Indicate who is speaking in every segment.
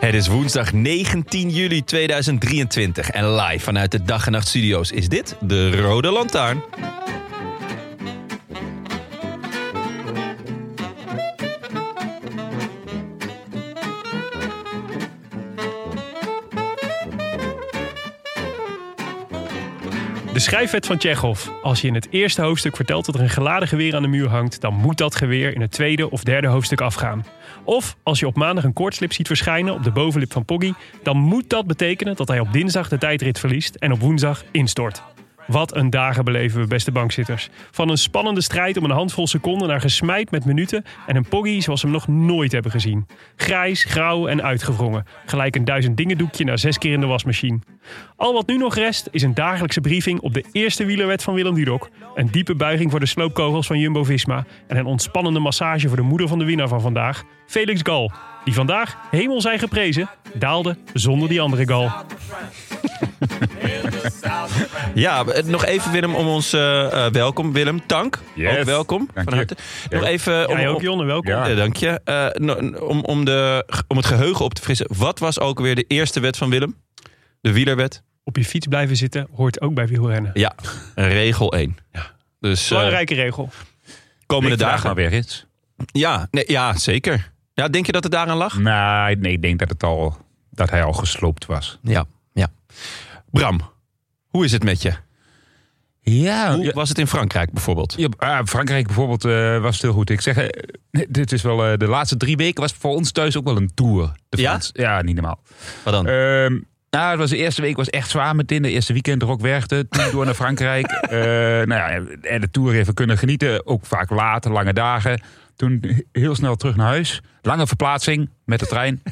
Speaker 1: Het is woensdag 19 juli 2023 en live vanuit de Dag en Nacht Studio's is dit de Rode Lantaarn.
Speaker 2: De schrijfwet van Tsjechov. Als je in het eerste hoofdstuk vertelt dat er een geladen geweer aan de muur hangt, dan moet dat geweer in het tweede of derde hoofdstuk afgaan. Of als je op maandag een koortslip ziet verschijnen op de bovenlip van Poggy, dan moet dat betekenen dat hij op dinsdag de tijdrit verliest en op woensdag instort. Wat een dagen beleven we, beste bankzitters. Van een spannende strijd om een handvol seconden naar gesmijd met minuten en een Poggy zoals we hem nog nooit hebben gezien. Grijs, grauw en uitgewrongen. Gelijk een duizend dingen doekje na zes keer in de wasmachine. Al wat nu nog rest is een dagelijkse briefing op de eerste wielerwet van Willem Dudok. Een diepe buiging voor de sloopkogels van Jumbo Visma. En een ontspannende massage voor de moeder van de winnaar van vandaag, Felix Gal. Die vandaag, hemel zijn geprezen, daalde zonder die andere Gal.
Speaker 1: Ja, eh, nog even Willem om ons eh, eh, welkom. Willem, Tank,
Speaker 3: Yes.
Speaker 1: ook welkom
Speaker 3: Dank
Speaker 1: van
Speaker 3: je.
Speaker 1: harte. Nog even om,
Speaker 2: Jij ook,
Speaker 1: om-
Speaker 2: Jonne, welkom.
Speaker 3: Ja.
Speaker 1: Ja, dank je. Eh, no- n- om, om, de, om het geheugen op te frissen, wat was ook weer de eerste wet van Willem? De wielerwet?
Speaker 2: Op je fiets blijven zitten hoort ook bij wielrennen.
Speaker 1: Ja, regel 1. Dus eh,
Speaker 2: Belangrijke regel.
Speaker 1: komende
Speaker 3: Ik vraag
Speaker 1: dagen.
Speaker 3: maar weer iets.
Speaker 1: Ja, nee, ja, zeker. Ja, denk je dat het daaraan lag?
Speaker 3: Nee, nee, ik denk dat, het al, dat hij al gesloopt was.
Speaker 1: Ja, ja. Bram, hoe is het met je?
Speaker 3: Ja,
Speaker 1: Hoe was het in Frankrijk bijvoorbeeld?
Speaker 3: Ja, ah, Frankrijk bijvoorbeeld eh, was het heel goed. Ik zeg, eh, dit is wel eh, de laatste drie weken was voor ons thuis ook wel een tour. De
Speaker 1: Ja?
Speaker 3: Frans. Ja, niet normaal.
Speaker 1: Wat dan?
Speaker 3: Ehm, nou, het was de eerste week was echt zwaar meteen. De eerste weekend Rockwerchten, toen door naar Frankrijk. Eh, nou ja, en de tour even kunnen genieten. Ook vaak laat, lange dagen. Toen heel snel terug naar huis. Lange verplaatsing met de trein.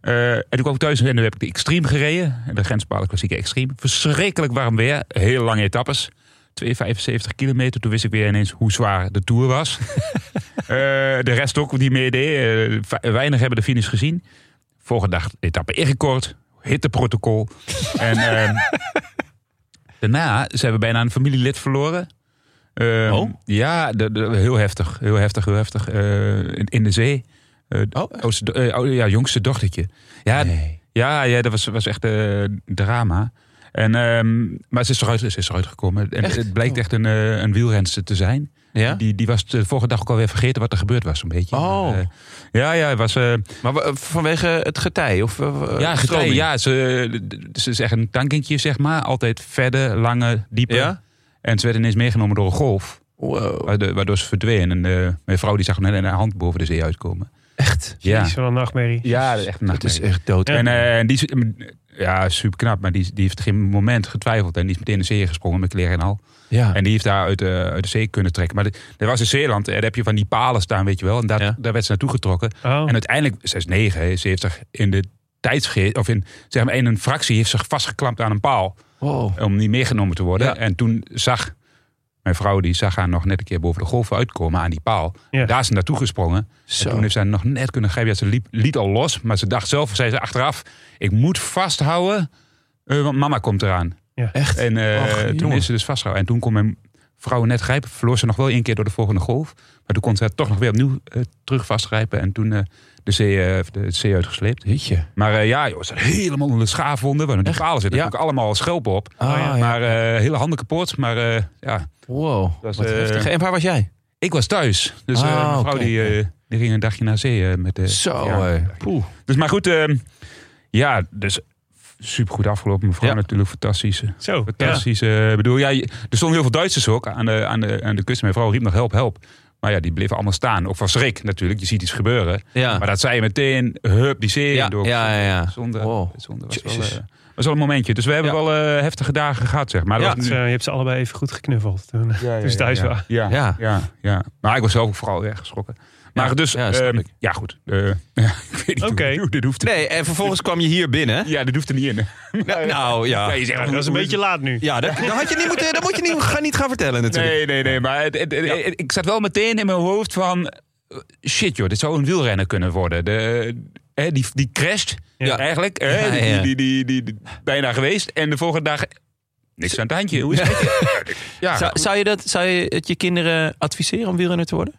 Speaker 3: Eh, en toen kwam ik thuis en toen heb ik de Extreme gereden. De grenspaal klassieke Extreme. Verschrikkelijk warm weer. Heel lange etappes. 275 kilometer. Toen wist ik weer ineens hoe zwaar de Tour was. Eh, de rest ook die meedeed. eh, ve- weinig hebben de finish gezien. Volgende dag etappe ingekort. Hitteprotocol. en ehm, daarna zijn we bijna een familielid verloren. Ehm,
Speaker 1: Oh?
Speaker 3: Ja, de, de- heel heftig. Heel heftig, heel heftig. Eh, in, in de zee. Eh,
Speaker 1: Oh, echt?
Speaker 3: oudste do- eh, oude- ja, jongste dochtertje. Ja,
Speaker 1: Nee.
Speaker 3: ja, ja dat was, was echt eh, drama. En, ehm, maar ze is, eruit, ze is eruit gekomen. En
Speaker 1: Echt? Oh.
Speaker 3: Het blijkt echt een, eh, een wielrenster te zijn.
Speaker 1: Ja?
Speaker 3: Die, die was de vorige dag ook alweer vergeten wat er gebeurd was, een beetje.
Speaker 1: Oh.
Speaker 3: En, eh, ja, ja, het was... eh,
Speaker 1: Maar wa- vanwege het getij? Of, eh,
Speaker 3: ja, getij,
Speaker 1: stroming?
Speaker 3: ja, ze, ze is echt een tankentje, zeg maar. Altijd verder, lange, dieper.
Speaker 1: Ja?
Speaker 3: En ze werd ineens meegenomen door een golf.
Speaker 1: Wow.
Speaker 3: waardoor- Waardoor ze verdween. En eh, mijn vrouw die zag hem net in haar hand boven de zee uitkomen.
Speaker 1: Echt?
Speaker 3: Ja,
Speaker 2: Iets van een nachtmerrie.
Speaker 3: ja dat is echt een
Speaker 1: Dat is
Speaker 3: nachtmerrie.
Speaker 1: echt dood.
Speaker 3: En eh, en die, is- ja, super knap, maar die, die heeft geen moment getwijfeld. En die is meteen de zee gesprongen met kleren en al.
Speaker 1: ja.
Speaker 3: En die heeft daar uit, de- uit de zee kunnen trekken. Maar de- er was in Zeeland, eh, daar heb je van die palen staan, weet je wel. En daar,
Speaker 1: Ja.
Speaker 3: daar werd ze naartoe getrokken.
Speaker 2: Oh.
Speaker 3: En uiteindelijk, ze is 9, ze heeft zich in de tijdsgeest, of in, zeg maar, in een fractie heeft zich vastgeklampt aan een paal.
Speaker 1: wow.
Speaker 3: Om niet meegenomen te worden.
Speaker 1: Ja.
Speaker 3: En toen zag mijn vrouw, die zag haar nog net een keer boven de golven uitkomen aan die paal.
Speaker 2: Ja.
Speaker 3: Daar is ze naartoe gesprongen. En
Speaker 1: Zo.
Speaker 3: toen heeft zij nog net kunnen grijpen. Ja, ze liep, liet al los, maar ze dacht zelf, zei ze achteraf, ik moet vasthouden, eh, want mama komt eraan.
Speaker 1: Echt?
Speaker 3: En eh,
Speaker 1: Och,
Speaker 3: toen
Speaker 1: jongen.
Speaker 3: is ze dus vastgehouden. En toen kon mijn vrouw net grijpen, verloor ze nog wel één keer door de volgende golf. Maar toen kon ze haar toch nog weer opnieuw eh, terug vastgrijpen en toen eh, de, zee, eh, de zee uitgesleept.
Speaker 1: Jeetje.
Speaker 3: Maar eh, ja, joh, ze zat helemaal onder de schaafwonden. Want die palen zitten
Speaker 1: Ja.
Speaker 3: natuurlijk allemaal schelpen op.
Speaker 1: Ah, ja.
Speaker 3: Maar eh, hele handen kapot. Maar eh, ja,
Speaker 1: Wow.
Speaker 3: Dat is,
Speaker 1: Wat
Speaker 3: eh,
Speaker 1: heftig. En waar was jij?
Speaker 3: ik was thuis. Dus eh,
Speaker 1: Ah,
Speaker 3: mijn vrouw
Speaker 1: oké.
Speaker 3: die, eh, die ging een dagje naar zee eh, met de
Speaker 1: Zo.
Speaker 3: ja.
Speaker 1: eh, poeh.
Speaker 3: Dus maar goed, eh, ja, dus supergoed afgelopen. Mijn vrouw
Speaker 1: Ja.
Speaker 3: natuurlijk fantastisch. eh,
Speaker 2: Zo,
Speaker 3: Fantastisch. eh, Ik bedoel, ja, je- er stonden heel veel Duitsers ook aan de, aan, de, aan de kust. Mijn vrouw riep nog help, help. Maar ja, die bleven allemaal staan. Ook van schrik natuurlijk, je ziet iets gebeuren.
Speaker 1: Ja.
Speaker 3: Maar dat zei meteen, hup, die serie
Speaker 1: Ah. Ja,
Speaker 3: door.
Speaker 1: ja, ja, ja.
Speaker 3: Zonde,
Speaker 1: Wow.
Speaker 3: zonde was, wel,
Speaker 1: Jezus.
Speaker 3: eh, was wel een momentje. Dus we hebben
Speaker 1: Ja.
Speaker 3: wel eh, heftige dagen gehad, zeg maar. Dat
Speaker 1: Ja,
Speaker 3: was
Speaker 2: Dus,
Speaker 3: nu-
Speaker 2: eh, je hebt ze allebei even goed geknuffeld toen, toen ze Dus thuis waren.
Speaker 3: ja,
Speaker 1: Ja.
Speaker 3: ja. ja, ja. Maar ik was zelf ook vooral erg geschrokken. Maar
Speaker 1: Ja,
Speaker 3: dus,
Speaker 1: ja,
Speaker 3: ja,
Speaker 1: snap ik.
Speaker 3: ja goed. Eh, ja, ik weet niet
Speaker 2: Oké.
Speaker 3: hoe- hoe dit hoeft.
Speaker 1: Nee, en vervolgens kwam je hier binnen.
Speaker 3: Ja, dit hoeft er niet in.
Speaker 1: Nou, nou, ja.
Speaker 3: je zegt,
Speaker 2: Ja, dat is een
Speaker 3: hoe-
Speaker 2: beetje laat nu.
Speaker 1: Ja, dat, dat had je niet moeten, dat moet je niet, ga, niet gaan vertellen natuurlijk.
Speaker 3: Nee, nee, nee. Maar het- het- het- ik zat wel meteen in mijn hoofd van... eh, Shit joh, dit zou een wielrenner kunnen worden. De, hè, die, die crasht
Speaker 2: Ja.
Speaker 3: eigenlijk. Hè,
Speaker 1: Ja,
Speaker 3: die,
Speaker 1: ja.
Speaker 3: Die, die, die, die- bijna geweest. En de volgende dag... Niks aan het handje. Hoe is het? met je? Ja,
Speaker 1: Zou, zou, je dat, zou je het je kinderen adviseren om wielrenner te worden?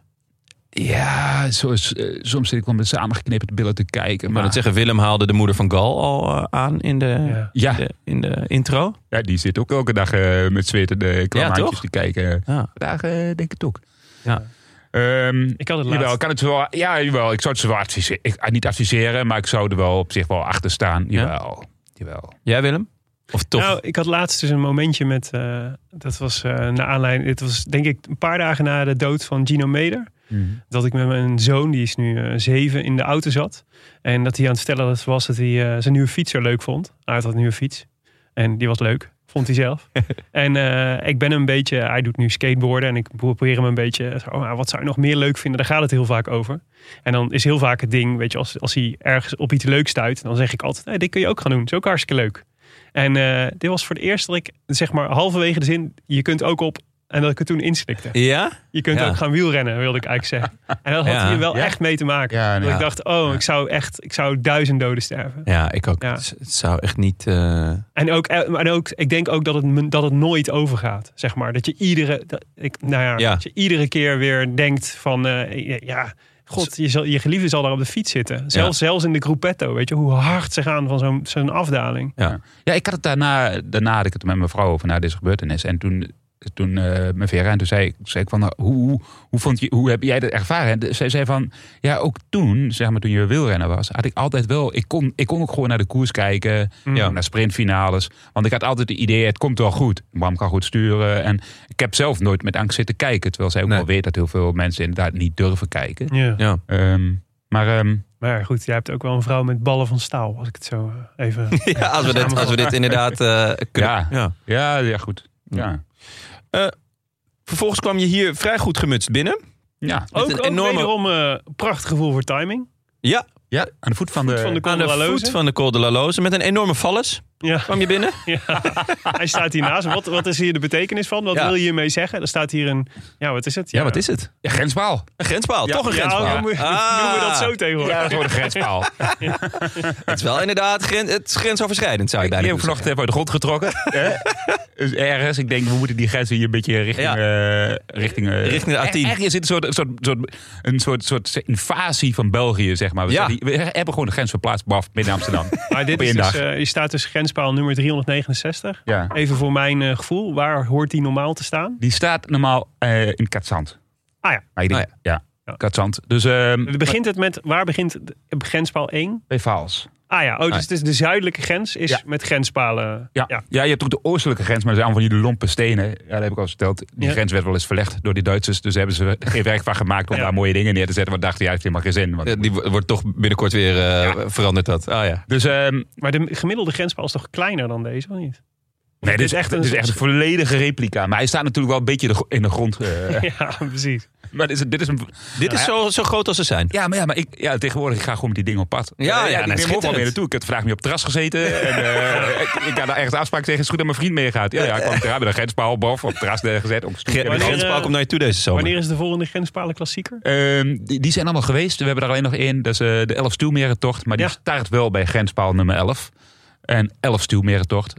Speaker 3: ja zo is, eh, soms zit ik wel met samengeknipperde billen te kijken.
Speaker 1: Maar
Speaker 3: Maar
Speaker 1: dat zeggen, Willem haalde de moeder van Gal al eh, aan in de,
Speaker 2: Ja.
Speaker 3: ja,
Speaker 1: de- in de intro.
Speaker 3: ja, die zit ook elke dag eh, met zwetende klamhandjes
Speaker 1: toch?
Speaker 3: te kijken.
Speaker 1: Ja.
Speaker 3: Vandaag eh, denk ik het ook.
Speaker 1: Ja.
Speaker 3: Ehm,
Speaker 2: Ik had het
Speaker 3: Jawel,
Speaker 2: laatst.
Speaker 3: kan het wel, ja, jawel, ik zou het ze wel adviseren. Ik, ah, niet adviseren, maar ik zou er wel op zich wel achter staan. Jawel, jawel.
Speaker 1: Jij Willem? Of toch?
Speaker 2: Nou, ik had laatst dus een momentje met. eh, dat was eh naar aanleiding. Dit was denk ik een paar dagen na de dood van Gino Meder.
Speaker 1: Mhm.
Speaker 2: Dat ik met mijn zoon, die is nu eh, zeven, in de auto zat. En dat hij aan het vertellen dat was dat hij eh, zijn nieuwe fiets zo leuk vond. Hij had een nieuwe fiets. En die was leuk, vond hij zelf. en eh, ik ben hem een beetje. Hij doet nu skateboarden. En ik probeer hem een beetje. zo, Oh, nou, wat zou je nog meer leuk vinden? Daar gaat het heel vaak over. En dan is heel vaak het ding. Weet je, als, als hij ergens op iets leuks stuit. dan zeg ik altijd: hey, dit kun je ook gaan doen. Dat is ook hartstikke leuk. En eh, dit was voor het eerst dat ik zeg maar halverwege de zin, je kunt ook op. En dat ik het toen inslikte.
Speaker 1: Ja?
Speaker 2: Je kunt
Speaker 1: Ja.
Speaker 2: ook gaan wielrennen, wilde ik eigenlijk zeggen. En dat had
Speaker 1: Ja.
Speaker 2: hier wel
Speaker 3: Ja.
Speaker 2: echt mee te maken.
Speaker 3: Ja,
Speaker 2: dat
Speaker 3: nou,
Speaker 2: ik dacht, oh, ik zou echt, ik zou duizend doden sterven.
Speaker 1: Ja, ik ook.
Speaker 2: Ja.
Speaker 1: Het, het zou echt niet... eh,
Speaker 2: En ook, en ook, ik denk ook dat het, me- dat het nooit overgaat, zeg maar. Dat je iedere, dat, ik, nou ja,
Speaker 1: Ja.
Speaker 2: Dat je iedere keer weer denkt van, eh, ja, god, je, zal, je geliefde zal daar op de fiets zitten. Zelfs, zelfs in de gruppetto, weet je, hoe hard ze gaan van zo'n zo'n afdaling.
Speaker 1: ja.
Speaker 3: Ja, ik had het daarna, daarna had ik het met mijn vrouw over nou, na deze gebeurtenis. En toen, toen eh mijn Vera, en toen zei, ik- zei ik van, nou, hoe, hoe, hoe vond je, hoe heb jij dat ervaren? En de- zij zei van, ja, ook toen, zeg maar toen je wielrenner was, had ik altijd wel, ik kon, ik kon ook gewoon naar de koers kijken,
Speaker 2: Ja.
Speaker 3: naar sprintfinales. Want ik had altijd het idee, het komt wel goed. Bram kan goed sturen. En ik heb zelf nooit met angst zitten kijken. Terwijl zij ook
Speaker 1: Nee.
Speaker 3: wel weet dat heel veel mensen inderdaad niet durven kijken.
Speaker 2: Ja.
Speaker 1: Ja.
Speaker 3: Ehm, maar ehm,
Speaker 2: Maar goed, jij hebt ook wel een vrouw met ballen van staal, als ik het zo eh, even...
Speaker 1: Ja, als we dit, als we dit inderdaad eh, kunnen.
Speaker 3: Ja. ja, ja, goed. Ja.
Speaker 1: Vervolgens kwam je hier vrij goed gemutst binnen.
Speaker 3: Ja.
Speaker 1: Met
Speaker 2: Ook,
Speaker 1: een
Speaker 2: ook
Speaker 1: enorme-
Speaker 2: wederom eh, prachtig gevoel voor timing.
Speaker 1: Ja,
Speaker 3: ja, aan de voet van
Speaker 2: Voet van de
Speaker 3: de...
Speaker 2: Col
Speaker 1: aan
Speaker 2: de
Speaker 1: de
Speaker 2: Laloze.
Speaker 1: voet van de Col de La Loze. Met een enorme valles
Speaker 2: Ja,
Speaker 1: kwam je binnen.
Speaker 2: ja. hij staat hiernaast. Wat, wat is hier de betekenis van? Wat
Speaker 1: Ja.
Speaker 2: wil je hiermee zeggen? Er staat hier een... Ja, wat is het?
Speaker 1: Ja, wat is het?
Speaker 3: Ja, grenspaal.
Speaker 1: Een grenspaal, toch een
Speaker 2: ja,
Speaker 1: grenspaal. Ah.
Speaker 2: hoe moet- noemen we dat zo tegenwoordig?
Speaker 3: Ja, gewoon een grenspaal.
Speaker 1: Het is wel inderdaad gren- het is grensoverschrijdend, zou je
Speaker 3: Die heb
Speaker 1: bijna
Speaker 3: ik
Speaker 1: moeten
Speaker 3: vanochtend even uit de grond getrokken. Hè? dus ergens, ik denk, we moeten die grens hier een beetje richting...
Speaker 1: Ja.
Speaker 3: eh, richting, eh,
Speaker 1: Richting de A10.
Speaker 3: er- Ergens zit een soort, een soort, soort, een soort, soort invasie van België, zeg maar. We,
Speaker 1: Ja.
Speaker 3: zetten- we hebben gewoon de grens verplaatst, baf, midden Amsterdam.
Speaker 2: Maar dit
Speaker 3: Op
Speaker 2: is
Speaker 3: één
Speaker 2: dus,
Speaker 3: dag.
Speaker 2: eh, je staat dus grenspaal nummer 369.
Speaker 3: ja.
Speaker 2: Even voor mijn eh, gevoel, waar hoort die normaal te staan?
Speaker 3: Die staat normaal eh, in Katzand.
Speaker 2: Ah ja,
Speaker 3: Maar ik denk,
Speaker 1: Ah,
Speaker 3: ja,
Speaker 2: Ja.
Speaker 3: Katzand. Dus ehm
Speaker 2: begint het met, waar begint de- grenspaal 1?
Speaker 3: bij Vaals.
Speaker 2: Ah ja, oh,
Speaker 1: Ah.
Speaker 2: dus, dus de zuidelijke grens is
Speaker 3: Ja.
Speaker 2: met grenspalen.
Speaker 3: Ja. Ja. je hebt ook de oostelijke grens, maar dat zijn allemaal van die lompe stenen. Ja, dat heb ik al eens verteld. Die
Speaker 2: Ja.
Speaker 3: grens werd wel eens verlegd door die Duitsers. Dus daar hebben ze er geen werk van gemaakt om
Speaker 2: Ja.
Speaker 3: daar mooie dingen neer te zetten. Want dachten, ja, heeft helemaal geen zin. Want...
Speaker 1: zeggen. Eh, Die wo- wordt toch binnenkort weer eh, veranderd dat. Ah ja.
Speaker 3: Dus, ehm,
Speaker 2: Maar de gemiddelde grenspaal is toch kleiner dan deze, of niet?
Speaker 3: nee, dit
Speaker 2: is
Speaker 3: is,
Speaker 2: echt
Speaker 3: echt,
Speaker 2: een-
Speaker 3: dit is echt een volledige replica. Maar hij staat natuurlijk wel een beetje de gro- in de grond. eh.
Speaker 2: Ja, precies.
Speaker 1: Oh.
Speaker 3: maar dit is, dit is een...
Speaker 1: Dit is
Speaker 3: Ja.
Speaker 1: zo, zo groot als ze zijn.
Speaker 3: Ja, maar, ja, maar ik, ja, tegenwoordig ik ga ik gewoon met die dingen op pad.
Speaker 1: Ja,
Speaker 3: Eh,
Speaker 1: ja,
Speaker 3: ik
Speaker 1: nou,
Speaker 3: neem ook wel
Speaker 1: schitterend.
Speaker 3: mee naartoe. Ik heb vandaag mee op het terras gezeten. en, eh, ik, ik had daar ergens een afspraak tegen. Het is goed dat mijn vriend meegaat. Ja, ja, ik kwam eraan met een grenspaal, bof, op het terras neergezet. Op een stoeltje.
Speaker 1: Gre- De
Speaker 2: Wanneer,
Speaker 1: grenspaal
Speaker 2: eh,
Speaker 1: komt naar je toe deze zomer.
Speaker 2: Wanneer is de volgende grenspalen klassieker?
Speaker 3: Ehm, die, die zijn allemaal geweest. We hebben er alleen nog één. Dat is eh, de 11 Stuwmerentocht. Maar die
Speaker 2: Ja.
Speaker 3: start wel bij grenspaal nummer 11. En 11 Stuwmerentocht.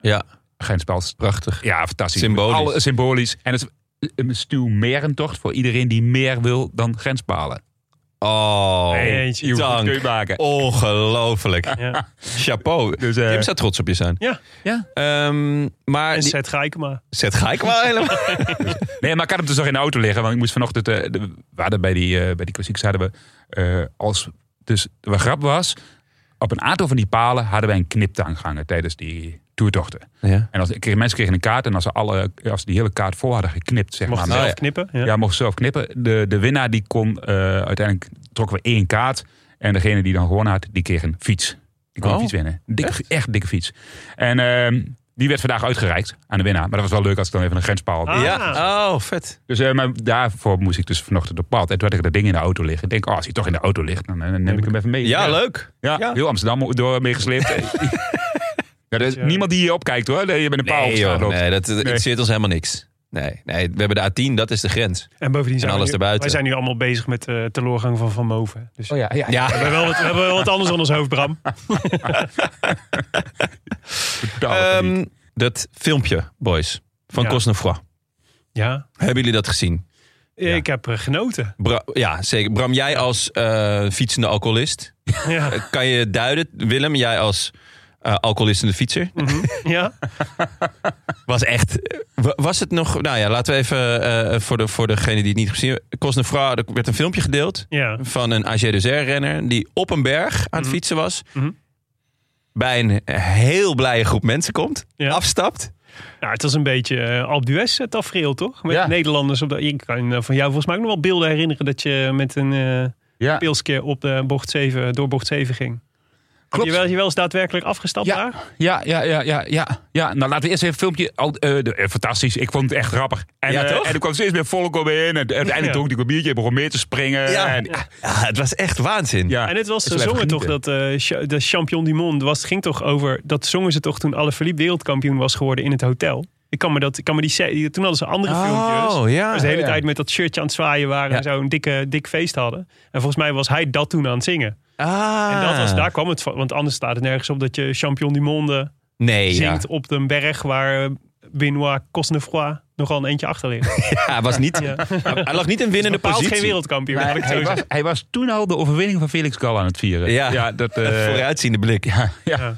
Speaker 1: Ja,
Speaker 3: Grenspaal. is-
Speaker 1: prachtig.
Speaker 3: Ja, fantastisch.
Speaker 1: Symbolisch.
Speaker 3: Alle, symbolisch. En het is een Stuwmerentocht voor iedereen die meer wil dan grenspalen.
Speaker 1: Oh,
Speaker 2: Eentje.
Speaker 3: Je hoeft het
Speaker 1: dank.
Speaker 3: kun je maken.
Speaker 1: Ongelooflijk.
Speaker 2: Ja.
Speaker 1: Chapeau.
Speaker 3: Dus, eh,
Speaker 1: Jim zou trots op je zijn.
Speaker 2: Ja.
Speaker 3: Ja.
Speaker 1: Ehm, maar
Speaker 2: En
Speaker 1: die-
Speaker 2: Seth Gaikema.
Speaker 1: zet ga ik wel helemaal.
Speaker 3: Nee, maar ik had hem dus nog in de auto liggen. Want ik moest vanochtend... eh, de- we hadden bij die, eh bij die klassieks hadden we... eh, als dus wat grap was... Op een aantal van die palen hadden wij een kniptang gehangen tijdens die toertochten.
Speaker 1: Ja.
Speaker 3: En als, kregen- mensen kregen een kaart en als ze, alle, als ze die hele kaart vol hadden geknipt, zeg
Speaker 2: Mocht
Speaker 3: maar.
Speaker 2: je
Speaker 1: nou
Speaker 2: zelf
Speaker 1: ja.
Speaker 2: knippen. Ja.
Speaker 3: Ah, ja.
Speaker 2: Ja.
Speaker 3: mochten ze zelf knippen. De, de winnaar die kon eh, uiteindelijk trokken we één kaart. En degene die dan gewonnen had, die kreeg een fiets. Die kon
Speaker 1: Oh,
Speaker 3: een fiets winnen. Dikke,
Speaker 1: echt?
Speaker 3: echt? dikke fiets. En ehm, die werd vandaag uitgereikt aan de winnaar. Maar dat was wel leuk als ik dan even een grenspaal had.
Speaker 2: Ah.
Speaker 1: Ja, oh, vet.
Speaker 3: Dus eh, maar daarvoor moest ik dus vanochtend op pad. En toen had ik dat ding in de auto liggen. Ik denk, oh, als hij toch in de auto ligt, dan, eh, dan neem ik hem even mee.
Speaker 1: Ja, leuk.
Speaker 3: Ja,
Speaker 1: Ja.
Speaker 3: heel Amsterdam door meegesleept. ja, er is niemand die je opkijkt hoor. Nee, je bent een paal
Speaker 1: Nee,
Speaker 3: op
Speaker 1: joh,
Speaker 3: straat loopt.
Speaker 1: nee dat, dat interesseert ons helemaal niks. Nee, nee, we hebben de A10, dat is de grens.
Speaker 2: En bovendien zijn
Speaker 1: alles
Speaker 2: we nu,
Speaker 1: erbuiten.
Speaker 2: wij zijn nu allemaal bezig met de teloorgang van Van Moven. Dus
Speaker 3: Oh ja, ja.
Speaker 2: we,
Speaker 1: Ja,
Speaker 2: hebben wel wat, we hebben wel wat anders aan ons hoofd, Bram.
Speaker 3: totaal niet.
Speaker 1: ehm, dat filmpje, boys, van
Speaker 2: Ja.
Speaker 1: Cosnefroid.
Speaker 2: Ja.
Speaker 1: Hebben jullie dat gezien?
Speaker 2: Ik heb eh, genoten.
Speaker 1: Bra- ja, zeker. Bram, jij als eh, fietsende alcoholist, eh,
Speaker 2: Ja.
Speaker 1: kan je duiden? Willem, jij als eh alcoholistende fietser?
Speaker 2: ja.
Speaker 1: Was echt. eh, wa- Was het nog. Nou ja, laten we even. eh, voor, de, voor degene die het niet gezien hebben. Cosnefra, er werd een filmpje gedeeld.
Speaker 2: ja.
Speaker 1: van een AG renner die op een berg aan het fietsen was.
Speaker 2: Mhm.
Speaker 1: bij een heel blije groep mensen komt.
Speaker 2: Ja.
Speaker 1: afstapt.
Speaker 2: Nou, het was een beetje eh Alpe d'Huez eh, tafereel, toch? Met
Speaker 3: Ja.
Speaker 2: Nederlanders. Op de, ik kan eh, van jou volgens mij ook nog wel beelden herinneren... dat je met een eh
Speaker 3: Ja,
Speaker 2: pilsje op de bocht 7, door bocht 7 ging. Heb
Speaker 3: klopt.
Speaker 2: je wel, je wel eens daadwerkelijk afgestapt
Speaker 3: Ja.
Speaker 2: daar?
Speaker 3: Ja, ja, ja, ja, ja, ja. Nou, laten we eerst even een filmpje. al- eh, de- eh, fantastisch, ik vond het echt grappig. En,
Speaker 1: Ja,
Speaker 3: eh,
Speaker 1: toch?
Speaker 3: en er kwam steeds meer volk om me heen. En, en uiteindelijk
Speaker 2: Ja.
Speaker 3: dronk ik een biertje en begon mee te springen.
Speaker 1: Ja.
Speaker 3: En,
Speaker 1: Ja, het was echt waanzin.
Speaker 3: ja.
Speaker 2: En het was,
Speaker 3: Het
Speaker 2: ze
Speaker 3: Ah, is wel
Speaker 2: zongen toch
Speaker 3: even
Speaker 2: dat eh, cha- de Champion du Monde was, ging toch over. Dat zongen ze toch toen Alaphilippe wereldkampioen was geworden in het hotel. Ik kan me dat, ik kan me die, se- die- toen hadden ze andere filmpjes.
Speaker 1: Oh ja.
Speaker 2: Waar ze de hele
Speaker 3: ja.
Speaker 2: tijd met dat shirtje aan het zwaaien waren en zo een dikke, dik feest hadden. En volgens mij was hij dat toen aan het zingen.
Speaker 1: Ah.
Speaker 2: En dat was, daar kwam het van. Want anders staat het nergens op dat je Champion du Monde
Speaker 1: Nee, ja.
Speaker 2: zingt op een berg waar eh, Benoit Cosnefroid nogal een eentje achter ligt.
Speaker 1: Ja, hij was niet.
Speaker 2: Ja.
Speaker 1: Hij lag niet in winnende
Speaker 2: Bepaald
Speaker 1: positie.
Speaker 2: geen wereldkampioen. laat
Speaker 3: Maar
Speaker 2: ik het zo
Speaker 3: hij,
Speaker 2: zeggen.
Speaker 3: was, hij was toen al de overwinning van Felix Gal aan het vieren.
Speaker 1: Ja.
Speaker 3: dat,
Speaker 1: Een
Speaker 3: eh,
Speaker 1: Vooruitziende blik. Ja,
Speaker 2: Ja.
Speaker 1: nou,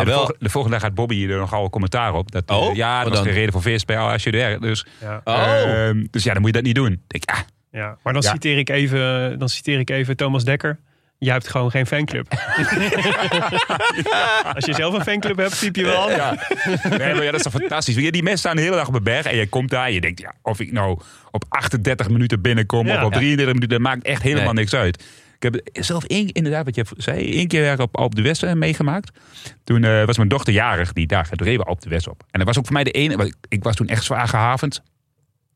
Speaker 3: en de,
Speaker 1: wel.
Speaker 3: volgende, de volgende dag gaat Bobby er nogal een commentaar op. Dat, eh,
Speaker 1: Oh,
Speaker 3: ja,
Speaker 1: wat
Speaker 3: dat was
Speaker 1: dan?
Speaker 3: de reden voor feest bij Al-Ashuder. Dus,
Speaker 2: Ja.
Speaker 1: Oh.
Speaker 3: ehm, dus ja, dan moet je dat niet doen. Ik Denk, ah,
Speaker 2: Ja, maar dan,
Speaker 3: Ja.
Speaker 2: citeer ik even, dan citeer ik even Thomas Dekker. Jij hebt gewoon geen fanclub. Als je zelf een fanclub hebt, typ je wel. aan.
Speaker 3: Ja. Nee, maar ja, dat is toch fantastisch. Want ja, Die mensen staan de hele dag op een berg en je komt daar en je denkt, ja, of ik nou op 38 minuten binnenkom
Speaker 2: Ja.
Speaker 3: of op
Speaker 2: Ja.
Speaker 3: 33 minuten, dat maakt echt helemaal
Speaker 1: Nee.
Speaker 3: niks uit. Ik heb zelf één, inderdaad wat je zei, één keer werk op Alp de West eh, meegemaakt. Toen eh, was mijn dochter jarig die dag en toen reden we Alp de West op. En dat was ook voor mij de ene, want ik- ik was toen echt zwaar gehavend.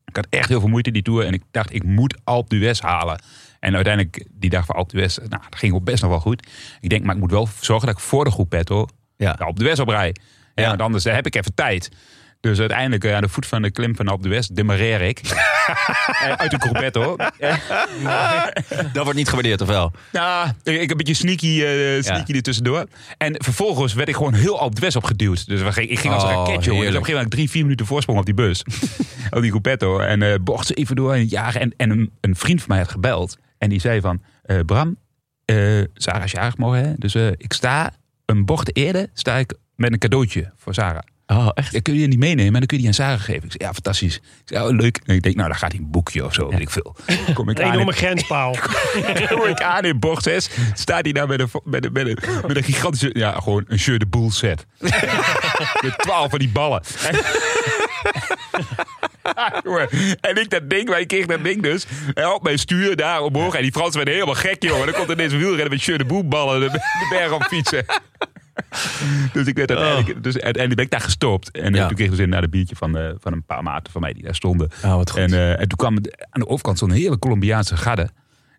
Speaker 3: Ik had echt heel veel moeite die tour en ik dacht, ik moet Alp d'Huez halen. En uiteindelijk, die dag van Alp d'Huez, nou, dat ging ook best nog wel goed. Ik denk, maar ik moet wel zorgen dat ik voor de groep petto
Speaker 1: Ja.
Speaker 3: Alp d'Huez op rij. Ja,
Speaker 1: Ja.
Speaker 3: want anders eh, heb ik even tijd. Dus uiteindelijk eh, aan de voet van de klim van Alp d'Huez demareer ik. Eh, Uit de groepetto.
Speaker 1: Dat wordt niet gewaardeerd, of wel?
Speaker 3: Nou, ik ik een beetje sneaky, eh sneaky er tussendoor. En vervolgens werd ik gewoon heel Alp d'Huez opgeduwd. Dus we ging- ik ging als een
Speaker 1: Oh,
Speaker 3: raketje. joh. Dus op een
Speaker 1: heerlijk.
Speaker 3: gegeven moment had ik drie, vier minuten voorsprong op die bus. op die groepetto. En eh bocht ze even door en jagen. En, en een, een vriend van mij had gebeld. En die zei van, eh, Bram, eh Sarah is jarig morgen. Hè? Dus eh, ik sta een bocht eerder sta ik met een cadeautje voor Sarah.
Speaker 1: Oh, echt?
Speaker 3: Dan kun je die niet meenemen en dan kun je die aan Sarah geven. Ik zei, ja, fantastisch. Ik zei, oh, leuk. En ik denk, nou, dan gaat hij een boekje of zo, weet ik veel. Kom ik
Speaker 2: Een
Speaker 3: aan in-
Speaker 2: enorme grenspaal.
Speaker 3: kom ik aan in bocht 6. Staat hij daar met een, met een, met een, met een gigantische... Ja, gewoon een shirt de boel set. met twaalf van die ballen. En, Ah, jongen. en ik dat ding, wij kreeg dat ding dus. En op mijn stuur daar omhoog. En die Fransen werden helemaal gek, jongen. Dan komt ineens een wielrennen met shirt de boel ballen de, de berg op fietsen. Dus ik werd uiteindelijk, dus uiteindelijk ben ik daar gestopt. En eh,
Speaker 1: Ja.
Speaker 3: toen kreeg ik dus inderdaad een biertje van, eh, van een paar maten van mij die daar stonden.
Speaker 1: Ah, wat goed.
Speaker 3: En, eh, en toen kwam het- aan de overkant zo'n hele Colombiaanse gadde.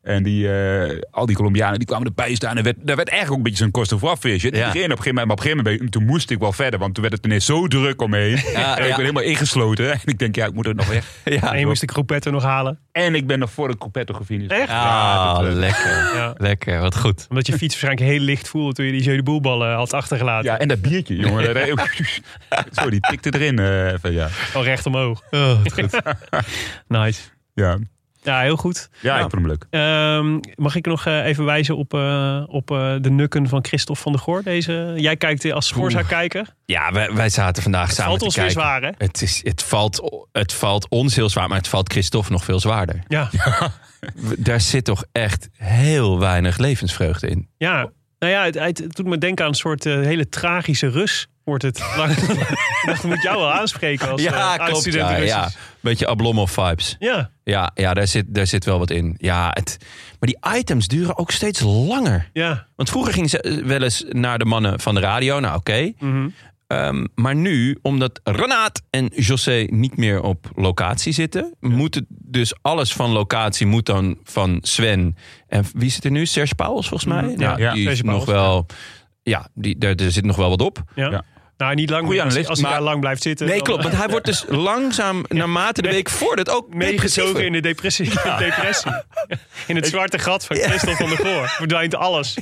Speaker 3: En die, eh, al die Colombianen die kwamen erbij staan. En werd, daar werd eigenlijk ook een beetje zo'n kosten voor afvisje.
Speaker 1: Ja.
Speaker 3: Ja. Op een gegeven moment, maar op een gegeven moment toen moest ik wel verder. Want toen werd het ineens zo druk omheen.
Speaker 1: Ja,
Speaker 3: en ik
Speaker 1: ja.
Speaker 3: ben helemaal ingesloten. En ik denk, ja, ik moet er nog weg.
Speaker 2: En
Speaker 1: eh, Ja.
Speaker 2: je moest de croupette nog halen.
Speaker 3: En ik ben nog voor de Coppetto gefinished.
Speaker 2: Echt?
Speaker 3: Ja,
Speaker 1: Ah,
Speaker 3: dat, eh,
Speaker 1: lekker.
Speaker 2: Ja.
Speaker 1: Lekker, wat goed.
Speaker 2: Omdat je fiets waarschijnlijk heel licht voelde toen je die jeu de boelballen had achtergelaten.
Speaker 3: Ja, en dat biertje, jongen. dat- Zo, die tikte erin. eh, even, ja.
Speaker 2: Al recht omhoog.
Speaker 3: Oh,
Speaker 2: nice.
Speaker 3: Ja.
Speaker 2: Ja, heel goed.
Speaker 3: ja,
Speaker 1: Nou.
Speaker 3: ik vond hem leuk.
Speaker 2: Ehm, mag ik nog eh, even wijzen op, eh, op eh, de nukken van Christophe van der Goor? Deze, jij kijkt als Schorza-kijker.
Speaker 1: Ja, wij, wij zaten vandaag samen
Speaker 2: Valt
Speaker 1: te
Speaker 2: ons weer
Speaker 1: kijken.
Speaker 2: zwaar, hè?
Speaker 1: Het, is, het, valt, het valt ons heel zwaar, maar het valt Christophe nog veel zwaarder.
Speaker 2: Ja.
Speaker 1: W- Daar zit toch echt heel weinig levensvreugde in.
Speaker 2: Ja, nou ja, het, het, het doet me denken aan een soort eh, hele tragische Rus. wordt het. Lang... ik dacht, ik moet jou wel aanspreken als
Speaker 1: Ja,
Speaker 2: eh,
Speaker 1: klopt.
Speaker 2: oud-student
Speaker 1: Ja,
Speaker 2: Russisch.
Speaker 1: ja. Beetje Ablomov-vibes.
Speaker 2: ja,
Speaker 1: Ja, ja daar, zit, daar zit wel wat in. Ja, het, maar die items duren ook steeds langer.
Speaker 2: ja.
Speaker 1: Want vroeger gingen ze eh, wel eens naar de mannen van de radio. Nou, oké.
Speaker 2: Mhm.
Speaker 1: Ehm, maar nu, omdat Renaat en José niet meer op locatie zitten, moet het dus alles van locatie moet dan van Sven. En wie zit er nu? Serge Pauwels volgens mij.
Speaker 2: Mhm.
Speaker 1: Nou,
Speaker 2: ja,
Speaker 3: ja,
Speaker 1: die is
Speaker 2: Serge
Speaker 1: nog wel. Ja, die, daar, daar zit nog wel wat op.
Speaker 2: Ja.
Speaker 3: Ja.
Speaker 2: Nou, niet lang.
Speaker 1: Goeie
Speaker 2: als-
Speaker 1: analist,
Speaker 2: als hij
Speaker 1: maar-
Speaker 2: daar lang blijft zitten.
Speaker 1: Nee,
Speaker 2: dan,
Speaker 1: klopt.
Speaker 2: eh,
Speaker 1: Want hij wordt dus langzaam, naarmate de
Speaker 2: Nee.
Speaker 1: week voordat, ook
Speaker 2: Meegezogen in
Speaker 1: depressiever.
Speaker 2: de depressie. depressie. In het zwarte gat van Christel van der Goor. Verdwijnt alles.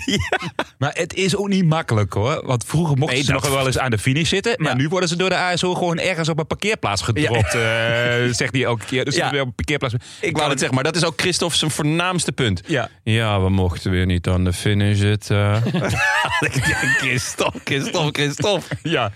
Speaker 3: Maar het is ook niet makkelijk hoor. Want vroeger mochten
Speaker 1: Nee,
Speaker 3: ze
Speaker 1: dat-
Speaker 3: nog wel eens aan de finish zitten. Maar
Speaker 1: Ja.
Speaker 3: nu worden ze door de ASO gewoon ergens op een parkeerplaats gedropt. eh, zegt hij elke keer. Dus
Speaker 1: Ja.
Speaker 3: ze weer op een parkeerplaats.
Speaker 1: Ik wou het zeggen, maar dat is ook Christophe zijn voornaamste punt.
Speaker 3: Ja.
Speaker 1: Ja, we mochten weer niet aan de finish zitten. Christophe, Christophe, Christophe.
Speaker 3: Ja.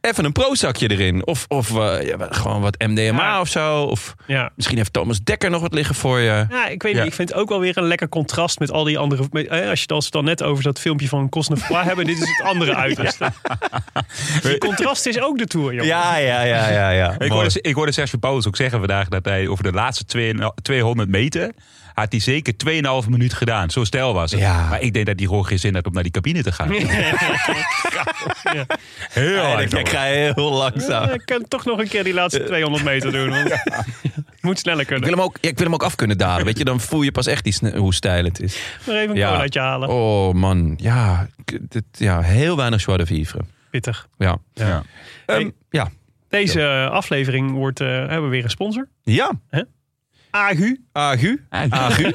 Speaker 1: Even een prozakje erin. Of, of eh, ja, gewoon wat MDMA
Speaker 2: Ja.
Speaker 1: of zo. Of
Speaker 2: Ja.
Speaker 1: misschien heeft Thomas Dekker nog wat liggen voor je.
Speaker 2: Ja, ik weet
Speaker 3: Ja.
Speaker 2: niet. Ik vind het ook wel weer een lekker contrast met al die andere... met- eh, als je het als we het dan net over dat filmpje van Cosnefroid hebben... dit is het andere uiterste. Die contrast is ook de Tour, joh.
Speaker 1: ja, ja, ja. ja.
Speaker 3: Ik hoorde, ik hoorde Sergio Pauwels ook zeggen vandaag dat hij over de laatste 2 200 meter. had hij zeker 2,5 minuut gedaan. Zo stijl was het.
Speaker 1: Ja.
Speaker 3: Maar ik denk dat hij gewoon geen zin had om naar die cabine te gaan.
Speaker 2: Ja.
Speaker 3: Heel hard,
Speaker 1: Oh, ik
Speaker 3: jongen.
Speaker 1: ga je heel langzaam.
Speaker 2: Eh, ik kan toch nog een keer die laatste 200 meter doen. want Moet sneller
Speaker 1: Eh. Ik
Speaker 2: kunnen.
Speaker 1: wil, hem ook, ja, ik wil hem ook af kunnen dalen. Weet je, dan voel je pas echt die sne- hoe stijl het is.
Speaker 2: Maar even een
Speaker 1: Ja.
Speaker 2: colaatje halen.
Speaker 1: Oh man, ja. k- dit- ja heel weinig joie de vivre.
Speaker 2: Pittig.
Speaker 1: Ja.
Speaker 3: Ja.
Speaker 1: Ehm,
Speaker 2: Hey.
Speaker 1: ja.
Speaker 2: Deze eh, aflevering wordt, eh, hebben we weer een sponsor.
Speaker 1: Ja.
Speaker 2: Agu.
Speaker 1: Agu. Agu.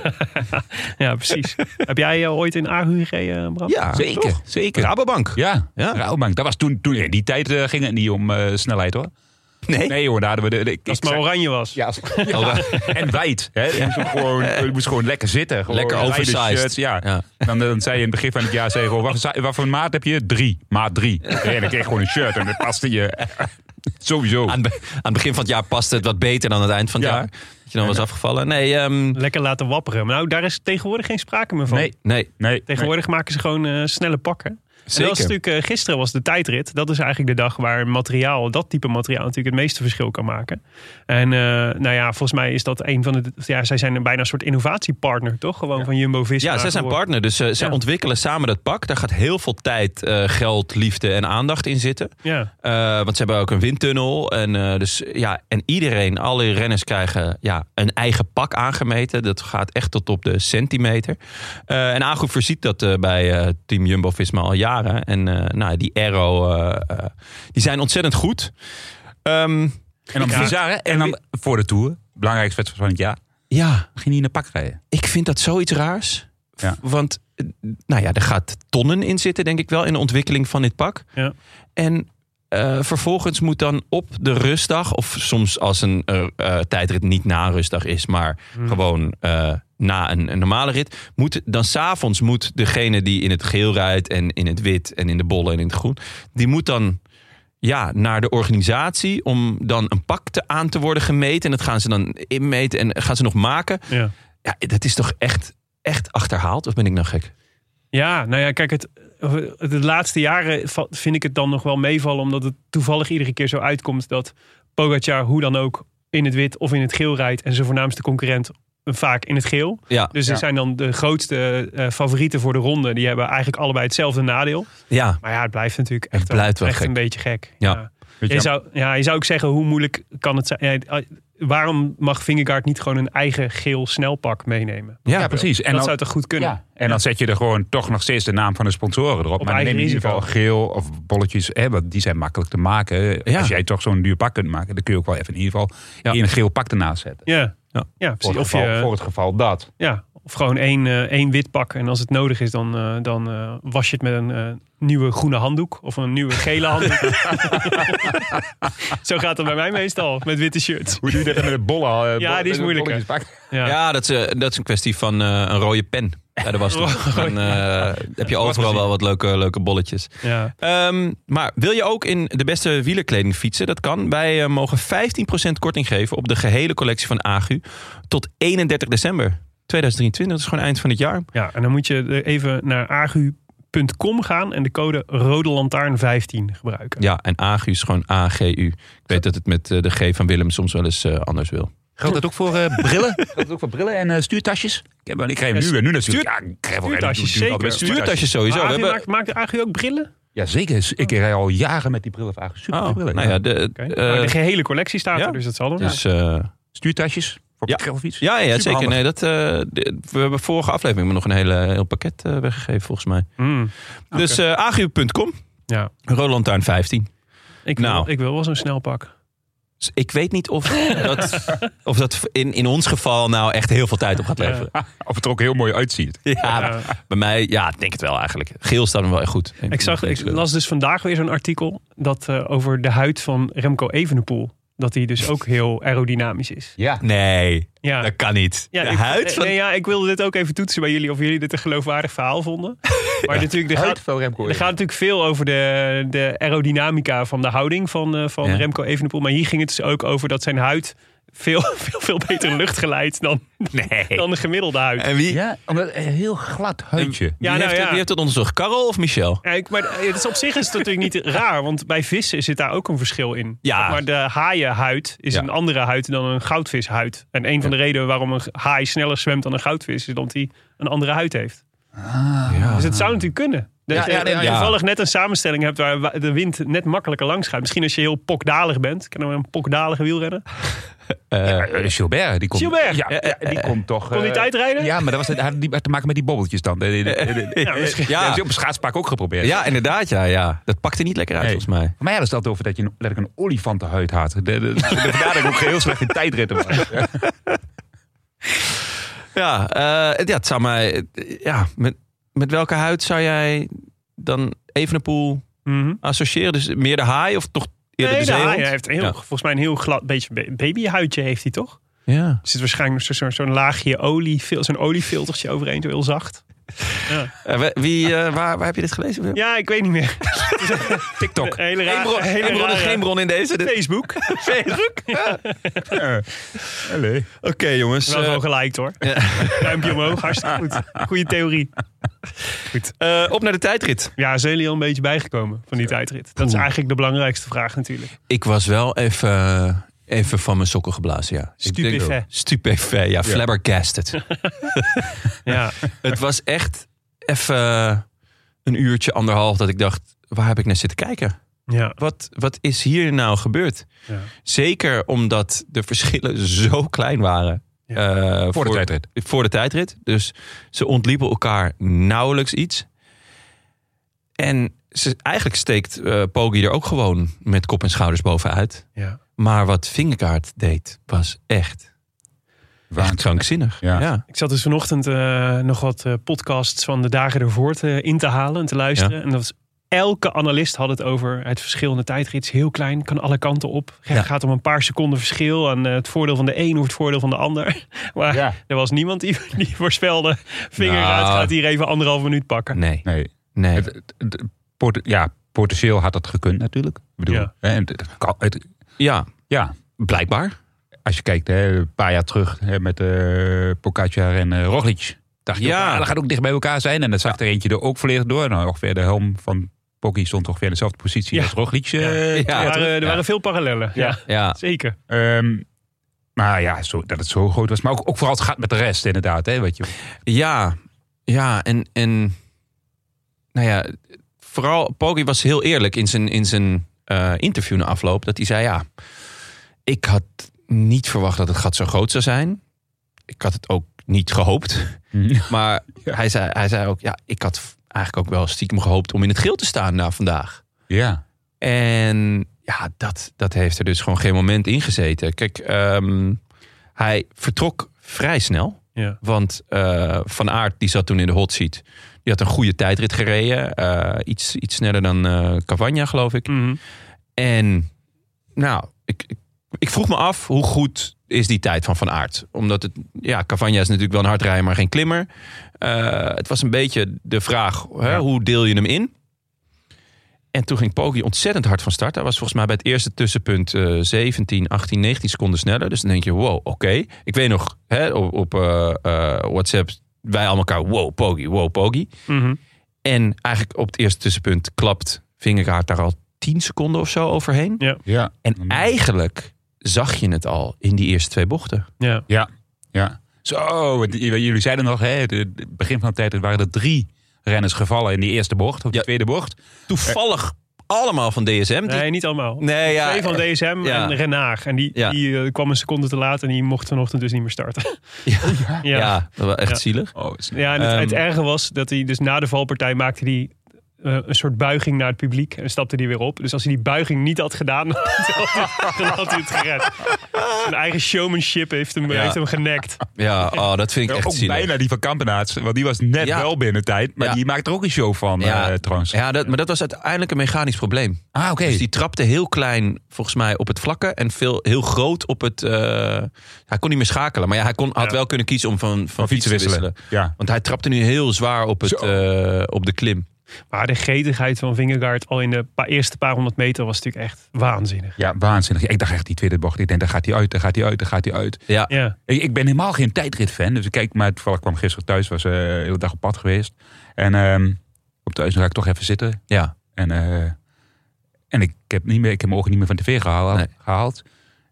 Speaker 2: Ja, precies. Heb jij eh, ooit in Agu gereden, Bram?
Speaker 1: Ja,
Speaker 3: Zeker,
Speaker 1: toch?
Speaker 3: zeker.
Speaker 1: Rabobank.
Speaker 3: Ja,
Speaker 1: Ja.
Speaker 3: ja. Dat was toen, toen in die tijd eh, ging het niet om eh, snelheid hoor.
Speaker 1: Nee.
Speaker 3: Nee hoor, daar hadden we de, de- ik-
Speaker 2: Als het
Speaker 3: ik
Speaker 2: maar
Speaker 3: zag-
Speaker 2: oranje was.
Speaker 3: Ja, als- ja. en wijd. Hè? Je, moest hem gewoon, je moest gewoon lekker zitten. Gewoon
Speaker 1: Lekker
Speaker 3: een wijde
Speaker 1: oversized.
Speaker 3: shirt, ja.
Speaker 1: Ja.
Speaker 3: Dan, eh, dan zei je in het begin van het jaar, zei je gewoon, wat, voor si- wat voor maat heb je? Drie. Maat drie. En dan kreeg je gewoon een shirt en dat paste je. Sowieso.
Speaker 1: Aan, het be- aan het begin van het jaar paste het wat beter dan aan het eind van het
Speaker 3: Ja.
Speaker 1: jaar. Dat je dan was afgevallen. Nee, ehm,
Speaker 2: Lekker laten wapperen. Maar nou, daar is tegenwoordig geen sprake meer van.
Speaker 3: Nee.
Speaker 1: nee.
Speaker 3: Nee,
Speaker 2: Tegenwoordig maken ze gewoon eh, snelle pakken. En dat is
Speaker 1: Zeker.
Speaker 2: natuurlijk, eh, gisteren was de tijdrit. Dat is eigenlijk de dag waar materiaal, dat type materiaal natuurlijk het meeste verschil kan maken. En eh, nou ja, volgens mij is dat een van de... Ja, zij zijn bijna een soort innovatiepartner, toch? Gewoon van Jumbo-Visma.
Speaker 1: Ja, zij zijn
Speaker 2: geworden.
Speaker 1: partner. Dus eh, zij
Speaker 2: Ja.
Speaker 1: ontwikkelen samen dat pak. Daar gaat heel veel tijd, eh, geld, liefde en aandacht in zitten.
Speaker 2: Ja,
Speaker 1: Eh, want ze hebben ook een windtunnel. En, eh, dus, ja, en iedereen, alle renners krijgen ja, een eigen pak aangemeten. Dat gaat echt tot op de centimeter. Eh, en Agroep voorziet dat eh, bij eh, Team Jumbo-Visma al jaren. En eh, nou, die Aero, eh, eh, die zijn ontzettend goed. Ehm,
Speaker 3: En dan
Speaker 2: Ja.
Speaker 3: bizar, hè? En dan voor de Tour, belangrijkste wedstrijd van het jaar,
Speaker 1: ja,
Speaker 3: ging hij in een pak rijden.
Speaker 1: ik vind dat zoiets raars.
Speaker 3: Ja.
Speaker 1: Want eh, nou ja, er gaat tonnen in zitten, denk ik wel, in de ontwikkeling van dit pak.
Speaker 2: Ja.
Speaker 1: En eh, vervolgens moet dan op de rustdag, of soms als een eh, eh, tijdrit niet na een rustdag is, maar gewoon eh, na een, een normale rit, moet dan s'avonds moet degene die in het geel rijdt en in het wit en in de bollen en in het groen, die moet dan ja, naar de organisatie om dan een pak te, aan te worden gemeten. En dat gaan ze dan inmeten en gaan ze nog maken.
Speaker 2: ja.
Speaker 1: Ja, dat is toch echt, echt achterhaald? Of ben ik nou gek?
Speaker 2: Ja, nou ja, kijk, het, de laatste jaren va- vind ik het dan nog wel meevallen. Omdat het toevallig iedere keer zo uitkomt dat Pogacar hoe dan ook in het wit of in het geel rijdt. En zijn voornaamste concurrent vaak in het geel.
Speaker 1: Ja,
Speaker 2: Dus er zijn dan de grootste eh, favorieten voor de ronde. Die hebben eigenlijk allebei hetzelfde nadeel.
Speaker 1: ja.
Speaker 2: Maar ja, het blijft natuurlijk echt,
Speaker 1: blijft wel
Speaker 2: echt
Speaker 1: gek.
Speaker 2: een beetje gek.
Speaker 1: Ja.
Speaker 3: Weet
Speaker 2: Je
Speaker 3: je,
Speaker 2: zou, ja, je zou ook zeggen, hoe moeilijk kan het zijn? Ja, eh, waarom mag Vingegaard niet gewoon een eigen geel snelpak meenemen?
Speaker 3: ja, precies. En
Speaker 2: dat
Speaker 3: dan,
Speaker 2: zou toch goed kunnen?
Speaker 3: Ja. En dan zet je er gewoon toch nog steeds de naam van de sponsoren erop.
Speaker 2: Op
Speaker 3: maar dan
Speaker 2: eigen
Speaker 3: neem je in ieder
Speaker 2: risico.
Speaker 3: geval geel of bolletjes. Hè, want die zijn makkelijk te maken.
Speaker 1: Ja.
Speaker 3: Als jij toch zo'n duur pak kunt maken, dan kun je ook wel even in ieder geval
Speaker 1: Ja.
Speaker 3: één geel pak ernaast zetten.
Speaker 2: Ja,
Speaker 1: Ja.
Speaker 2: ja.
Speaker 3: Voor
Speaker 2: precies.
Speaker 3: het,
Speaker 2: Of
Speaker 3: geval,
Speaker 2: je,
Speaker 3: voor het geval dat.
Speaker 2: ja, of gewoon één, eh, één wit pak. En als het nodig is, dan, eh, dan eh, was je het met een eh, nieuwe groene handdoek. Of een nieuwe gele handdoek. Zo gaat het bij mij meestal, met witte shirts.
Speaker 3: Hoe doe je dat met de bollen? eh,
Speaker 2: Ja,
Speaker 3: bol-
Speaker 2: die is
Speaker 3: met het
Speaker 2: moeilijker.
Speaker 3: bolletjespak?
Speaker 2: Ja.
Speaker 1: Ja, dat is, eh, dat is een kwestie van eh, een rode pen. Ja, dat was toch. Dan eh, heb je overal wel wat leuke, leuke bolletjes.
Speaker 2: Ja.
Speaker 1: Ehm, maar wil je ook in de beste wielerkleding fietsen? Dat kan. Wij eh, mogen 15% korting geven op de gehele collectie van Agu tot 31 december 2023. Dat is gewoon eind van het jaar.
Speaker 2: ja, en dan moet je er even naar agu.nl agu.com gaan en de code Rode Lantaarn 15 gebruiken.
Speaker 1: Ja, en AGU is gewoon AGU. Ik weet dat het met eh, de G van Willem soms wel eens eh, anders wil.
Speaker 3: Geldt dat ook voor eh, brillen? Geldt dat ook voor brillen en eh, stuurtasjes? Ik, heb, ik krijg nu, nu natuurlijk.
Speaker 2: stuur-
Speaker 3: ja, ik krijg wel
Speaker 2: stuurtasjes,
Speaker 3: natuurlijk
Speaker 2: zeker.
Speaker 3: altijd
Speaker 1: Stuurtasjes sowieso.
Speaker 2: Maar
Speaker 1: We
Speaker 2: AGU
Speaker 1: hebben,
Speaker 2: maakt, maakt AGU ook brillen?
Speaker 3: Ja, zeker. Dus Ik rij al jaren met die brillen van Agu. Super
Speaker 1: oh,
Speaker 3: brillen.
Speaker 1: nou ja, de,
Speaker 2: Oké.
Speaker 1: eh,
Speaker 2: Maar de gehele collectie staat
Speaker 1: ja.
Speaker 2: er, dus dat zal er
Speaker 1: dus, eh,
Speaker 3: Stuurtasjes voor
Speaker 1: Ja.
Speaker 3: ja. of iets.
Speaker 1: ja, ja zeker.
Speaker 3: Superhandig.
Speaker 1: Nee, dat, eh, de- we hebben vorige aflevering maar nog een hele, heel pakket eh, weggegeven, volgens mij.
Speaker 2: Mm,
Speaker 1: Dus eh agu.com,
Speaker 2: ja.
Speaker 1: Roland Tuin 15.
Speaker 2: Ik, wil-
Speaker 1: Nou.
Speaker 2: ik wil wel zo'n snelpak.
Speaker 1: Dus ik weet niet of dat, of dat in, in ons geval nou echt heel veel tijd op gaat leveren.
Speaker 3: Of het er ook heel mooi uitziet.
Speaker 1: Ja,
Speaker 2: Ja.
Speaker 1: bij mij, ja, ik denk het wel eigenlijk. Geel staat hem wel echt goed.
Speaker 2: Ik, zag, ik las dus vandaag weer zo'n artikel dat, eh, over de huid van Remco Evenepoel. Dat die dus ook heel aerodynamisch is.
Speaker 3: Ja.
Speaker 1: Nee,
Speaker 2: Ja.
Speaker 1: dat kan niet.
Speaker 2: Ja,
Speaker 1: de
Speaker 2: ik,
Speaker 1: huid
Speaker 2: eh,
Speaker 1: van...
Speaker 2: nee, ja, ik wilde dit ook even toetsen bij jullie of jullie dit een geloofwaardig verhaal vonden. Maar natuurlijk, er gaat,
Speaker 3: Uit van Remco.
Speaker 2: er gaat natuurlijk veel over de, de aerodynamica van de houding van, eh, van
Speaker 1: Ja.
Speaker 2: Remco Evenepoel. Maar hier ging het dus ook over dat zijn huid veel, veel, veel beter lucht geleidt dan,
Speaker 1: nee. Eh,
Speaker 2: dan de gemiddelde huid.
Speaker 1: En wie,
Speaker 3: Ja, omdat een heel glad huidje.
Speaker 1: wie,
Speaker 2: Ja, nou
Speaker 1: heeft, het-
Speaker 2: ja.
Speaker 1: wie heeft het onderzocht? Karel of Michel?
Speaker 2: Ja, ik- maar eh, het is op zich is het natuurlijk niet raar, want bij vissen zit daar ook een verschil in.
Speaker 1: Ja.
Speaker 2: Maar de haaienhuid is
Speaker 1: Ja.
Speaker 2: een andere huid dan een goudvishuid. En een van de redenen waarom een haai sneller zwemt dan een goudvis is omdat hij een andere huid heeft. Dus het zou natuurlijk kunnen. Dat
Speaker 3: Ah. Ja,
Speaker 2: je
Speaker 3: ja, nee,
Speaker 1: ja.
Speaker 2: toevallig net een samenstelling hebt waar wa- de wind net makkelijker langs gaat. Misschien als je heel pokdalig bent. Kennen we een pokdalige wielrenner?
Speaker 3: Eh, eh, Gilbert, die komt...
Speaker 2: Gilbert!
Speaker 3: Ja, ja, die komt toch...
Speaker 2: Kon die
Speaker 3: eh,
Speaker 2: tijdrijden?
Speaker 3: Ja, maar dat was, had die had te maken met die bobbeltjes dan. Eh, eh, eh, eh,
Speaker 2: Nou, misschien-
Speaker 3: Ja. Dat
Speaker 1: Ja,
Speaker 3: heb je op een schaatspark ook geprobeerd.
Speaker 1: ja inderdaad. Ja, ja. Dat pakte niet lekker uit,
Speaker 3: Nee.
Speaker 1: volgens mij.
Speaker 3: Maar ja, dat stelt over dat je een- dat ik een olifantenhuid had. De, de, de, vandaar dat ik ook heel slecht in tijdritten was.
Speaker 1: Ja, eh, ja, het zou mij... eh, Ja, met, met welke huid zou jij dan Evenepoel
Speaker 2: Mhm.
Speaker 1: associëren? Dus meer de haai of toch eerder
Speaker 2: Nee,
Speaker 1: de
Speaker 2: de
Speaker 1: zeehond?
Speaker 2: haai heeft een heel,
Speaker 1: Ja.
Speaker 2: volgens mij een heel glad beetje ba- babyhuidje heeft hij toch?
Speaker 1: Ja.
Speaker 2: Er zit waarschijnlijk zo- zo- zo'n laagje olie, fil- zo'n oliefiltertje overheen, zo heel zacht.
Speaker 1: Eh, we- wie, eh, waar, waar heb je dit gelezen? Willem?
Speaker 2: Ja, ik weet niet meer.
Speaker 3: TikTok.
Speaker 2: Een hele
Speaker 1: Geen
Speaker 2: raar,
Speaker 1: bron,
Speaker 2: hele
Speaker 1: geen bron,
Speaker 2: rare-
Speaker 1: geen bron in deze. Dit-
Speaker 2: Facebook.
Speaker 3: Ja. Allee.
Speaker 1: Oké, jongens.
Speaker 2: Wel
Speaker 1: eh,
Speaker 2: gewoon gelijk hoor.
Speaker 1: Ja.
Speaker 2: Duimpje omhoog, hartstikke goed. Goede theorie. Goed.
Speaker 1: eh, op naar de tijdrit.
Speaker 2: Ja, zijn jullie al een beetje bijgekomen van die tijdrit? Dat is eigenlijk de belangrijkste vraag natuurlijk.
Speaker 1: Ik was wel even, eh, even van mijn sokken geblazen, ja. Ik denk-
Speaker 2: Stupefait.
Speaker 1: Stupefait, ja. Flabbergasted.
Speaker 2: Ja,
Speaker 1: het was echt even een uurtje, anderhalf, dat ik dacht... Waar heb ik naar zitten kijken?
Speaker 2: ja.
Speaker 1: Wat, wat is hier nou gebeurd?
Speaker 2: Ja.
Speaker 1: Zeker omdat de verschillen zo klein waren.
Speaker 2: Ja.
Speaker 1: eh,
Speaker 3: Voor de tijdrit.
Speaker 1: voor de tijdrit. Dus ze ontliepen elkaar nauwelijks iets. En ze, eigenlijk steekt eh Poggi er ook gewoon met kop en schouders bovenuit.
Speaker 2: ja.
Speaker 1: Maar wat Vingerkaart deed, was echt, echt krankzinnig.
Speaker 3: Ja.
Speaker 2: Ik zat dus vanochtend eh, nog wat eh, podcasts van de dagen ervoor te, in te halen en te luisteren. En dat was, elke analist had het over het verschil in de tijdrit is heel klein, kan alle kanten op. Het
Speaker 1: Ja.
Speaker 2: gaat om een paar seconden verschil en eh, het voordeel van de een of het voordeel van de ander. Maar
Speaker 3: Ja.
Speaker 2: er was niemand die, die voorspelde, vinger uit,
Speaker 1: Nou.
Speaker 2: gaat hier even anderhalf minuut pakken.
Speaker 1: Nee,
Speaker 3: Nee.
Speaker 1: nee.
Speaker 3: Het, het- het- pot- ja, potentieel had dat gekund natuurlijk. Ik bedoel,
Speaker 2: Ja.
Speaker 3: hè, en het- het kan- het-
Speaker 1: Ja,
Speaker 3: ja,
Speaker 1: blijkbaar.
Speaker 3: als je kijkt, hè, een paar jaar terug hè, met eh Pogacar en eh Roglic. Dacht je,
Speaker 1: Ja.
Speaker 3: ja. dat gaat ook dicht bij elkaar zijn. En dan zag er eentje er ook volledig door. Nou, ongeveer de helm van Poggi stond ongeveer in dezelfde positie
Speaker 2: Ja.
Speaker 3: als Roglic.
Speaker 2: Ja.
Speaker 3: eh,
Speaker 1: Ja.
Speaker 2: er
Speaker 3: ja.
Speaker 2: waren, er
Speaker 1: Ja.
Speaker 2: waren veel parallellen. Ja,
Speaker 1: Ja,
Speaker 2: zeker.
Speaker 3: Ehm, maar ja, zo, dat het zo groot was. Maar ook, ook vooral het gaat met de rest inderdaad. Hè, wat je,
Speaker 1: ja, ja. En, en nou ja, vooral Poggi was heel eerlijk in zijn, in zijn eh, interview na afloop. Dat hij zei, ja, ik had niet verwacht dat het gat zo groot zou zijn. Ik had het ook niet gehoopt. Maar hij, zei, hij zei ook, ja, ik had eigenlijk ook wel stiekem gehoopt om in het geel te staan na vandaag.
Speaker 3: ja.
Speaker 1: En ja, dat, dat heeft er dus gewoon geen moment in gezeten. Kijk, ehm, hij vertrok vrij snel.
Speaker 2: Ja.
Speaker 1: Want eh, Van Aert, die zat toen in de hot seat. Die had een goede tijdrit gereden. eh, iets, iets sneller dan eh Cavagna, geloof ik.
Speaker 2: Mhm.
Speaker 1: En nou, ik, ik, ik vroeg me af hoe goed is die tijd van Van Aert. Omdat het, ja, Cavagna is natuurlijk wel een hardrijder, maar geen klimmer. Eh, het was een beetje de vraag, hè, hoe deel je hem in? En toen ging Poggi ontzettend hard van start. Hij was volgens mij bij het eerste tussenpunt eh, 17, 18, 19 seconden sneller. Dus dan denk je, wow, oké. Ik weet nog, hè, op, op eh, eh, WhatsApp, wij allemaal elkaar, wow, Poggi, wow, Poggi.
Speaker 2: Mhm.
Speaker 1: En eigenlijk op het eerste tussenpunt klapt Vingegaard daar al 10 seconden of zo overheen.
Speaker 3: Ja.
Speaker 1: En eigenlijk zag je het al in die eerste twee bochten.
Speaker 2: Ja.
Speaker 3: Ja, ja. Zo, het- jullie zeiden nog, hè, het- het begin van de tijd waren er drie renners gevallen in die eerste bocht, of de
Speaker 1: Ja.
Speaker 3: tweede bocht.
Speaker 1: Toevallig allemaal van DSM. Die-
Speaker 2: Nee, niet allemaal.
Speaker 1: nee, ja. eh,
Speaker 2: Twee van DSM
Speaker 1: Ja.
Speaker 2: en Renaag. En die,
Speaker 1: Ja.
Speaker 2: die eh, kwam een seconde te laat en die mocht vanochtend dus niet meer starten.
Speaker 1: Ja.
Speaker 2: ja.
Speaker 1: Ja,
Speaker 2: ja.
Speaker 1: dat was echt
Speaker 2: Ja.
Speaker 1: zielig.
Speaker 3: Oh, is-
Speaker 2: en het,
Speaker 1: Ehm.
Speaker 2: het erge was dat hij dus na de valpartij maakte hij eh, een soort buiging naar het publiek en stapte hij weer op. Dus als hij die buiging niet had gedaan, dan had hij het gered. Zijn eigen showmanship heeft hem,
Speaker 1: Ja.
Speaker 2: heeft hem genekt.
Speaker 1: Ja, oh, dat vind ik
Speaker 3: Ja,
Speaker 1: echt
Speaker 3: ook
Speaker 1: zielig.
Speaker 3: bijna die van Kampenaerts, want die was net
Speaker 1: Ja.
Speaker 3: wel binnen tijd, maar
Speaker 1: Ja.
Speaker 3: die maakt er ook een show van
Speaker 1: Ja.
Speaker 3: eh, trouwens.
Speaker 1: Ja, dat, maar dat was uiteindelijk een mechanisch probleem.
Speaker 3: Ah, oké.
Speaker 1: Dus die trapte heel klein, volgens mij, op het vlakke. En veel, heel groot op het... eh, hij kon niet meer schakelen. Maar ja, hij kon, had
Speaker 2: Ja.
Speaker 1: wel kunnen kiezen om van, van,
Speaker 3: Van
Speaker 1: fiets te wisselen.
Speaker 3: Ja.
Speaker 1: Want hij trapte nu heel zwaar op, het,
Speaker 3: Zo.
Speaker 1: eh, op de klim.
Speaker 2: Maar de getigheid van Vingegaard al in de pa- eerste paar honderd meter was natuurlijk echt waanzinnig.
Speaker 3: ja, waanzinnig. Ik dacht echt die tweede bocht, ik denk daar gaat hij uit, daar gaat hij uit, daar gaat hij uit.
Speaker 1: Ja,
Speaker 2: Ja,
Speaker 3: Ik, ik ben helemaal geen tijdrit-fan. Dus ik kijk, maar toevallig kwam gisteren thuis, was eh de hele dag op pad geweest. En ehm, op thuis ga ik toch even zitten.
Speaker 1: ja.
Speaker 3: En, eh, en ik, heb niet meer, ik heb mijn ogen niet meer van tv gehaald.
Speaker 1: Nee.
Speaker 3: gehaald.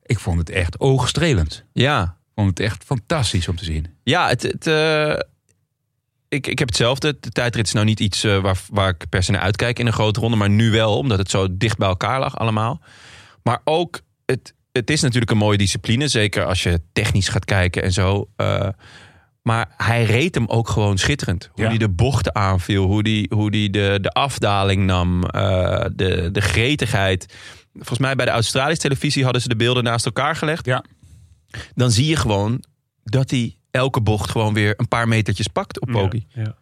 Speaker 3: Ik vond het echt oogstrelend.
Speaker 1: ja.
Speaker 3: Ik vond het echt fantastisch om te zien.
Speaker 1: Ja, het, het, eh, ik, ik heb hetzelfde. De tijdrit is nou niet iets eh, waar, waar ik per se naar uitkijk in een grote ronde. Maar nu wel, omdat het zo dicht bij elkaar lag allemaal. Maar ook, het, het is natuurlijk een mooie discipline. Zeker als je technisch gaat kijken en zo. eh, maar hij reed hem ook gewoon schitterend. Hoe
Speaker 3: Ja.
Speaker 1: hij de bochten aanviel. Hoe hij hoe die de, de afdaling nam. eh, de, de gretigheid. Volgens mij bij de Australische televisie hadden ze de beelden naast elkaar gelegd.
Speaker 3: Ja.
Speaker 1: Dan zie je gewoon dat hij elke bocht gewoon weer een paar metertjes pakt op Poki.
Speaker 2: Ja, ja.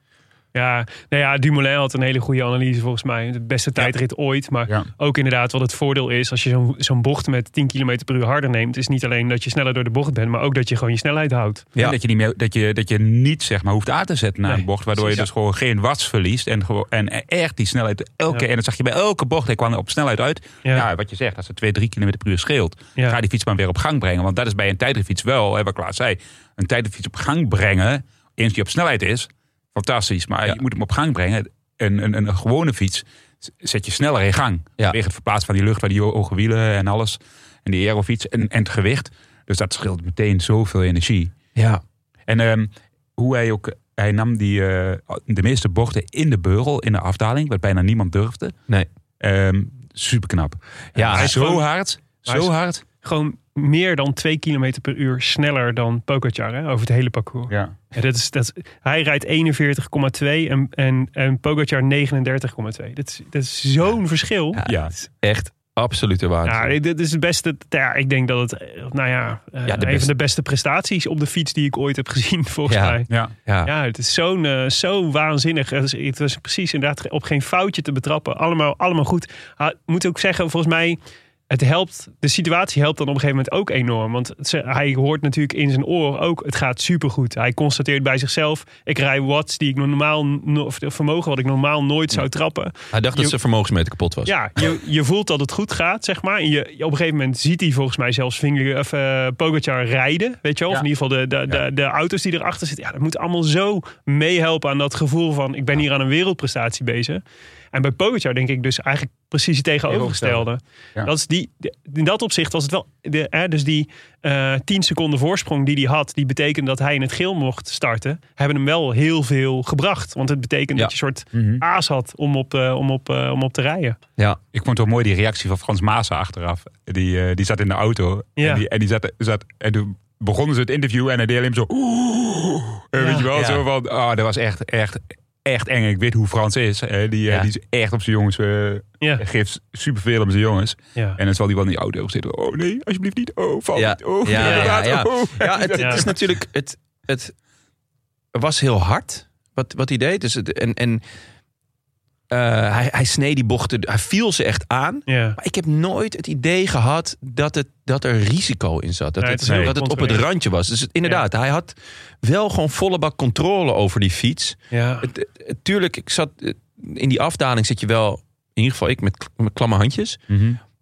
Speaker 2: ja, nou ja, Dumoulin had een hele goede analyse volgens mij. De beste tijdrit ooit. Maar
Speaker 3: Ja.
Speaker 2: ook inderdaad wat het voordeel is als je zo'n zo'n bocht met 10 km per uur harder neemt. Is niet alleen dat je sneller door de bocht bent, maar ook dat je gewoon je snelheid houdt.
Speaker 1: Ja.
Speaker 3: En Dat, je niet meer, dat, je, dat je niet zeg maar, hoeft aan te zetten na
Speaker 2: Nee,
Speaker 3: een bocht. Waardoor je dus gewoon geen watts verliest. En, gewoon, en echt die snelheid. Elke,
Speaker 2: Ja.
Speaker 3: En dat zag je bij elke bocht. Hij kwam op snelheid uit.
Speaker 2: Ja.
Speaker 3: Ja. wat je zegt. Als er 2, 3 km per uur scheelt.
Speaker 2: Ja.
Speaker 3: Ga die fiets maar weer op gang brengen. Want dat is bij een tijdritfiets wel. Hè, wat Klaas zei. Een tijdritfiets op gang brengen. Eens die op snelheid is. Fantastisch. Maar
Speaker 1: Ja.
Speaker 3: je moet hem op gang brengen. Een, een, een gewone fiets z- zet je sneller in gang.
Speaker 1: Ja.
Speaker 3: Vanwege het verplaatsen van die lucht. Van die ho- hoge wielen en alles. En die aerofiets. En, en het gewicht. Dus dat scheelt meteen zoveel energie.
Speaker 1: Ja.
Speaker 3: En ehm, hoe hij ook, hij nam die, eh, de meeste bochten in de beugel, in de afdaling, wat bijna niemand durfde.
Speaker 1: Nee.
Speaker 3: Ehm super knap.
Speaker 1: Ja, hij is
Speaker 3: zo
Speaker 2: gewoon-
Speaker 3: hard,
Speaker 2: hij is-
Speaker 3: zo hard.
Speaker 2: Gewoon meer dan 2 km per uur sneller dan Pogacar hè, over het hele parcours.
Speaker 3: Ja.
Speaker 2: Ja, dat is, dat is- hij rijdt 41,2 en, en, en Pogacar 39,2. Dat is, dat is zo'n verschil.
Speaker 1: Ja.
Speaker 3: Ja.
Speaker 1: Echt absolute
Speaker 2: Ja,
Speaker 1: waanzin. Ja,
Speaker 2: dit- dit is het beste. Ja, ik denk dat het, eh, nou ja, eh,
Speaker 1: Ja, de
Speaker 2: een van
Speaker 1: beste.
Speaker 2: de beste prestaties op de fiets die ik ooit heb gezien, volgens
Speaker 1: Ja.
Speaker 2: mij.
Speaker 3: Ja.
Speaker 1: ja.
Speaker 2: Ja, het is zo'n, eh, zo waanzinnig. Het was, het was precies inderdaad op geen foutje te betrappen. Allemaal, allemaal goed. Ah, ik moet ook zeggen, volgens mij, het helpt, de situatie helpt dan op een gegeven moment ook enorm. Want ze- hij hoort natuurlijk in zijn oor ook, het gaat supergoed. Hij constateert bij zichzelf, ik rij watts die ik normaal, no- of vermogen wat ik normaal nooit zou trappen.
Speaker 1: Hij dacht dat
Speaker 2: Je-
Speaker 1: zijn vermogensmeter kapot was.
Speaker 2: Ja, je, je voelt dat het goed gaat, zeg maar. En je, op een gegeven moment ziet hij volgens mij zelfs Vinger, of, eh, Pogacar rijden, weet je wel. Of
Speaker 3: Ja.
Speaker 2: in ieder geval de, de, de, de auto's die erachter zitten. Ja, dat moet allemaal zo meehelpen aan dat gevoel van... ik ben hier aan een wereldprestatie bezig. En bij Pogacar denk ik dus eigenlijk precies het tegenovergestelde.
Speaker 3: Ja.
Speaker 2: Dat is die, de- in dat opzicht was het wel... De, hè, dus die eh 10 seconden voorsprong die hij had... die betekende dat hij in het geel mocht starten... hebben hem wel heel veel gebracht. Want het betekent
Speaker 1: Ja.
Speaker 2: dat je een soort
Speaker 3: Mhm.
Speaker 2: aas had om op, eh, om op, eh, om op te rijden.
Speaker 1: Ja.
Speaker 3: Ik vond het wel mooi die reactie van Frans Maassen achteraf. Die, eh, die zat in de auto
Speaker 2: Ja.
Speaker 3: en die, en die zat, zat en toen begonnen ze het interview en hij deed hem zo. Eh,
Speaker 2: Ja.
Speaker 3: Weet je wel,
Speaker 1: Ja.
Speaker 3: zo van, ah, dat was echt, echt, echt eng. Ik weet hoe Frans is. eh, die, eh,
Speaker 1: Ja.
Speaker 3: die is echt op zijn jongens, eh
Speaker 2: Ja.
Speaker 3: geeft superveel om zijn jongens.
Speaker 2: Ja.
Speaker 3: En dan zal die wel in die auto zitten. Oh nee, alsjeblieft niet. Oh, val
Speaker 1: Ja.
Speaker 3: niet. Oh,
Speaker 1: Ja,
Speaker 3: inderdaad.
Speaker 1: ja, ja.
Speaker 3: Oh.
Speaker 1: Ja, het, het
Speaker 2: Ja.
Speaker 1: is natuurlijk. Het, het was heel hard wat, wat hij deed. Dus het, en en eh, hij, hij snee die bochten. Hij viel ze echt aan.
Speaker 2: Ja.
Speaker 1: Maar ik heb nooit het idee gehad dat, het, dat er risico in zat. Dat
Speaker 2: Nee, het
Speaker 1: het,
Speaker 2: is heel
Speaker 1: dat het op het
Speaker 2: controleerd.
Speaker 1: randje was. Dus het- inderdaad, hij had wel gewoon volle bak controle over die fiets.
Speaker 2: Ja.
Speaker 1: Het, het- het- tuurlijk, ik zat, eh, in die
Speaker 3: Mhm.
Speaker 1: afdaling zit je wel, in ieder geval ik, met, k- met klamme handjes.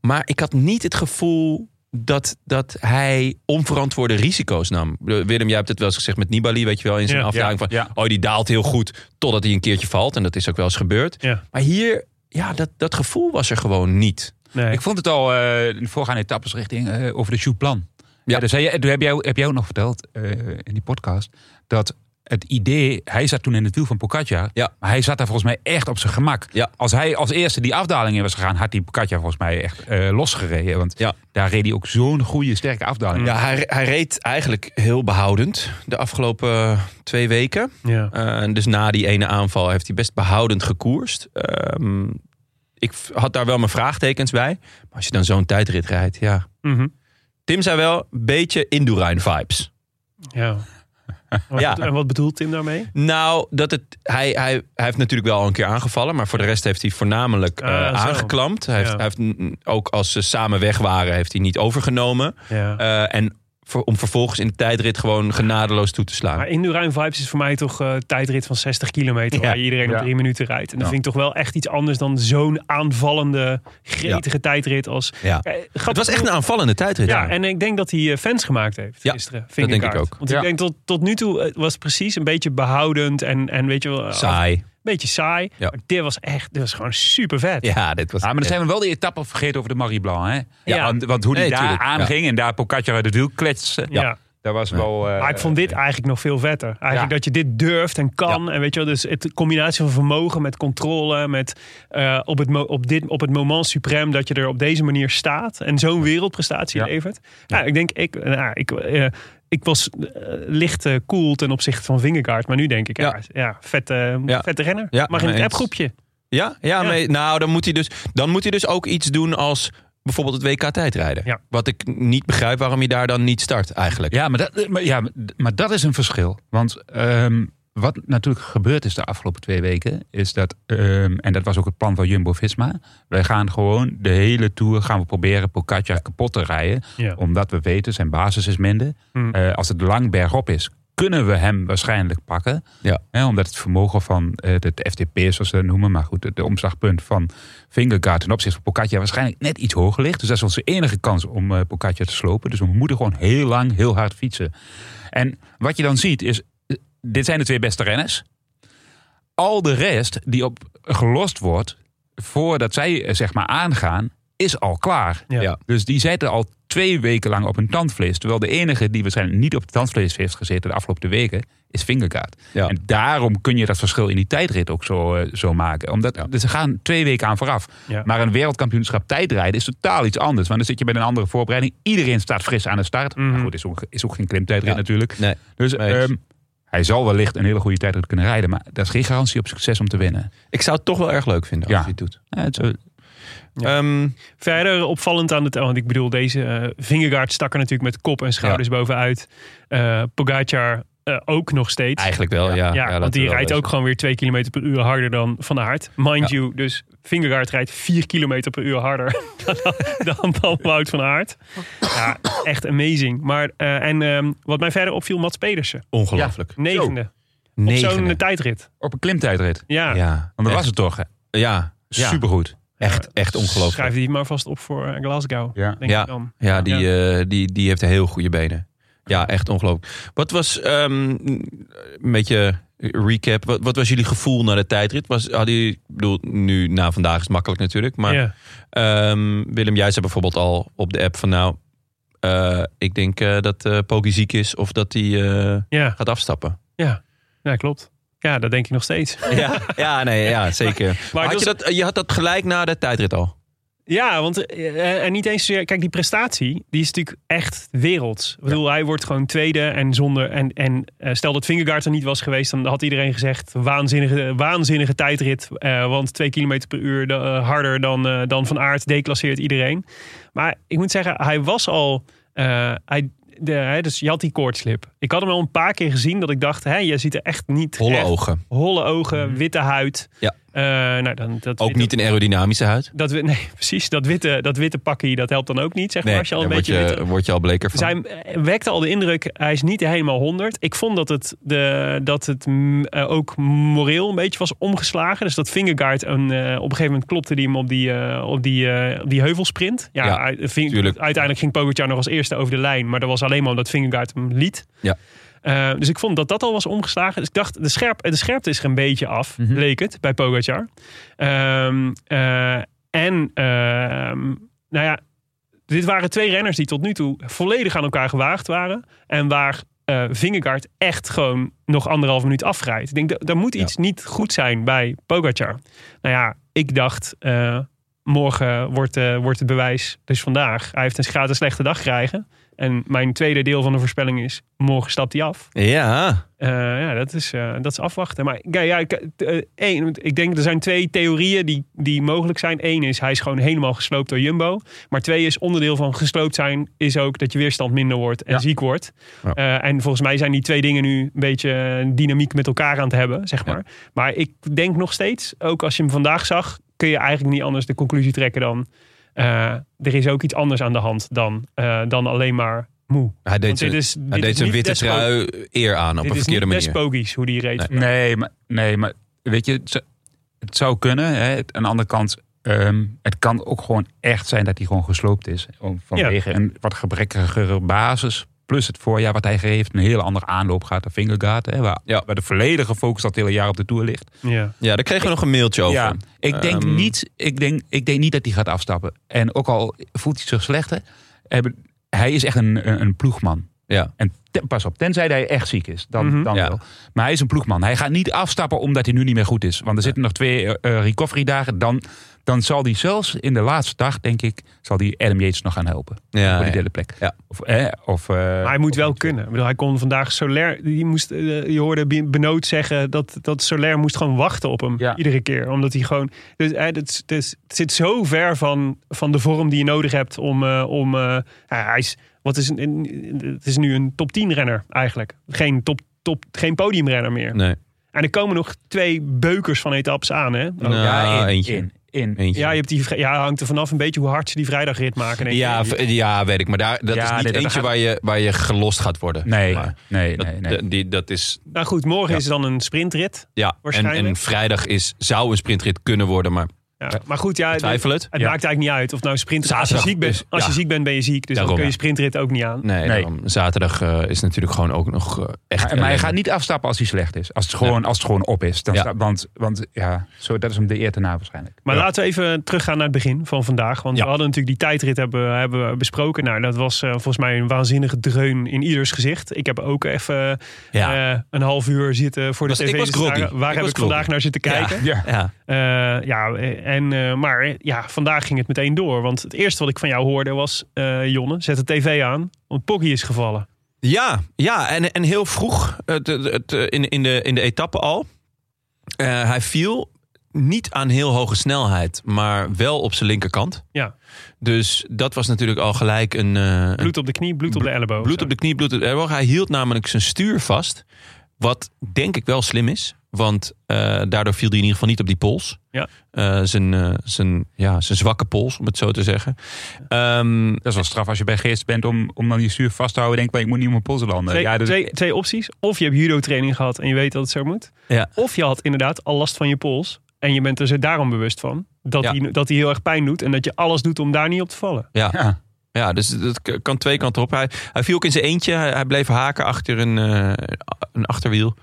Speaker 1: Maar ik had niet het gevoel dat, dat hij onverantwoorde risico's nam. Willem, jij hebt het wel eens gezegd met Nibali, weet je wel, in zijn
Speaker 2: Ja,
Speaker 1: afdaling
Speaker 3: ja,
Speaker 1: van,
Speaker 3: ja.
Speaker 1: oh, die daalt heel goed totdat hij een keertje valt. En dat is ook wel eens gebeurd.
Speaker 2: Ja.
Speaker 1: Maar hier, ja, dat, dat gevoel was er gewoon niet.
Speaker 2: Nee.
Speaker 3: Ik vond het al eh, in de voorgaande etappes richting eh, over de Chouplan.
Speaker 1: Ja.
Speaker 3: Ja. dus hij, toen heb jij, heb jij ook nog verteld eh, in die podcast dat het idee, hij zat toen in het wiel van Pogacar,
Speaker 1: Ja.
Speaker 3: maar hij zat daar volgens mij echt op zijn gemak.
Speaker 1: Ja.
Speaker 3: Als hij als eerste die afdaling in was gegaan, had die Pogacar volgens mij echt eh, losgereden. Want
Speaker 1: Ja.
Speaker 3: daar reed hij ook zo'n goede, sterke afdaling.
Speaker 1: Ja, hij, hij reed eigenlijk heel behoudend de afgelopen twee weken.
Speaker 2: ja.
Speaker 1: Eh, en dus na die ene aanval heeft hij best behoudend gekoerst. Ehm, ik v- had daar wel mijn vraagtekens bij. Maar als je dan zo'n tijdrit rijdt, ja.
Speaker 2: Mhm.
Speaker 1: Tim zei wel, beetje Indurain-vibes.
Speaker 2: ja. Wat-
Speaker 1: Ja.
Speaker 2: En wat bedoelt Tim daarmee?
Speaker 1: Nou, dat het, hij, hij, hij heeft natuurlijk wel al een keer aangevallen. Maar voor de rest heeft hij voornamelijk eh,
Speaker 2: Ah, zo.
Speaker 1: aangeklampt. Hij heeft,
Speaker 2: Ja.
Speaker 1: hij heeft n- n- ook als ze samen weg waren, heeft hij niet overgenomen.
Speaker 2: Ja.
Speaker 1: Eh, en voor- om vervolgens in de tijdrit gewoon genadeloos toe te slaan.
Speaker 2: maar Indurain Vibes is voor mij toch eh, tijdrit van 60 kilometer...
Speaker 1: Ja.
Speaker 2: waar je iedereen op
Speaker 3: Ja.
Speaker 2: drie minuten rijdt. En dat
Speaker 3: Ja.
Speaker 2: vind ik toch wel echt iets anders dan zo'n aanvallende, gretige tijdrit als...
Speaker 1: Ja.
Speaker 2: Eh,
Speaker 1: Het
Speaker 2: grappig
Speaker 1: was echt
Speaker 2: genoeg-
Speaker 1: een aanvallende tijdrit.
Speaker 2: Ja, en ik denk dat hij eh, fans gemaakt heeft
Speaker 1: Ja,
Speaker 2: gisteren.
Speaker 1: denk ik
Speaker 2: Vingegaard.
Speaker 1: ook.
Speaker 2: Want
Speaker 3: Ja.
Speaker 2: ik denk tot, tot nu toe eh, was het precies een beetje behoudend en, en weet je wel, eh, af-
Speaker 1: Saai.
Speaker 2: een beetje saai.
Speaker 1: Ja.
Speaker 2: Maar dit was echt, dit was gewoon super vet.
Speaker 1: Ja, dit was
Speaker 3: Ah, maar dan zijn we wel die etappe vergeten over de Marie Blanc. Hè?
Speaker 2: Ja.
Speaker 3: Want, want hoe die
Speaker 1: Nee,
Speaker 3: daar
Speaker 1: tuurlijk, ja.
Speaker 3: aanging en daar Pogacar uit het wiel kletste,
Speaker 2: Ja.
Speaker 3: dat was wel... eh,
Speaker 2: Maar ik vond dit eigenlijk nog veel vetter. Eigenlijk
Speaker 3: Ja.
Speaker 2: dat je dit durft en kan. En weet je wel, dus het de combinatie van vermogen met controle, met eh, op, het mo- op, dit, op het moment suprem dat je er op deze manier staat en zo'n wereldprestatie
Speaker 3: Ja.
Speaker 2: levert. Nou, ik denk, ik, nou, ik, eh, ik was eh, licht eh, cool ten opzichte van Vingegaard, maar nu denk ik, ja,
Speaker 1: Ja.
Speaker 2: ja. vette,
Speaker 1: Ja.
Speaker 2: vette renner.
Speaker 1: Ja,
Speaker 2: Mag in het
Speaker 1: eens.
Speaker 2: appgroepje.
Speaker 1: Ja, ja,
Speaker 2: Ja.
Speaker 1: maar- nou, dan moet, hij dus, dan moet hij dus ook iets doen als bijvoorbeeld het WK tijdrijden.
Speaker 2: Ja.
Speaker 1: Wat ik niet begrijp waarom je daar dan niet start eigenlijk.
Speaker 3: Ja, maar dat, maar, ja, maar dat is een verschil. Want ehm, wat natuurlijk gebeurd is de afgelopen twee weken, is dat, ehm, en dat was ook het plan van Jumbo Visma, wij gaan gewoon de hele tour gaan we proberen Pogacar kapot te rijden.
Speaker 2: Ja.
Speaker 3: Omdat we weten, zijn basis is minder.
Speaker 2: Hmm.
Speaker 3: Eh, als het lang bergop is, kunnen we hem waarschijnlijk pakken.
Speaker 1: Ja.
Speaker 3: Hè, omdat het vermogen van eh het FTP, zoals ze dat noemen, maar goed, de, de omslagpunt van Vingegaard ten opzichte van Pogacar waarschijnlijk net iets hoger ligt. Dus dat is onze enige kans om eh Pogacar te slopen. Dus we moeten gewoon heel lang, heel hard fietsen. En wat je dan ziet is, eh, dit zijn de twee beste renners. Al de rest die op gelost wordt voordat zij eh, zeg maar aangaan, is al klaar.
Speaker 2: Ja.
Speaker 1: Ja.
Speaker 3: Dus die zitten al twee weken lang op hun tandvlees. Terwijl de enige die waarschijnlijk niet op het tandvlees heeft gezeten de afgelopen weken, is Vingergaard.
Speaker 1: Ja.
Speaker 3: En daarom kun je dat verschil in die tijdrit ook zo, eh, zo maken. Omdat
Speaker 1: Ja.
Speaker 3: dus er gaan twee weken aan vooraf.
Speaker 2: Ja.
Speaker 3: Maar een wereldkampioenschap tijdrijden is totaal iets anders. Want dan zit je met een andere voorbereiding. Iedereen staat fris aan de start.
Speaker 2: Mhm.
Speaker 3: Maar goed, is ook, is ook geen klimtijdrit
Speaker 1: Ja.
Speaker 3: natuurlijk.
Speaker 1: Nee.
Speaker 3: Dus
Speaker 1: Nee.
Speaker 3: ehm, hij zal wellicht een hele goede tijdrit kunnen rijden. Maar dat is geen garantie op succes om te winnen.
Speaker 1: Ik zou het toch wel erg leuk vinden als
Speaker 3: Ja.
Speaker 1: hij het doet.
Speaker 3: Eh, het is-
Speaker 1: Ehm,
Speaker 2: Verder opvallend aan het, want ik bedoel, deze eh Vingegaard stak er natuurlijk met kop en schouders bovenuit. Eh Pogacar eh, ook nog steeds.
Speaker 1: eigenlijk wel, ja.
Speaker 2: Ja,
Speaker 1: Ja, laten
Speaker 2: want die
Speaker 1: we wel
Speaker 2: rijdt ook
Speaker 1: wezen.
Speaker 2: gewoon weer 2 km per uur harder dan Van Aert. Mind
Speaker 1: Ja.
Speaker 2: you, dus Vingegaard rijdt 4 km per uur harder dan, dan, dan Wout van Aert. Ja, echt amazing. Maar, eh, en ehm, wat mij verder opviel, Mats Pedersen.
Speaker 1: Ongelooflijk.
Speaker 2: Negende. Op
Speaker 1: Negende.
Speaker 2: zo'n eh, tijdrit.
Speaker 3: op een klimtijdrit.
Speaker 2: Ja,
Speaker 1: Ja,
Speaker 3: Want dat was
Speaker 1: echt,
Speaker 3: het toch. hè?
Speaker 1: ja, ja.
Speaker 3: Supergoed.
Speaker 1: echt, echt
Speaker 2: Schrijf
Speaker 1: ongelooflijk.
Speaker 2: die maar vast op voor eh, Glasgow.
Speaker 3: Ja.
Speaker 2: Denk
Speaker 1: Ja.
Speaker 2: ik dan.
Speaker 1: Ja, die, eh, die, die heeft heel goede benen. Ja, echt ongelooflijk. Wat was, ehm, een beetje recap, wat, wat was jullie gevoel na de tijdrit? Was, hadden jullie, ik bedoel, nu na vandaag is het makkelijk natuurlijk, maar
Speaker 2: Ja.
Speaker 1: Ehm, Willem, jij zei bijvoorbeeld al op de app van nou, eh, ik denk eh, dat eh Poki ziek is of dat hij eh,
Speaker 2: Ja.
Speaker 1: gaat afstappen.
Speaker 2: ja, klopt. Ja, dat denk ik nog steeds. dus
Speaker 1: Ja, ja nee, ja, zeker. Maar had
Speaker 2: dat
Speaker 1: je, dat, je had dat gelijk na de tijdrit al.
Speaker 2: Ja, want eh, en niet eens zozeer. Kijk, die prestatie die is natuurlijk echt werelds. Ik bedoel, hij wordt gewoon tweede en zonder. En, en eh, stel dat Vingegaard er niet was geweest, dan had iedereen gezegd: waanzinnige, waanzinnige tijdrit. eh, want twee kilometer per uur da- eh, harder dan, eh, dan van aard declasseert iedereen. Maar ik moet zeggen, hij was al. eh, hij, de, hè, dus je had die koortslip. Ik had hem al een paar keer gezien dat ik dacht, hé, jij ziet er echt niet
Speaker 1: Holle
Speaker 2: echt-
Speaker 1: ogen. Mhm.
Speaker 2: Holle ogen, witte huid.
Speaker 1: Ja.
Speaker 2: Eh, nou, dan, dat
Speaker 1: Ook
Speaker 2: witte-
Speaker 1: niet een aerodynamische huid.
Speaker 2: Dat, wi- nee, precies. Dat witte, dat witte pakkie, dat helpt dan ook niet, zeg maar.
Speaker 1: Nee,
Speaker 2: als je al een
Speaker 1: daar word
Speaker 2: beetje witte-
Speaker 1: je, word je al bleker van.
Speaker 2: Zij eh, wekte al de indruk, hij is niet helemaal 100. Ik vond dat het, de, dat het mm, eh, ook moreel een beetje was omgeslagen. Dus dat Fingergaard, een, eh, op een gegeven moment klopte die hem op die, eh, op die, eh, op die heuvelsprint. Ja,
Speaker 1: Ja,
Speaker 2: uit- Ving-
Speaker 1: tuurlijk.
Speaker 2: uiteindelijk ging Pogacar nog als eerste over de lijn. Maar dat was alleen maar omdat Fingergaard hem liet.
Speaker 1: Ja.
Speaker 2: Eh, dus ik vond dat dat al was omgeslagen. Dus ik dacht, de, scherp, de scherpte is er een beetje af,
Speaker 1: Mhm.
Speaker 2: leek het, bij Pogacar. Ehm, eh, en, ehm, nou ja, dit waren twee renners die tot nu toe volledig aan elkaar gewaagd waren. En waar eh Vingegaard echt gewoon nog anderhalf minuut afrijdt. Ik denk, da- daar moet iets niet goed zijn bij Pogacar. Nou ja, ik dacht, eh, morgen wordt, eh, wordt het bewijs dus vandaag. Hij heeft een, gaat een slechte dag krijgen. En mijn tweede deel van de voorspelling is, morgen stapt hij af.
Speaker 1: Ja,
Speaker 2: Eh, ja, dat is, eh, dat is afwachten. Maar ja, ja, ik, eh, één, want ik denk er zijn twee theorieën die, die mogelijk zijn. Eén is hij is gewoon helemaal gesloopt door Jumbo. Maar twee is onderdeel van gesloopt zijn is ook dat je weerstand minder wordt en
Speaker 3: Ja.
Speaker 2: ziek wordt.
Speaker 1: Ja.
Speaker 2: Eh, en volgens mij zijn die twee dingen nu een beetje een dynamiek met elkaar aan het hebben, zeg maar. Maar ik denk nog steeds, ook als je hem vandaag zag, kun je eigenlijk niet anders de conclusie trekken dan eh, er is ook iets anders aan de hand dan, eh, dan alleen maar moe.
Speaker 1: hij deed
Speaker 2: Want
Speaker 1: zijn,
Speaker 2: dit is, dit
Speaker 1: hij
Speaker 2: is
Speaker 1: deed zijn
Speaker 2: niet
Speaker 1: witte
Speaker 2: Despo-
Speaker 1: trui eer aan op een
Speaker 2: dit is
Speaker 1: verkeerde
Speaker 2: niet
Speaker 1: manier.
Speaker 2: best pogies hoe die reed.
Speaker 3: Nee, maar, nee, maar weet je, het, zou- het zou kunnen. Hè. Het- Aan de andere kant, ehm, het kan ook gewoon echt zijn dat hij gewoon gesloopt is. eh, Om- Vanwege een wat gebrekkigere basis. Plus het voorjaar wat hij heeft, een hele andere aanloop gaat naar Fingergaard. Hè, waar,
Speaker 1: Ja.
Speaker 3: waar de volledige focus dat hele jaar op de Tour ligt.
Speaker 2: Ja.
Speaker 1: Ja, daar kregen we nog een mailtje over.
Speaker 3: Ja, ik denk,
Speaker 1: Ehm,
Speaker 3: niet, ik, denk, ik denk niet dat hij gaat afstappen. En ook al voelt hij zich slechter, hebben- hij is echt een, een, een ploegman.
Speaker 1: Ja.
Speaker 3: En ten- pas op, tenzij hij echt ziek is, dan,
Speaker 2: Mhm.
Speaker 3: dan
Speaker 1: Ja.
Speaker 3: wel. Maar hij is een ploegman. Hij gaat niet afstappen omdat hij nu niet meer goed is. Want er zitten nog twee eh, recovery dagen. Dan, dan zal hij zelfs in de laatste dag, denk ik, zal hij Adam Yates nog gaan helpen.
Speaker 1: Ja,
Speaker 3: voor die
Speaker 1: Ah, ja.
Speaker 3: derde plek.
Speaker 1: Ja. Ah,
Speaker 3: Of, eh, of, eh,
Speaker 2: Maar hij moet
Speaker 3: of-
Speaker 2: wel kunnen. Ik bedoel, hij kon vandaag Soler. Die moest, eh, je hoorde Be- Benoot zeggen dat, dat Soler moest gewoon wachten op hem.
Speaker 3: Ja.
Speaker 2: Iedere keer. Omdat hij gewoon. Dus, hij- dat is- dus, het zit zo ver van, van de vorm die je nodig hebt om. eh, om eh, ja, hij is, wat is, een- een- het is nu een top 10 renner eigenlijk. Geen, top, top, geen podiumrenner meer.
Speaker 1: Nee.
Speaker 2: En er komen nog twee beukers van etappes aan. Hè?
Speaker 1: Nou,
Speaker 3: Ja, in,
Speaker 1: eentje.
Speaker 3: in, in.
Speaker 1: Eentje.
Speaker 2: Ja, je hebt die, vri- ja, hangt er vanaf een beetje hoe hard ze die vrijdagrit maken. denk ik.
Speaker 1: Ja, v- ja, weet ik. Maar daar, dat
Speaker 3: Ja,
Speaker 1: is niet
Speaker 3: nee, dat
Speaker 1: eentje
Speaker 3: gaat-
Speaker 1: waar, je, waar je gelost gaat worden.
Speaker 3: Nee,
Speaker 1: Maar
Speaker 3: nee,
Speaker 1: dat,
Speaker 3: nee, nee.
Speaker 1: d- Die, dat is,
Speaker 2: Nou goed, morgen
Speaker 1: Ja.
Speaker 2: is dan een sprintrit.
Speaker 1: ja. En,
Speaker 2: Waarschijnlijk.
Speaker 1: en vrijdag is, zou een sprintrit kunnen worden, maar
Speaker 2: Ja, maar goed, ja,
Speaker 1: twijfel het.
Speaker 2: Het
Speaker 3: Ja.
Speaker 2: maakt eigenlijk niet uit of nou sprint. Als je,
Speaker 1: Zaterdag
Speaker 2: ziek bent,
Speaker 1: dus,
Speaker 2: als je
Speaker 1: ja.
Speaker 2: ziek bent, ben je ziek. Dus
Speaker 1: Daarom,
Speaker 2: dan kun je
Speaker 1: ja.
Speaker 2: sprintrit ook niet aan.
Speaker 1: Nee,
Speaker 3: Nee.
Speaker 1: daarom. zaterdag eh, is natuurlijk gewoon ook nog eh, echt...
Speaker 3: Maar, maar hij
Speaker 1: ellende.
Speaker 3: gaat niet afstappen als hij slecht is. Als het gewoon, als het gewoon op is. Dan
Speaker 1: Ja.
Speaker 3: sta- want, want ja, zo, dat is hem de eer te na waarschijnlijk.
Speaker 2: Maar
Speaker 3: Ja.
Speaker 2: laten we even teruggaan naar het begin van vandaag. Want
Speaker 1: Ja.
Speaker 2: we hadden natuurlijk die tijdrit hebben, hebben we besproken. Nou, dat was eh, volgens mij een waanzinnige dreun in ieders gezicht. Ik heb ook even
Speaker 1: Ja.
Speaker 2: eh, een half uur zitten voor de
Speaker 1: Was- ik
Speaker 2: tv.
Speaker 1: was
Speaker 2: te staren.
Speaker 1: groggy. Ik
Speaker 2: Waar heb
Speaker 1: was
Speaker 2: ik vandaag
Speaker 1: groggy.
Speaker 2: naar zitten kijken?
Speaker 3: Ja.
Speaker 1: ja.
Speaker 2: Eh, ja, eh, en, eh, maar eh, ja, vandaag ging het meteen door. Want het eerste wat ik van jou hoorde was... eh, Jonne, zet de tv aan, want Poggy is gevallen.
Speaker 1: Ja, ja en, en heel vroeg het, het, het, eh, in, in, de, in de etappe al. Eh, hij viel niet aan heel hoge snelheid, maar wel op zijn linkerkant.
Speaker 2: Ja.
Speaker 1: Dus dat was natuurlijk al gelijk een, eh, een
Speaker 2: Bloed op de knie, bloed op de elleboog.
Speaker 1: Bloed op de knie, bloed op de elleboog. Hij hield namelijk zijn stuur vast. Wat denk ik wel slim is. Want eh, daardoor viel hij in ieder geval niet op die pols.
Speaker 2: Ja.
Speaker 1: Eh, zijn, eh, zijn, ja, zijn zwakke pols, om het zo te zeggen. Ehm,
Speaker 3: Dat is wel straf als je bij geest bent om, om dan je stuur vast te houden. Denk maar, ik moet niet op mijn polsen landen.
Speaker 2: Twee,
Speaker 3: ja, dus-
Speaker 2: twee, twee opties. Of je hebt judo-training gehad en je weet dat het zo moet.
Speaker 1: Ja.
Speaker 2: Of je had inderdaad al last van je pols. En je bent er zo daarom bewust van. Dat,
Speaker 1: Ja.
Speaker 2: die, dat die heel erg pijn doet. En dat je alles doet om daar niet op te vallen.
Speaker 1: ja.
Speaker 3: ja.
Speaker 1: Ja, dus dat k- kan twee kanten op. Hij, hij viel ook in zijn eentje. Hij, hij bleef haken achter een, eh, een achterwiel.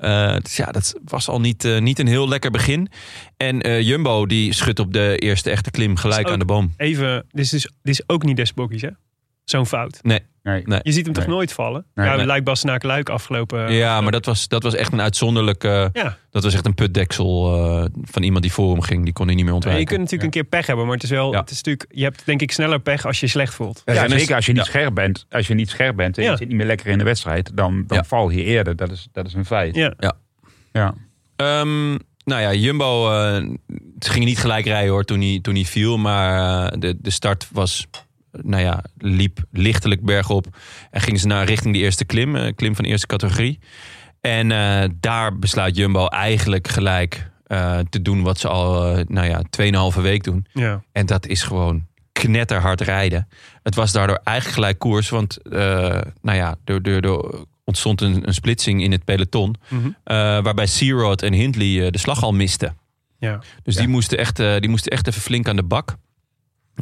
Speaker 1: Eh, dus ja, dat was al niet, eh, niet een heel lekker begin. En eh, Jumbo die schudt op de eerste echte klim gelijk
Speaker 2: Ook-
Speaker 1: aan de boom.
Speaker 2: Even, dit is, dus, dit is ook niet desbokkies, hè? Zo'n fout.
Speaker 3: Nee.
Speaker 1: Nee.
Speaker 2: Je ziet hem toch
Speaker 3: Nee.
Speaker 2: nooit vallen?
Speaker 3: Nee,
Speaker 2: ja,
Speaker 1: nee.
Speaker 2: lijkt Bastenaken Luik afgelopen.
Speaker 1: ja, maar dat was, dat was echt een uitzonderlijke...
Speaker 2: Ja.
Speaker 1: Dat was echt een putdeksel eh, van iemand die voor hem ging. Die kon hij niet meer
Speaker 2: Je
Speaker 1: ontwijken.
Speaker 2: kunt natuurlijk
Speaker 3: Ja.
Speaker 2: een keer pech hebben, maar het is wel,
Speaker 1: Ja.
Speaker 2: het is natuurlijk, je hebt denk ik sneller pech als je je slecht voelt.
Speaker 3: Ja,
Speaker 1: Renners-
Speaker 3: zeker als je niet
Speaker 1: Ja.
Speaker 3: scherp bent. Als je niet scherp bent en
Speaker 2: Ja.
Speaker 3: je zit niet meer lekker in de wedstrijd. Dan, dan
Speaker 1: Ja.
Speaker 3: val je eerder. Dat is, dat is een feit.
Speaker 2: Ja.
Speaker 3: Ja.
Speaker 1: Ehm, nou ja, Jumbo eh, ze ging niet gelijk rijden hoor toen hij, toen hij viel. Maar eh, de, de start was nou ja, liep lichtelijk bergop. En gingen ze naar richting de eerste klim, eh, klim van de eerste categorie. En eh, daar besluit Jumbo eigenlijk gelijk eh, te doen wat ze al, eh, nou ja, 2,5 week doen.
Speaker 2: Ja.
Speaker 1: En dat is gewoon knetterhard rijden. Het was daardoor eigenlijk gelijk koers. Want eh, nou ja, er, er, er ontstond een, een splitsing in het peloton.
Speaker 2: Mhm.
Speaker 1: eh, waarbij Searod en Hindley eh, de slag al misten.
Speaker 2: Ja.
Speaker 1: Dus die, moesten echt, eh, die moesten echt even flink aan de bak.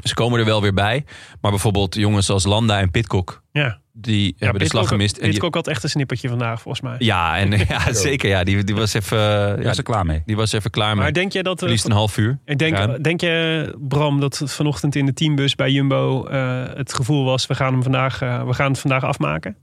Speaker 1: Ze komen er wel weer bij. Maar bijvoorbeeld jongens als Landa en Pitcock...
Speaker 2: ja.
Speaker 1: die hebben de slag gemist. En
Speaker 2: Dit
Speaker 1: die-
Speaker 2: ook had echt een snippertje vandaag, volgens mij.
Speaker 1: ja, en, ja, zeker. Ja, die, die, was even, eh, ja,
Speaker 3: was er klaar mee.
Speaker 1: die was even klaar.
Speaker 2: Maar
Speaker 1: Maar
Speaker 2: denk jij dat... eh,
Speaker 1: verliest een half uur.
Speaker 2: ik denk,
Speaker 1: Ja.
Speaker 2: denk je, Bram, dat het vanochtend in de teambus bij Jumbo eh, het gevoel was... We gaan, hem vandaag, eh, we gaan het vandaag afmaken?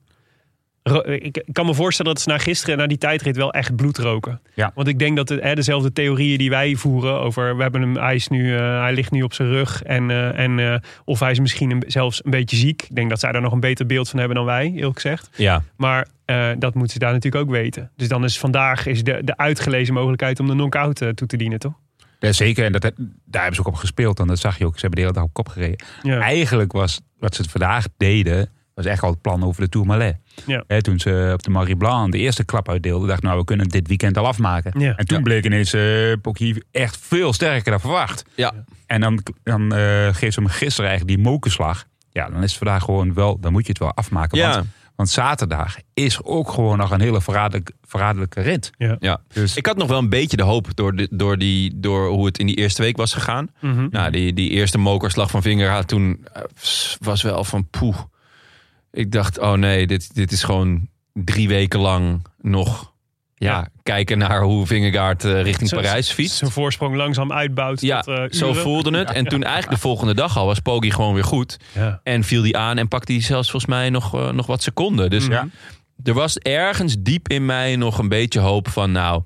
Speaker 2: Ro- ik, ik kan me voorstellen dat ze na gisteren, na die tijdrit, wel echt bloed roken.
Speaker 3: Ja.
Speaker 2: Want ik denk dat het, hè, dezelfde theorieën die wij voeren over... We hebben hem, hij, is nu, eh, hij ligt nu op zijn rug en, eh, en eh, of hij is misschien een- zelfs een beetje ziek. Ik denk dat zij daar nog een beter beeld van hebben dan wij, eerlijk gezegd.
Speaker 1: Ja,
Speaker 2: Maar eh, dat moeten ze daar natuurlijk ook weten. Dus dan is vandaag is de, de uitgelezen mogelijkheid om de knock-out eh, toe te dienen, toch?
Speaker 3: Ja, zeker, en dat, daar hebben ze ook op gespeeld. En dat zag je ook. Ze hebben de hele dag op kop gereden.
Speaker 2: Ja.
Speaker 3: Eigenlijk was wat ze vandaag deden, was echt al het plan over de Tourmalet.
Speaker 2: Ja.
Speaker 3: Hè, toen ze op de Marie Blanc de eerste klap uitdeelden, dacht ik, nou, we kunnen hem dit weekend al afmaken.
Speaker 2: Ja.
Speaker 3: En toen bleek ineens eh Pocky echt veel sterker dan verwacht.
Speaker 1: ja.
Speaker 3: En dan, dan eh, geeft ze hem gisteren eigenlijk die mokerslag. Ja, dan is het vandaag gewoon wel, dan moet je het wel afmaken.
Speaker 1: Ja.
Speaker 3: Want, want zaterdag is ook gewoon nog een hele verraderlijk, verraderlijke rit.
Speaker 1: ja.
Speaker 3: Dus
Speaker 1: Ik had nog wel een beetje de hoop door, de, door, die, door hoe het in die eerste week was gegaan.
Speaker 2: Mhm.
Speaker 1: Nou, die, die eerste mokerslag van Vingera toen eh, was wel van poeh. Ik dacht, oh nee, dit, dit is gewoon drie weken lang nog ja,
Speaker 2: Ja.
Speaker 1: kijken naar hoe Vingegaard eh, richting
Speaker 2: Zo-
Speaker 1: Parijs fietst.
Speaker 2: Zijn voorsprong langzaam uitbouwt
Speaker 1: ja,
Speaker 2: tot eh,
Speaker 1: zo
Speaker 2: uren.
Speaker 1: voelde het. En toen eigenlijk de volgende dag al was Poggi gewoon weer goed.
Speaker 2: Ja.
Speaker 1: En viel die aan en pakte hij zelfs volgens mij nog, eh, nog wat seconden. Dus
Speaker 3: Ja.
Speaker 1: er was ergens diep in mij nog een beetje hoop van nou...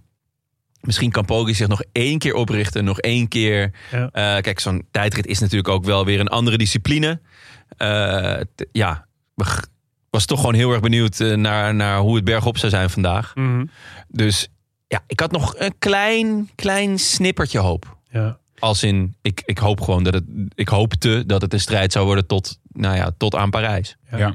Speaker 1: Misschien kan Poggi zich nog één keer oprichten. Nog één keer.
Speaker 2: Ja.
Speaker 1: Eh, kijk, zo'n tijdrit is natuurlijk ook wel weer een andere discipline. Eh, t- ja, ik was toch gewoon heel erg benieuwd eh, naar, naar hoe het bergop zou zijn vandaag.
Speaker 2: Mhm.
Speaker 1: Dus ja, ik had nog een klein, klein snippertje hoop.
Speaker 2: ja.
Speaker 1: Als in, ik, ik hoop gewoon dat het. Ik hoopte dat het een strijd zou worden tot, nou ja, tot aan Parijs.
Speaker 3: ja.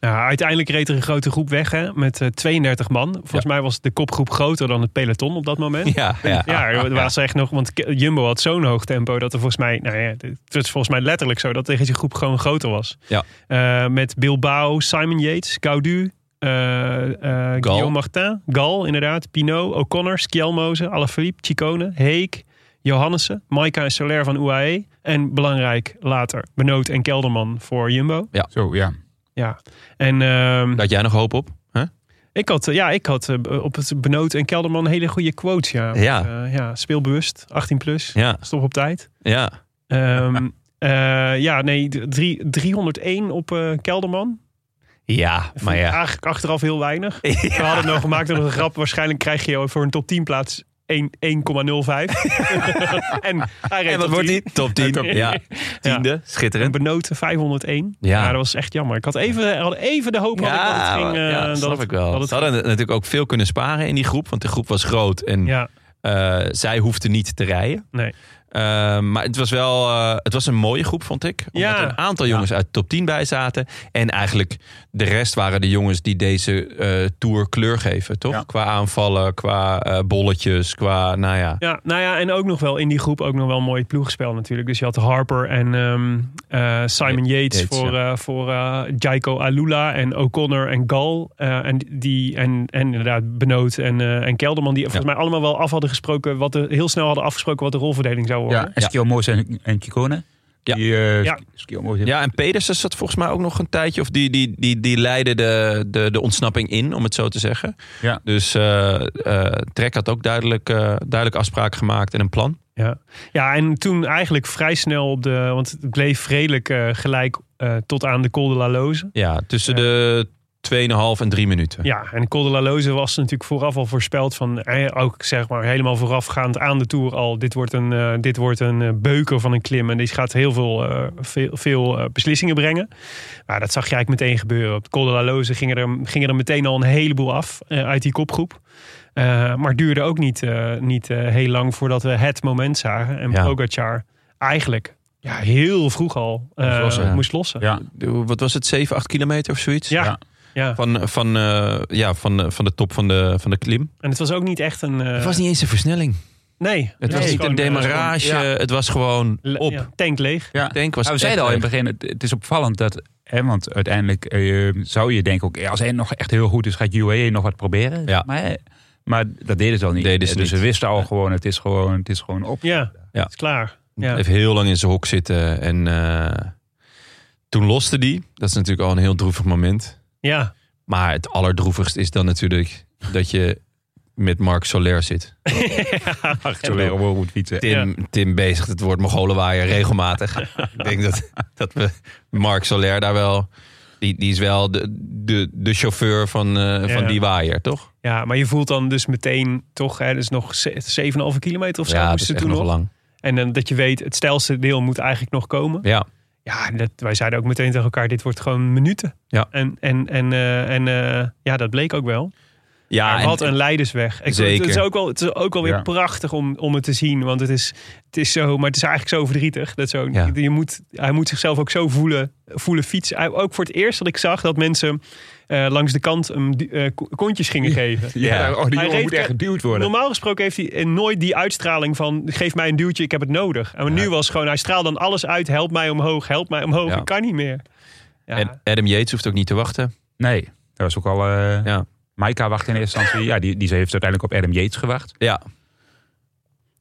Speaker 2: Nou, uiteindelijk reed er een grote groep weg hè, met eh, 32 man. Volgens mij was de kopgroep groter dan het peloton op dat moment.
Speaker 1: Ja, ja.
Speaker 2: Ja, er was echt nog, want K- Jumbo had zo'n hoog tempo dat er volgens mij, nou ja, het was volgens mij letterlijk zo dat deze groep gewoon groter was.
Speaker 1: Ja.
Speaker 2: Eh, met Bilbao, Simon Yates, Caudu, eh eh, Guillaume Martin, Gal inderdaad, Pinot, O'Connor, Schielmoze, Alaphilippe, Chicone, Heek, Johannessen, Maika en Soler van UAE en belangrijk later Benoot en Kelderman voor Jumbo.
Speaker 3: Zo, ja.
Speaker 2: Ja. En ehm,
Speaker 1: Daar had jij nog hoop op? hè?
Speaker 2: ik had, eh, ja, ik had eh, op het Benoot en Kelderman hele goede quotes. Ja,
Speaker 1: Ja.
Speaker 2: Eh, ja speelbewust, 18 plus.
Speaker 1: Ja,
Speaker 2: Stop op tijd.
Speaker 1: ja.
Speaker 2: Ehm, eh, ja, nee, d- drie, 301 op eh, Kelderman.
Speaker 1: Ja,
Speaker 2: Vond
Speaker 1: maar
Speaker 2: ik
Speaker 1: ja.
Speaker 2: Eigenlijk achteraf heel weinig.
Speaker 1: Ja.
Speaker 2: We hadden het nog gemaakt door een grap. Waarschijnlijk krijg je voor een top 10 plaats 1 1,05. en hij reed
Speaker 1: En wat
Speaker 2: top
Speaker 1: wordt
Speaker 2: 10.
Speaker 1: die? Top 10. Ja, tiende.
Speaker 2: En
Speaker 1: Schitterend.
Speaker 2: benoten 501.
Speaker 1: Ja.
Speaker 2: Ja. dat was echt jammer. Ik had even, had even de hoop had ik dat het ging. eh,
Speaker 1: ja,
Speaker 2: dat
Speaker 1: snap
Speaker 2: het-
Speaker 1: ik wel.
Speaker 2: dat het
Speaker 1: Ze hadden natuurlijk ook veel kunnen sparen in die groep. Want de groep was groot. En
Speaker 2: Ja,
Speaker 1: eh, zij hoefden niet te rijden.
Speaker 2: nee.
Speaker 1: Eh, maar het was wel eh, het was een mooie groep, vond ik. Omdat
Speaker 2: Ja.
Speaker 1: er een aantal jongens uit de top 10 bij zaten. En eigenlijk de rest waren de jongens die deze eh, tour kleur geven, toch?
Speaker 3: Ja.
Speaker 1: Qua aanvallen, qua eh, bolletjes, qua, nou ja.
Speaker 2: Ja, nou ja, en ook nog wel in die groep ook nog wel mooi het ploegspel natuurlijk. Dus je had Harper en ehm, eh, Simon Yates,
Speaker 1: Yates,
Speaker 2: voor, eh voor eh, Jaiko Alula en O'Connor en Gal. Eh, en, die, en, en inderdaad Benoot en, eh, en Kelderman, die volgens mij allemaal wel af hadden gesproken, wat de, heel snel hadden afgesproken wat de rolverdeling zou worden.
Speaker 3: Ja, en Skilmoos en, en Chicone.
Speaker 1: Ja.
Speaker 3: Die, eh,
Speaker 2: Ja.
Speaker 3: Skilmoos heeft-
Speaker 1: Ja, en Pedersen zat volgens mij ook nog een tijdje. Of die, die, die, die leidde de, de, de ontsnapping in, om het zo te zeggen.
Speaker 3: Ja.
Speaker 1: Dus eh eh, Trek had ook duidelijk, eh, duidelijk afspraken gemaakt en een plan.
Speaker 2: Ja. ja, en toen eigenlijk vrij snel op de. Want het bleef redelijk eh, gelijk eh, tot aan de Col de la Loze.
Speaker 1: Ja, tussen
Speaker 2: Ja.
Speaker 1: de 2,5 en 3 minuten.
Speaker 2: Ja, en de Col de la Loze was natuurlijk vooraf al voorspeld van. eh, Ook zeg maar helemaal voorafgaand aan de tour al. Dit wordt een, eh, dit wordt een eh, beuker van een klim. En die gaat heel veel, eh, veel, veel eh, beslissingen brengen. Maar dat zag je eigenlijk meteen gebeuren. Op de Col de la Loze gingen er, gingen er meteen al een heleboel af eh, uit die kopgroep. Eh, maar duurde ook niet, eh, niet eh, heel lang voordat we het moment zagen. En
Speaker 1: Ja.
Speaker 2: Pogacar eigenlijk ja, heel vroeg al eh,
Speaker 3: lossen, ja.
Speaker 2: moest lossen.
Speaker 3: Ja.
Speaker 1: Wat was het? 7, 8 kilometer of zoiets?
Speaker 2: Ja,
Speaker 3: Ja.
Speaker 2: ja.
Speaker 1: Van, van, eh, ja, van, eh, van de top van de, van de klim.
Speaker 2: en het was ook niet echt een... eh,
Speaker 1: Het was niet eens een versnelling.
Speaker 2: nee.
Speaker 1: Het was
Speaker 2: Nee.
Speaker 1: niet een
Speaker 2: Gewoon, eh,
Speaker 1: demarrage.
Speaker 3: ja.
Speaker 1: Het was gewoon
Speaker 2: le-
Speaker 1: op.
Speaker 2: ja, tank leeg.
Speaker 3: Ja.
Speaker 1: Ik denk was
Speaker 3: Nou, we
Speaker 1: het
Speaker 3: zeiden al
Speaker 1: echt eh,
Speaker 3: in het begin, het, het is opvallend dat... Hè, want uiteindelijk eh, zou je denken, ook, eh, als hij nog echt heel goed is, gaat UAE nog wat proberen.
Speaker 1: Ja.
Speaker 3: Maar, eh, maar dat deden ze al niet.
Speaker 1: Deden ze
Speaker 3: Eh, dus
Speaker 1: niet.
Speaker 3: ze wisten al gewoon, het is gewoon, het is gewoon op.
Speaker 2: Ja,
Speaker 1: Ja.
Speaker 2: het is klaar. Ja.
Speaker 1: Even heel lang in zijn hok zitten. En eh, toen loste die. Dat is natuurlijk al een heel droevig moment.
Speaker 2: ja.
Speaker 1: Maar het allerdroevigst is dan natuurlijk dat je met Mark Soler zit.
Speaker 3: Ach, zo leren we ook goed fietsen.
Speaker 1: Tim, Tim bezigt het woord Mongolenwaaier regelmatig. Ik denk dat, dat we Mark Soler daar wel... Die, die is wel de, de, de chauffeur van, eh, van
Speaker 2: Ja.
Speaker 1: die waaier, toch?
Speaker 2: ja, maar je voelt dan dus meteen toch... Hè, dus nog ze- 7,5 kilometer of zo
Speaker 1: ja, dat is
Speaker 2: moesten
Speaker 1: echt
Speaker 2: toen
Speaker 1: nog
Speaker 2: nog.
Speaker 1: lang.
Speaker 2: En dan dat je weet, het stijlste deel moet eigenlijk nog komen.
Speaker 1: Ja,
Speaker 2: Ja, dat, wij zeiden ook meteen tegen elkaar, dit wordt gewoon minuten.
Speaker 1: Ja.
Speaker 2: En, en, en, eh, en eh, ja, dat bleek ook wel.
Speaker 1: ja
Speaker 2: Maar wat een leidersweg. Ik,
Speaker 1: Zeker.
Speaker 2: Het is ook wel, het is ook wel weer
Speaker 3: Ja.
Speaker 2: prachtig om, om het te zien. Want het is, het is zo, maar het is eigenlijk zo verdrietig. Dat zo,
Speaker 1: Ja.
Speaker 2: je moet, hij moet zichzelf ook zo voelen, voelen fietsen. Hij- Ook voor het eerst dat ik zag dat mensen eh, langs de kant hem die- eh, ko- kontjes gingen geven.
Speaker 3: Ja, oh, die
Speaker 2: Hij
Speaker 3: jongen
Speaker 2: reed
Speaker 3: moet echt
Speaker 2: ke-
Speaker 3: geduwd worden.
Speaker 2: Normaal gesproken heeft hij eh, nooit die uitstraling van... geef mij een duwtje, ik heb het nodig. En nu was gewoon, hij straalt dan alles uit. Help mij omhoog, help mij omhoog,
Speaker 1: Ja.
Speaker 2: ik kan niet meer. Ja,
Speaker 1: En Adam Yates hoeft ook niet te wachten.
Speaker 3: Nee, dat was ook al... eh
Speaker 1: Ja.
Speaker 3: Maika wacht in eerste instantie. Ja, die, die heeft uiteindelijk op Adam Yates gewacht.
Speaker 1: Ja,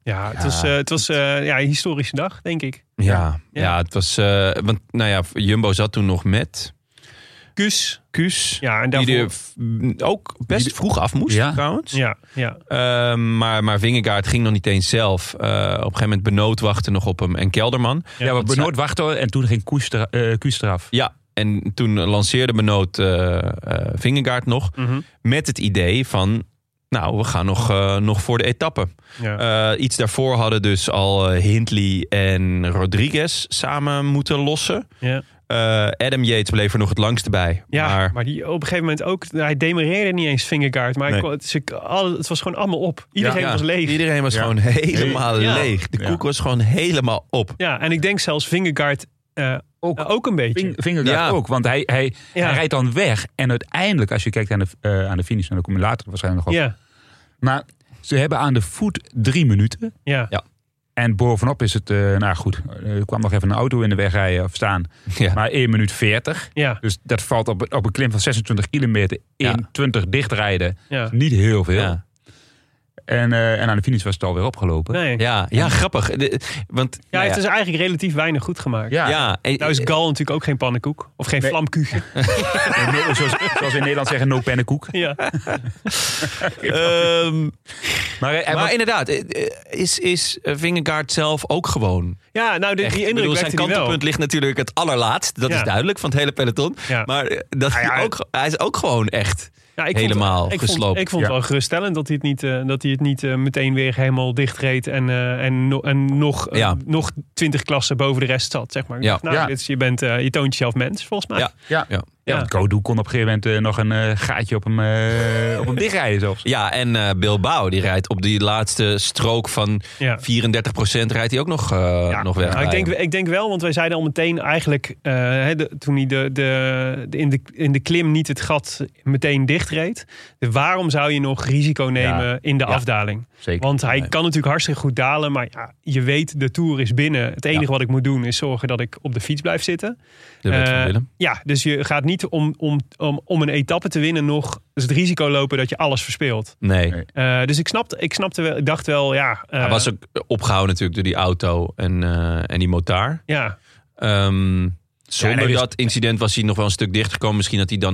Speaker 2: ja, het was, eh, het was eh, ja, een historische dag, denk ik.
Speaker 1: ja,
Speaker 2: Ja.
Speaker 1: ja. het was... eh, want nou ja, Jumbo zat toen nog met
Speaker 2: Kus.
Speaker 1: Kuus.
Speaker 2: Ja, en daarvoor...
Speaker 1: die er v- ook best vroeg af moest,
Speaker 3: Ja.
Speaker 1: trouwens.
Speaker 2: Ja, ja.
Speaker 1: Eh, maar, maar Vingegaard ging nog niet eens zelf. Eh, op een gegeven moment Benoot wachtte nog op hem en Kelderman.
Speaker 3: Ja, maar
Speaker 1: want
Speaker 3: Benoot wachtte en toen ging Koes er- eh, Kuus eraf.
Speaker 1: Ja, en toen lanceerde Benoot eh eh, Vingegaard nog.
Speaker 2: Mhm.
Speaker 1: Met het idee van, nou, we gaan nog, eh, nog voor de etappe.
Speaker 2: Ja.
Speaker 1: Eh, iets daarvoor hadden dus al eh, Hindley en Rodriguez samen moeten lossen.
Speaker 2: Ja.
Speaker 1: Eh, Adam Yates bleef er nog het langste bij.
Speaker 2: Ja, maar,
Speaker 1: maar,
Speaker 2: die op een gegeven moment ook... Hij demereerde niet eens Fingergaard. Maar
Speaker 1: Nee.
Speaker 2: ik kon- het, ze- al- het was gewoon allemaal op. Iedereen
Speaker 1: Ja,
Speaker 2: was leeg.
Speaker 1: Iedereen was
Speaker 3: Ja.
Speaker 1: gewoon helemaal
Speaker 2: Ja.
Speaker 1: leeg. De
Speaker 3: Ja.
Speaker 1: koek was gewoon helemaal op.
Speaker 2: Ja, en ik denk zelfs Fingergaard ook,
Speaker 3: Ook-
Speaker 2: ook een beetje.
Speaker 3: Ving- Vingegaard
Speaker 1: Ja.
Speaker 3: ook, want hij, hij,
Speaker 2: Ja.
Speaker 3: hij rijdt dan weg. En uiteindelijk, als je kijkt aan de, eh, aan de finish, en dan kom je later waarschijnlijk nog op.
Speaker 2: ja,
Speaker 3: Maar ze hebben aan de voet drie minuten.
Speaker 2: ja.
Speaker 3: En bovenop is het, eh, nou goed, er kwam nog even een auto in de weg rijden of staan.
Speaker 1: Ja.
Speaker 3: Maar 1 minuut 40.
Speaker 2: ja.
Speaker 3: Dus dat valt op, op een klim van 26 kilometer in
Speaker 1: Ja.
Speaker 3: 20 dichtrijden.
Speaker 2: Ja.
Speaker 3: Niet heel veel.
Speaker 1: Ja.
Speaker 3: En, eh, en aan de finish was het alweer opgelopen.
Speaker 2: Nee.
Speaker 1: Ja, ja, grappig. De- want,
Speaker 2: Ja,
Speaker 1: nou
Speaker 2: hij heeft
Speaker 1: ja,
Speaker 2: dus eigenlijk relatief weinig goed gemaakt.
Speaker 3: Ja,
Speaker 1: ja, en-
Speaker 2: Nou is Gal natuurlijk ook geen pannenkoek. Of geen
Speaker 3: Nee.
Speaker 2: vlamkoek.
Speaker 3: En no- zoals, zoals in Nederland zeggen, no pennenkoek.
Speaker 2: Ja.
Speaker 1: ehm,
Speaker 3: Maar, eh,
Speaker 1: maar
Speaker 3: wat-
Speaker 1: inderdaad, eh, eh, is, is eh, Vingegaard zelf ook gewoon...
Speaker 2: ja, nou, de,
Speaker 1: Echt,
Speaker 2: die
Speaker 1: ik
Speaker 2: indruk
Speaker 1: bedoel, zijn
Speaker 2: wekte hij wel.
Speaker 1: kantelpunt ligt natuurlijk het allerlaatst. Dat
Speaker 2: Ja.
Speaker 1: is duidelijk van het hele peloton.
Speaker 2: Ja.
Speaker 1: Maar eh, dat
Speaker 3: ja,
Speaker 1: hij,
Speaker 3: hij-
Speaker 1: ook, hij is ook gewoon echt...
Speaker 2: Ja, ik
Speaker 1: helemaal
Speaker 2: vond, ik Vond,
Speaker 1: gesloopt.
Speaker 2: ik vond het
Speaker 3: Ja.
Speaker 2: wel geruststellend dat hij het niet, eh, dat hij het niet eh, meteen weer helemaal dichtreed. En, eh, en, no- en nog, eh,
Speaker 1: Ja.
Speaker 2: nog twintig klassen boven de rest zat, zeg maar. Ik
Speaker 1: Ja.
Speaker 2: dacht, nou,
Speaker 3: Ja.
Speaker 2: dit is- je, bent, eh, je toont jezelf mens, volgens mij.
Speaker 1: Ja.
Speaker 3: ja.
Speaker 1: Ja.
Speaker 3: Ja, want Kodu kon op een gegeven moment eh, nog een eh, gaatje op hem, eh, op hem dichtrijden zelfs.
Speaker 1: Ja, en eh, Bilbao, die rijdt op die laatste strook van 34%
Speaker 2: Ja.
Speaker 1: rijdt hij ook nog, eh, nog weg.
Speaker 2: Nou, ik,
Speaker 1: bij
Speaker 2: denk, ik denk wel, want wij zeiden al meteen eigenlijk... eh, hè, de- toen hij de, de, de- in, de, in de klim niet het gat meteen dichtreed. De- waarom zou je nog risico nemen in de
Speaker 1: Ja.
Speaker 2: afdaling?
Speaker 3: Zeker.
Speaker 2: Want hij
Speaker 1: Nee.
Speaker 2: kan natuurlijk hartstikke goed dalen. Maar ja, je weet, de Tour is binnen. Het enige wat ik moet doen is zorgen dat ik op de fiets blijf zitten.
Speaker 1: de wet van
Speaker 2: Eh,
Speaker 1: Willem.
Speaker 2: ja, dus je gaat niet om, om, om, om een etappe te winnen nog dus het risico lopen dat je alles verspeelt.
Speaker 1: Nee.
Speaker 3: Nee.
Speaker 2: Eh, dus ik snapte, ik snapte wel, ik dacht wel, ja. eh,
Speaker 1: Hij was ook opgehouden natuurlijk door die auto en, eh, en die motaar.
Speaker 2: ja,
Speaker 1: Ehm, zonder
Speaker 3: nee, dus-
Speaker 1: dat incident was hij nog wel een stuk dichtgekomen. Misschien dat hij dan.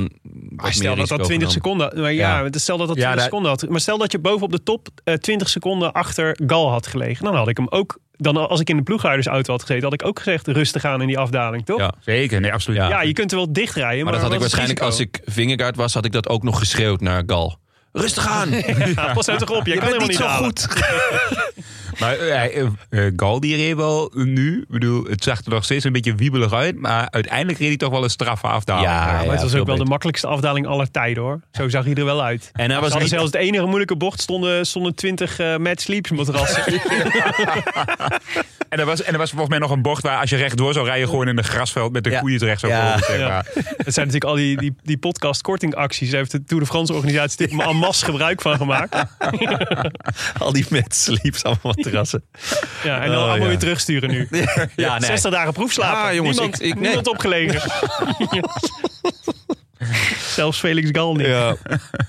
Speaker 2: maar stel dat dat 20 seconden. Maar ja, stel dat dat
Speaker 3: Ja,
Speaker 2: 20
Speaker 3: daar-
Speaker 2: seconden had. Maar stel dat je bovenop de top eh, 20 seconden achter Gal had gelegen. Dan had ik hem ook. Dan als ik in de ploegleidersauto had gezeten, had ik ook gezegd rustig aan in die afdaling, toch?
Speaker 1: Ja.
Speaker 2: Ja,
Speaker 3: Zeker, nee, absoluut.
Speaker 1: Ja.
Speaker 2: je kunt er wel dichtrijden. Maar,
Speaker 1: Maar dat had ik
Speaker 2: wat is het
Speaker 1: waarschijnlijk, als
Speaker 2: risico?
Speaker 1: ik Vingegaard was, had ik dat ook nog geschreeuwd naar Gal. Rustig aan.
Speaker 2: Ja, pas uit toch op, jij
Speaker 1: Je
Speaker 2: kan
Speaker 1: bent
Speaker 2: helemaal
Speaker 1: niet
Speaker 2: niet
Speaker 1: zo
Speaker 2: halen.
Speaker 1: goed.
Speaker 3: Maar eh, eh, eh, Gal die reed wel nu. Ik bedoel, het zag er nog steeds een beetje wiebelig uit. Maar uiteindelijk reed hij toch wel een straffe afdaling.
Speaker 2: Maar het was ook wel
Speaker 1: veel
Speaker 2: de
Speaker 1: beter.
Speaker 2: makkelijkste afdaling aller tijden hoor. Zo zag hij er wel uit.
Speaker 1: En hij
Speaker 2: Ze
Speaker 1: was
Speaker 2: hadden
Speaker 1: niet...
Speaker 2: zelfs de enige moeilijke bocht stonden, stonden 20 eh Mad Sleeps matrassen.
Speaker 3: En, er was, en er was volgens mij nog een bocht waar als je rechtdoor zou rijden... gewoon in een grasveld met de
Speaker 1: Ja.
Speaker 3: koeien terecht zou
Speaker 1: Ja.
Speaker 3: komen. Zeg maar.
Speaker 2: Het zijn natuurlijk al die, die, die podcast kortingacties. Daar heeft de Tour de France organisatie natuurlijk en masse gebruik van gemaakt.
Speaker 1: Al die met sleeps, allemaal terrassen.
Speaker 2: Ja, en dan
Speaker 1: Oh,
Speaker 2: allemaal
Speaker 1: ja.
Speaker 2: weer terugsturen nu.
Speaker 1: Ja, nee.
Speaker 2: 60 dagen proefslapen.
Speaker 1: Ah, jongens,
Speaker 2: niemand,
Speaker 1: ik- ik- nee.
Speaker 2: niemand opgelegen. Zelfs Felix Gal niet. Ja.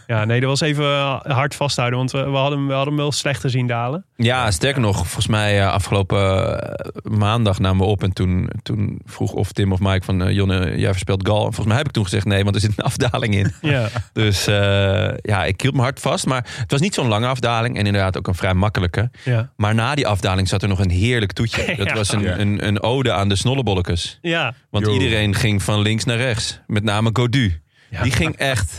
Speaker 1: Ja.
Speaker 2: nee, dat was even eh, hard vasthouden. Want we, we, hadden, hem- we hadden hem wel slecht gezien dalen.
Speaker 1: Ja, sterker nog, volgens mij eh, afgelopen eh, maandag namen we op. En toen, toen vroeg of Tim of Mike van... eh, Jonne, jij verspeelt Gal. En volgens mij heb ik toen gezegd nee, want er zit een afdaling in.
Speaker 2: Ja.
Speaker 1: Dus eh, ja, ik hield me hard vast. Maar het was niet zo'n lange afdaling. En inderdaad ook een vrij makkelijke.
Speaker 2: Ja.
Speaker 1: Maar na die afdaling zat er nog een heerlijk toetje. Dat
Speaker 2: Ja.
Speaker 1: was een,
Speaker 3: Ja.
Speaker 1: een, een ode aan de snollebollekes.
Speaker 2: Ja.
Speaker 1: Want
Speaker 3: Yo.
Speaker 1: iedereen ging van links naar rechts. Met name Godu.
Speaker 2: Ja.
Speaker 1: Die ging echt...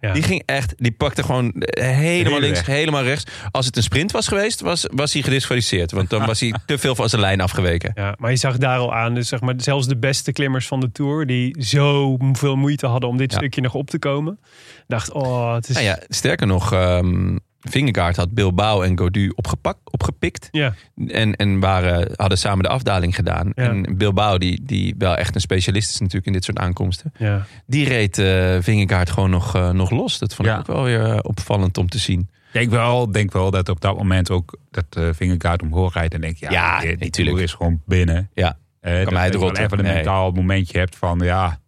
Speaker 2: Ja.
Speaker 1: Die ging echt, die pakte gewoon eh, helemaal
Speaker 3: Hele
Speaker 1: links,
Speaker 3: weg.
Speaker 1: helemaal rechts. Als het een sprint was geweest, was, was hij gedisqualificeerd. Want dan was hij te veel van zijn lijn afgeweken.
Speaker 2: Ja, maar je zag daar al aan, dus zeg maar, zelfs de beste klimmers van de Tour... die zo veel moeite hadden om dit
Speaker 1: Ja.
Speaker 2: stukje nog op te komen... dacht, oh, het is...
Speaker 1: Nou ja, sterker nog, ehm Vingegaard had Bilbao en Godu opgepakt, opgepikt.
Speaker 2: ja.
Speaker 1: En, en waren, hadden samen de afdaling gedaan.
Speaker 2: Ja.
Speaker 1: En Bilbao, die, die wel echt een specialist is natuurlijk in dit soort aankomsten.
Speaker 2: ja.
Speaker 1: Die reed eh Vingegaard gewoon nog, eh, nog los. Dat vond ik
Speaker 3: Ja.
Speaker 1: ook wel weer eh, opvallend om te zien.
Speaker 3: Ik denk wel, denk wel dat op dat moment ook dat eh vingerkaart omhoog rijdt. En denk je, ja,
Speaker 1: Ja,
Speaker 3: die, die
Speaker 1: natuurlijk.
Speaker 3: toer is gewoon binnen.
Speaker 1: Ja.
Speaker 3: Eh, dat
Speaker 1: mij
Speaker 3: je
Speaker 1: het
Speaker 3: wel
Speaker 1: rotten?
Speaker 3: even een
Speaker 1: Nee.
Speaker 3: mentaal momentje hebt van, ja,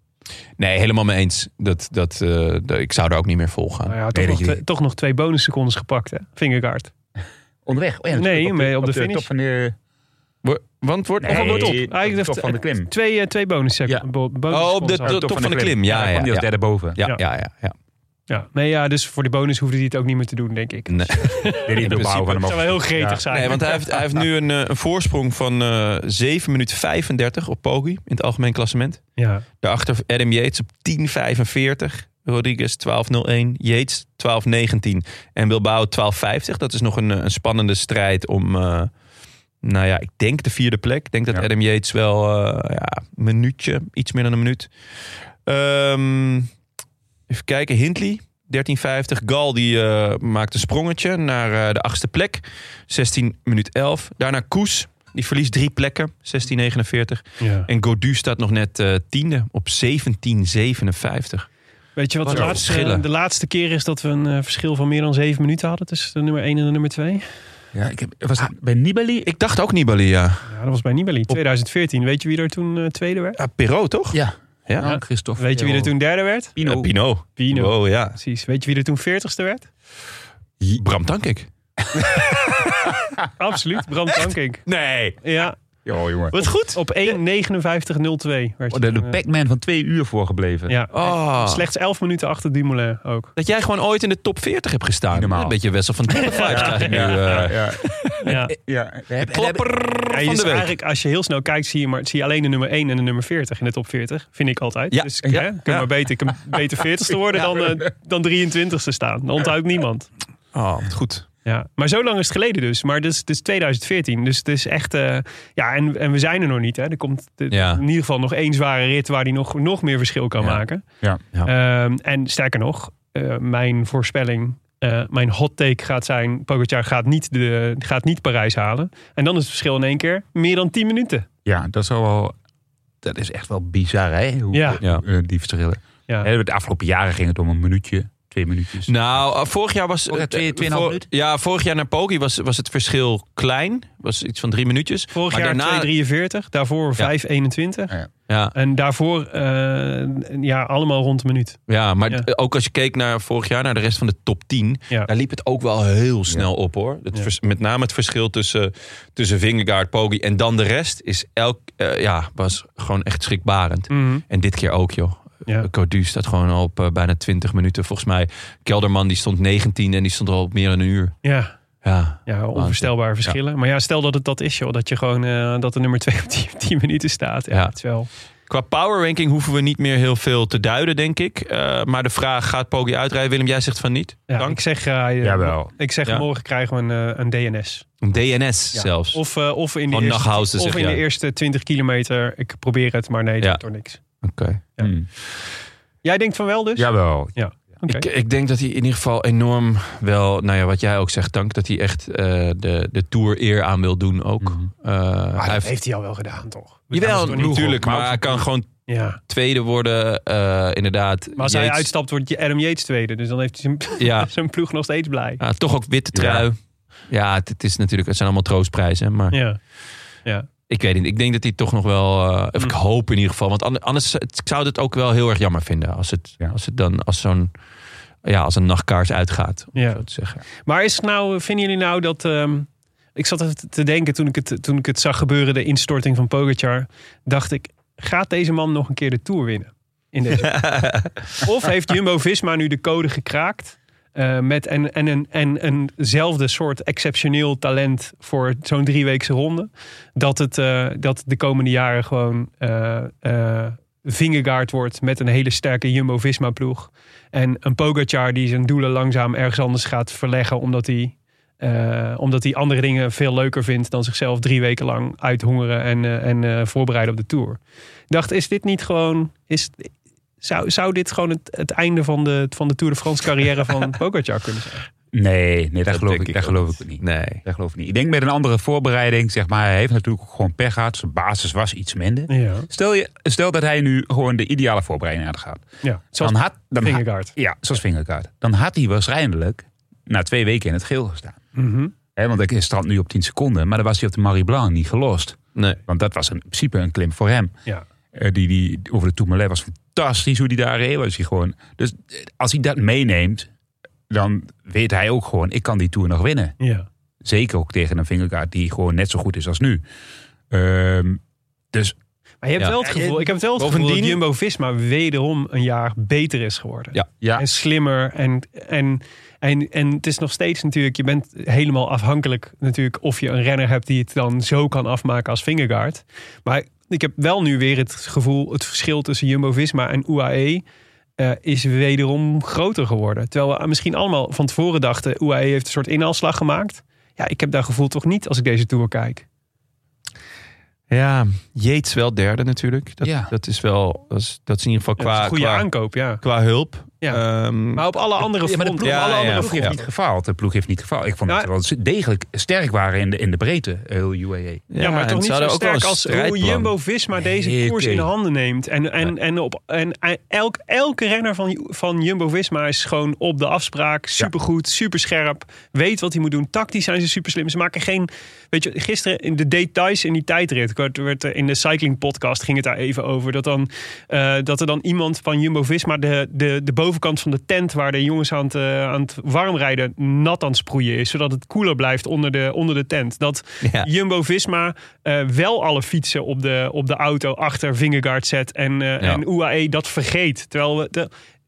Speaker 1: Nee, helemaal mee eens. Dat, dat, eh, dat- ik zou er ook niet meer vol gaan.
Speaker 2: Maar Nou ja, toch,
Speaker 3: dat
Speaker 2: nog
Speaker 3: je-
Speaker 2: twee, toch nog twee bonussecondes gepakt, hè? Vingergaard.
Speaker 1: Oh
Speaker 3: onderweg.
Speaker 2: ja, Nee, op de- mee op op de de finish.
Speaker 3: top
Speaker 2: top
Speaker 3: van de,
Speaker 1: Wo- Want wordt
Speaker 3: Nee.
Speaker 2: Of wordt op?
Speaker 3: Nee,
Speaker 2: Hij heeft
Speaker 3: top van de klim.
Speaker 2: Twee, eh, twee bonus
Speaker 3: Ja.
Speaker 1: Oh, op de top,
Speaker 3: top
Speaker 1: van de klim. Ja, ja,
Speaker 3: die als
Speaker 1: ja.
Speaker 3: derde boven.
Speaker 1: Ja, ja, ja, ja.
Speaker 2: Ja. Nee, ja, dus voor de bonus hoefde hij het ook niet meer te doen, denk ik.
Speaker 1: Nee.
Speaker 3: Deed hij de
Speaker 1: principe.
Speaker 3: bouw van hem
Speaker 2: Dat zou wel heel
Speaker 3: af.
Speaker 2: gretig
Speaker 3: Ja.
Speaker 2: zijn.
Speaker 1: Nee, want hij heeft, hij heeft nu een, eh, een voorsprong van eh 7 minuten 35 op Poggi in het algemeen klassement.
Speaker 2: ja.
Speaker 1: Daarachter Adam Yates op 10.45. Rodriguez 12.01. Yates 12.19. En Bilbao 12.50. Dat is nog een, eh, een spannende strijd om... eh, nou ja, ik denk de vierde plek. Ik denk dat
Speaker 3: Ja.
Speaker 1: Adam Yates wel eh, ja, een minuutje, iets meer dan een minuut. Ehm, even kijken, Hindley, 13.50. Gal die eh, maakt een sprongetje naar eh, de achtste plek, 16 minuut 11. Daarna Koes, die verliest drie plekken, 16.49.
Speaker 2: Ja.
Speaker 1: En Godu staat nog net eh, tiende op 1757.
Speaker 2: Weet je wat
Speaker 1: Wat
Speaker 2: de
Speaker 1: een
Speaker 2: laatste,
Speaker 1: verschillen.
Speaker 2: de laatste keer is dat we een eh, verschil van meer dan zeven minuten hadden tussen de nummer 1 en de nummer 2?
Speaker 3: Ja, ik heb, was het bij Nibali?
Speaker 1: Ik dacht ook Nibali, ja.
Speaker 2: Ja, dat was bij Nibali. 2014. Weet je wie er toen eh, tweede werd?
Speaker 1: ja Pirot, toch?
Speaker 3: Ja.
Speaker 1: Ja.
Speaker 3: Nou, Christophe.
Speaker 2: Weet je wie er toen derde werd?
Speaker 3: Pino.
Speaker 1: Eh, Pino.
Speaker 2: Pino.
Speaker 1: Oh, ja.
Speaker 2: Precies. Weet je wie er toen 40ste werd?
Speaker 1: Bram Tankink.
Speaker 2: Absoluut. Bram Tankink.
Speaker 1: Nee.
Speaker 2: Ja.
Speaker 3: Joh, jongen.
Speaker 2: Wat goed. Op 1.59.02 werd
Speaker 3: Oh, de
Speaker 2: hij,
Speaker 3: de
Speaker 2: eh,
Speaker 3: Pac-Man van twee uur voorgebleven.
Speaker 2: Ja.
Speaker 1: Oh.
Speaker 2: Slechts 11 minuten achter Dumoulin ook.
Speaker 1: Dat jij gewoon ooit in de top 40 hebt gestaan.
Speaker 3: Niet normaal.
Speaker 1: Een beetje Wessel van Diepen vibes krijg ik nu.
Speaker 3: Ja, ja,
Speaker 1: eh.
Speaker 3: ja.
Speaker 2: Ja.
Speaker 3: ja. We hebben-
Speaker 1: Klapper
Speaker 2: Ja,
Speaker 1: van
Speaker 2: je
Speaker 1: de
Speaker 2: ziet
Speaker 1: week.
Speaker 2: Eigenlijk, als je heel snel kijkt, zie je, maar, zie je alleen de nummer 1 en de nummer 40 in de top 40. Vind ik altijd.
Speaker 1: Ja,
Speaker 2: Dus
Speaker 1: ja,
Speaker 2: hè, kun je
Speaker 1: ja.
Speaker 2: maar beter, kun- beter 40ste worden dan, eh, dan 23ste staan. Dan onthoudt niemand.
Speaker 1: Oh, wat goed.
Speaker 2: Ja. Maar zo lang is het geleden dus. Maar dit is, dit is 2014. Dus het is echt... eh, ja, en, en we zijn er nog niet. Hè. Er komt de-
Speaker 1: Ja.
Speaker 2: in ieder geval nog één zware rit waar hij nog, nog meer verschil kan
Speaker 1: Ja.
Speaker 2: maken.
Speaker 3: Ja.
Speaker 2: Ehm, en sterker nog, eh, mijn voorspelling... eh, mijn hot take gaat zijn, Pogacar gaat niet, de, gaat niet Parijs halen. En dan is het verschil in één keer meer dan 10 minuten.
Speaker 3: Ja, dat is wel. Dat is echt wel bizar, hè? Hoe,
Speaker 2: Ja.
Speaker 3: eh, eh, die verschillen.
Speaker 2: Ja.
Speaker 3: Hè, De afgelopen jaren ging het om een minuutje, twee minuutjes.
Speaker 1: Nou, eh, vorig jaar was...
Speaker 3: Vorig jaar
Speaker 1: eh,
Speaker 3: twee-
Speaker 1: eh,
Speaker 3: tweeënhalf
Speaker 1: voor-
Speaker 3: minuut?
Speaker 1: Ja, vorig jaar naar Pogi was, was het verschil klein. Was iets van drie minuutjes.
Speaker 2: Vorig
Speaker 1: Maar
Speaker 2: jaar
Speaker 1: daarna-
Speaker 2: 2,43, daarvoor 5,21.
Speaker 1: Ja,
Speaker 2: En daarvoor eh, ja, allemaal rond de minuut.
Speaker 1: ja maar
Speaker 2: Ja.
Speaker 1: d- ook als je keek naar vorig jaar, naar de rest van de top 10.
Speaker 2: Ja.
Speaker 1: Daar liep het ook wel heel snel op hoor. Het
Speaker 2: Ja.
Speaker 1: vers- met name het verschil tussen, tussen Vingegaard, Poggi en dan de rest is elk, eh, ja, was gewoon echt schrikbarend.
Speaker 2: Mhm,
Speaker 1: En dit keer ook joh.
Speaker 2: ja.
Speaker 1: Cordu staat gewoon al op eh, bijna 20 minuten. Volgens mij Kelderman die stond 19 en die stond al op meer dan een uur.
Speaker 2: Ja,
Speaker 1: Ja,
Speaker 2: ja, onvoorstelbare verschillen. Maar ja, stel dat het dat is, joh. Dat je gewoon eh, dat de nummer 2 op 10 minuten staat. Ja,
Speaker 1: Ja.
Speaker 2: het is wel.
Speaker 1: Qua power ranking hoeven we niet meer heel veel te duiden, denk ik. Eh, maar de vraag, gaat Poggi uitrijden? Willem, jij zegt van niet.
Speaker 2: Ja,
Speaker 1: Dank.
Speaker 2: ik zeg, eh,
Speaker 3: Jawel.
Speaker 2: ik zeg
Speaker 1: Ja.
Speaker 2: morgen krijgen we een, eh, een DNS.
Speaker 1: Een DNS zelfs.
Speaker 2: Of, eh, of in, de
Speaker 1: Oh,
Speaker 2: eerste,
Speaker 1: Nachthausen
Speaker 2: of
Speaker 1: zeg
Speaker 2: in de
Speaker 1: jij.
Speaker 2: eerste 20 kilometer. Ik probeer het, maar nee, dat
Speaker 1: Ja.
Speaker 2: doet toch niks.
Speaker 1: Oké.
Speaker 2: Ja.
Speaker 3: Hmm.
Speaker 2: Jij denkt van wel dus?
Speaker 3: Jawel.
Speaker 2: Oké.
Speaker 1: Ik, eh, ik denk dat hij in ieder geval enorm wel, nou ja, wat jij ook zegt, dank dat hij echt eh, de, de Tour eer aan wil doen ook.
Speaker 3: Mhm.
Speaker 1: Eh,
Speaker 2: Maar
Speaker 1: hij
Speaker 2: dat
Speaker 1: heeft,
Speaker 2: heeft hij al wel gedaan, toch? We gaan
Speaker 1: jawel,
Speaker 2: het toch niet-
Speaker 1: natuurlijk,
Speaker 3: maar
Speaker 1: maar hij kan gewoon
Speaker 2: Ja.
Speaker 1: tweede worden, eh, inderdaad.
Speaker 2: Maar als hij
Speaker 1: Yates-
Speaker 2: uitstapt, wordt Adam Yates tweede. Dus dan heeft hij zijn,
Speaker 1: Ja,
Speaker 2: zijn ploeg nog steeds blij.
Speaker 1: ja, toch ook witte trui. Ja, het, het is natuurlijk, het zijn allemaal troostprijzen, maar
Speaker 2: Ja.
Speaker 1: ik weet niet. Ik denk dat hij toch nog wel, eh, of ik
Speaker 2: Hm.
Speaker 1: hoop in ieder geval, want ander- anders het- ik zou het ook wel heel erg jammer vinden als het,
Speaker 3: Ja.
Speaker 1: als het dan als zo'n, ja, als een nachtkaars uitgaat, om
Speaker 2: Ja.
Speaker 1: zo te zeggen.
Speaker 2: Maar is het nou, vinden jullie nou dat... ehm, ik zat even te denken toen ik, het, toen ik het zag gebeuren, de instorting van Pogacar. Dacht ik, gaat deze man nog een keer de Tour winnen? In deze... of heeft Jumbo-Visma nu de code gekraakt? eh, met en, en, en, en eenzelfde soort exceptioneel talent voor zo'n drieweekse ronde. Dat het eh, dat de komende jaren gewoon eh eh, Vingegaard wordt met een hele sterke Jumbo-Visma-ploeg. En een Pogacar die zijn doelen langzaam ergens anders gaat verleggen. Omdat hij, eh, omdat hij andere dingen veel leuker vindt dan zichzelf drie weken lang uithongeren en, eh, en eh, voorbereiden op de Tour. Ik dacht, is dit niet gewoon... Is, zou, zou dit gewoon het, het einde van de, van de Tour de France carrière van Pogacar kunnen zijn?
Speaker 3: Nee, nee daar, geloof
Speaker 1: denk
Speaker 3: ik,
Speaker 1: ik
Speaker 3: daar
Speaker 1: ook
Speaker 3: geloof ik niet.
Speaker 1: Nee.
Speaker 3: Dat geloof ik niet. Ik denk met een andere voorbereiding, zeg maar. Hij heeft natuurlijk ook gewoon pech gehad. Zijn basis was iets minder.
Speaker 2: Ja.
Speaker 3: Stel, je, stel dat hij nu gewoon de ideale voorbereiding had gehad.
Speaker 2: ja. Zoals
Speaker 3: Dan had, dan had-
Speaker 2: Vingegaard.
Speaker 3: ja, zoals vingerkaart. Dan had hij waarschijnlijk na twee weken in het geel gestaan.
Speaker 2: Mhm.
Speaker 3: Hè, want hij strandt nu op 10 seconden. Maar dan was hij op de Marie Blanc niet gelost.
Speaker 1: Nee.
Speaker 3: Want dat was in principe een klim voor hem.
Speaker 2: Ja.
Speaker 3: Eh, die, die over de Tourmalet was fantastisch hoe die daar reed. Was hij gewoon. Dus eh, als hij dat meeneemt, dan weet hij ook gewoon... ik kan die Tour nog winnen.
Speaker 2: Ja.
Speaker 3: Zeker ook tegen een vingerkaart die gewoon net zo goed is als nu. Ehm, dus
Speaker 2: Maar je hebt
Speaker 1: Ja.
Speaker 2: wel het gevoel, ik heb wel het gevoel
Speaker 1: Bovendien-
Speaker 2: dat Jumbo-Visma wederom een jaar beter is geworden.
Speaker 3: ja,
Speaker 2: en slimmer. En, en, en, en het is nog steeds natuurlijk, je bent helemaal afhankelijk natuurlijk of je een renner hebt die het dan zo kan afmaken als Vingegaard. Maar ik heb wel nu weer het gevoel, het verschil tussen Jumbo-Visma en UAE eh, is wederom groter geworden. Terwijl we misschien allemaal van tevoren dachten, UAE heeft een soort inhaalslag gemaakt. Ja, ik heb dat gevoel toch niet als ik deze Tour kijk.
Speaker 1: Ja, Yates wel derde natuurlijk. Dat,
Speaker 3: Ja.
Speaker 1: dat is wel, dat is, dat is in ieder geval
Speaker 2: Ja, dat is
Speaker 1: qua,
Speaker 2: een goede
Speaker 1: qua,
Speaker 2: aankoop, ja.
Speaker 1: qua hulp.
Speaker 2: Ja.
Speaker 1: Ehm,
Speaker 2: Maar op alle andere
Speaker 3: Ja, maar de
Speaker 2: fronten.
Speaker 3: ploeg,
Speaker 1: Ja,
Speaker 3: alle
Speaker 1: ja,
Speaker 3: andere
Speaker 1: ja.
Speaker 3: ploeg heeft niet gefaald. De ploeg heeft niet gefaald. Ik vond
Speaker 2: Ja.
Speaker 3: dat dat ze wel degelijk sterk waren in de, in de breedte, eh, heel E. UAE.
Speaker 2: Ja, maar
Speaker 1: en
Speaker 2: toch
Speaker 1: ze
Speaker 2: niet zo
Speaker 1: hadden ook wel
Speaker 2: sterk
Speaker 1: een
Speaker 2: als hoe
Speaker 1: strijdplan.
Speaker 2: Jumbo-Visma deze
Speaker 3: Nee,
Speaker 2: koers
Speaker 3: oké.
Speaker 2: in handen neemt. En, en, en, op, en, en elk, elke renner van, van Jumbo-Visma is gewoon op de afspraak. Supergoed, superscherp. Weet wat hij moet doen. Tactisch zijn ze superslim. Ze maken geen... Weet je, gisteren in de details in die tijdrit... Werd, werd, er in de cycling podcast ging het daar even over. Dat, dan, eh, dat er dan iemand van Jumbo-Visma de, de, de bovenkant van de tent... waar de jongens aan het, eh, aan het warmrijden nat aan het sproeien is. Zodat het koeler blijft onder de, onder de tent. Dat...
Speaker 1: Ja.
Speaker 2: Jumbo Visma eh, wel alle fietsen op de, op de auto achter Vingegaard zet. En, eh,
Speaker 1: Ja.
Speaker 2: en UAE dat vergeet. Terwijl we. De,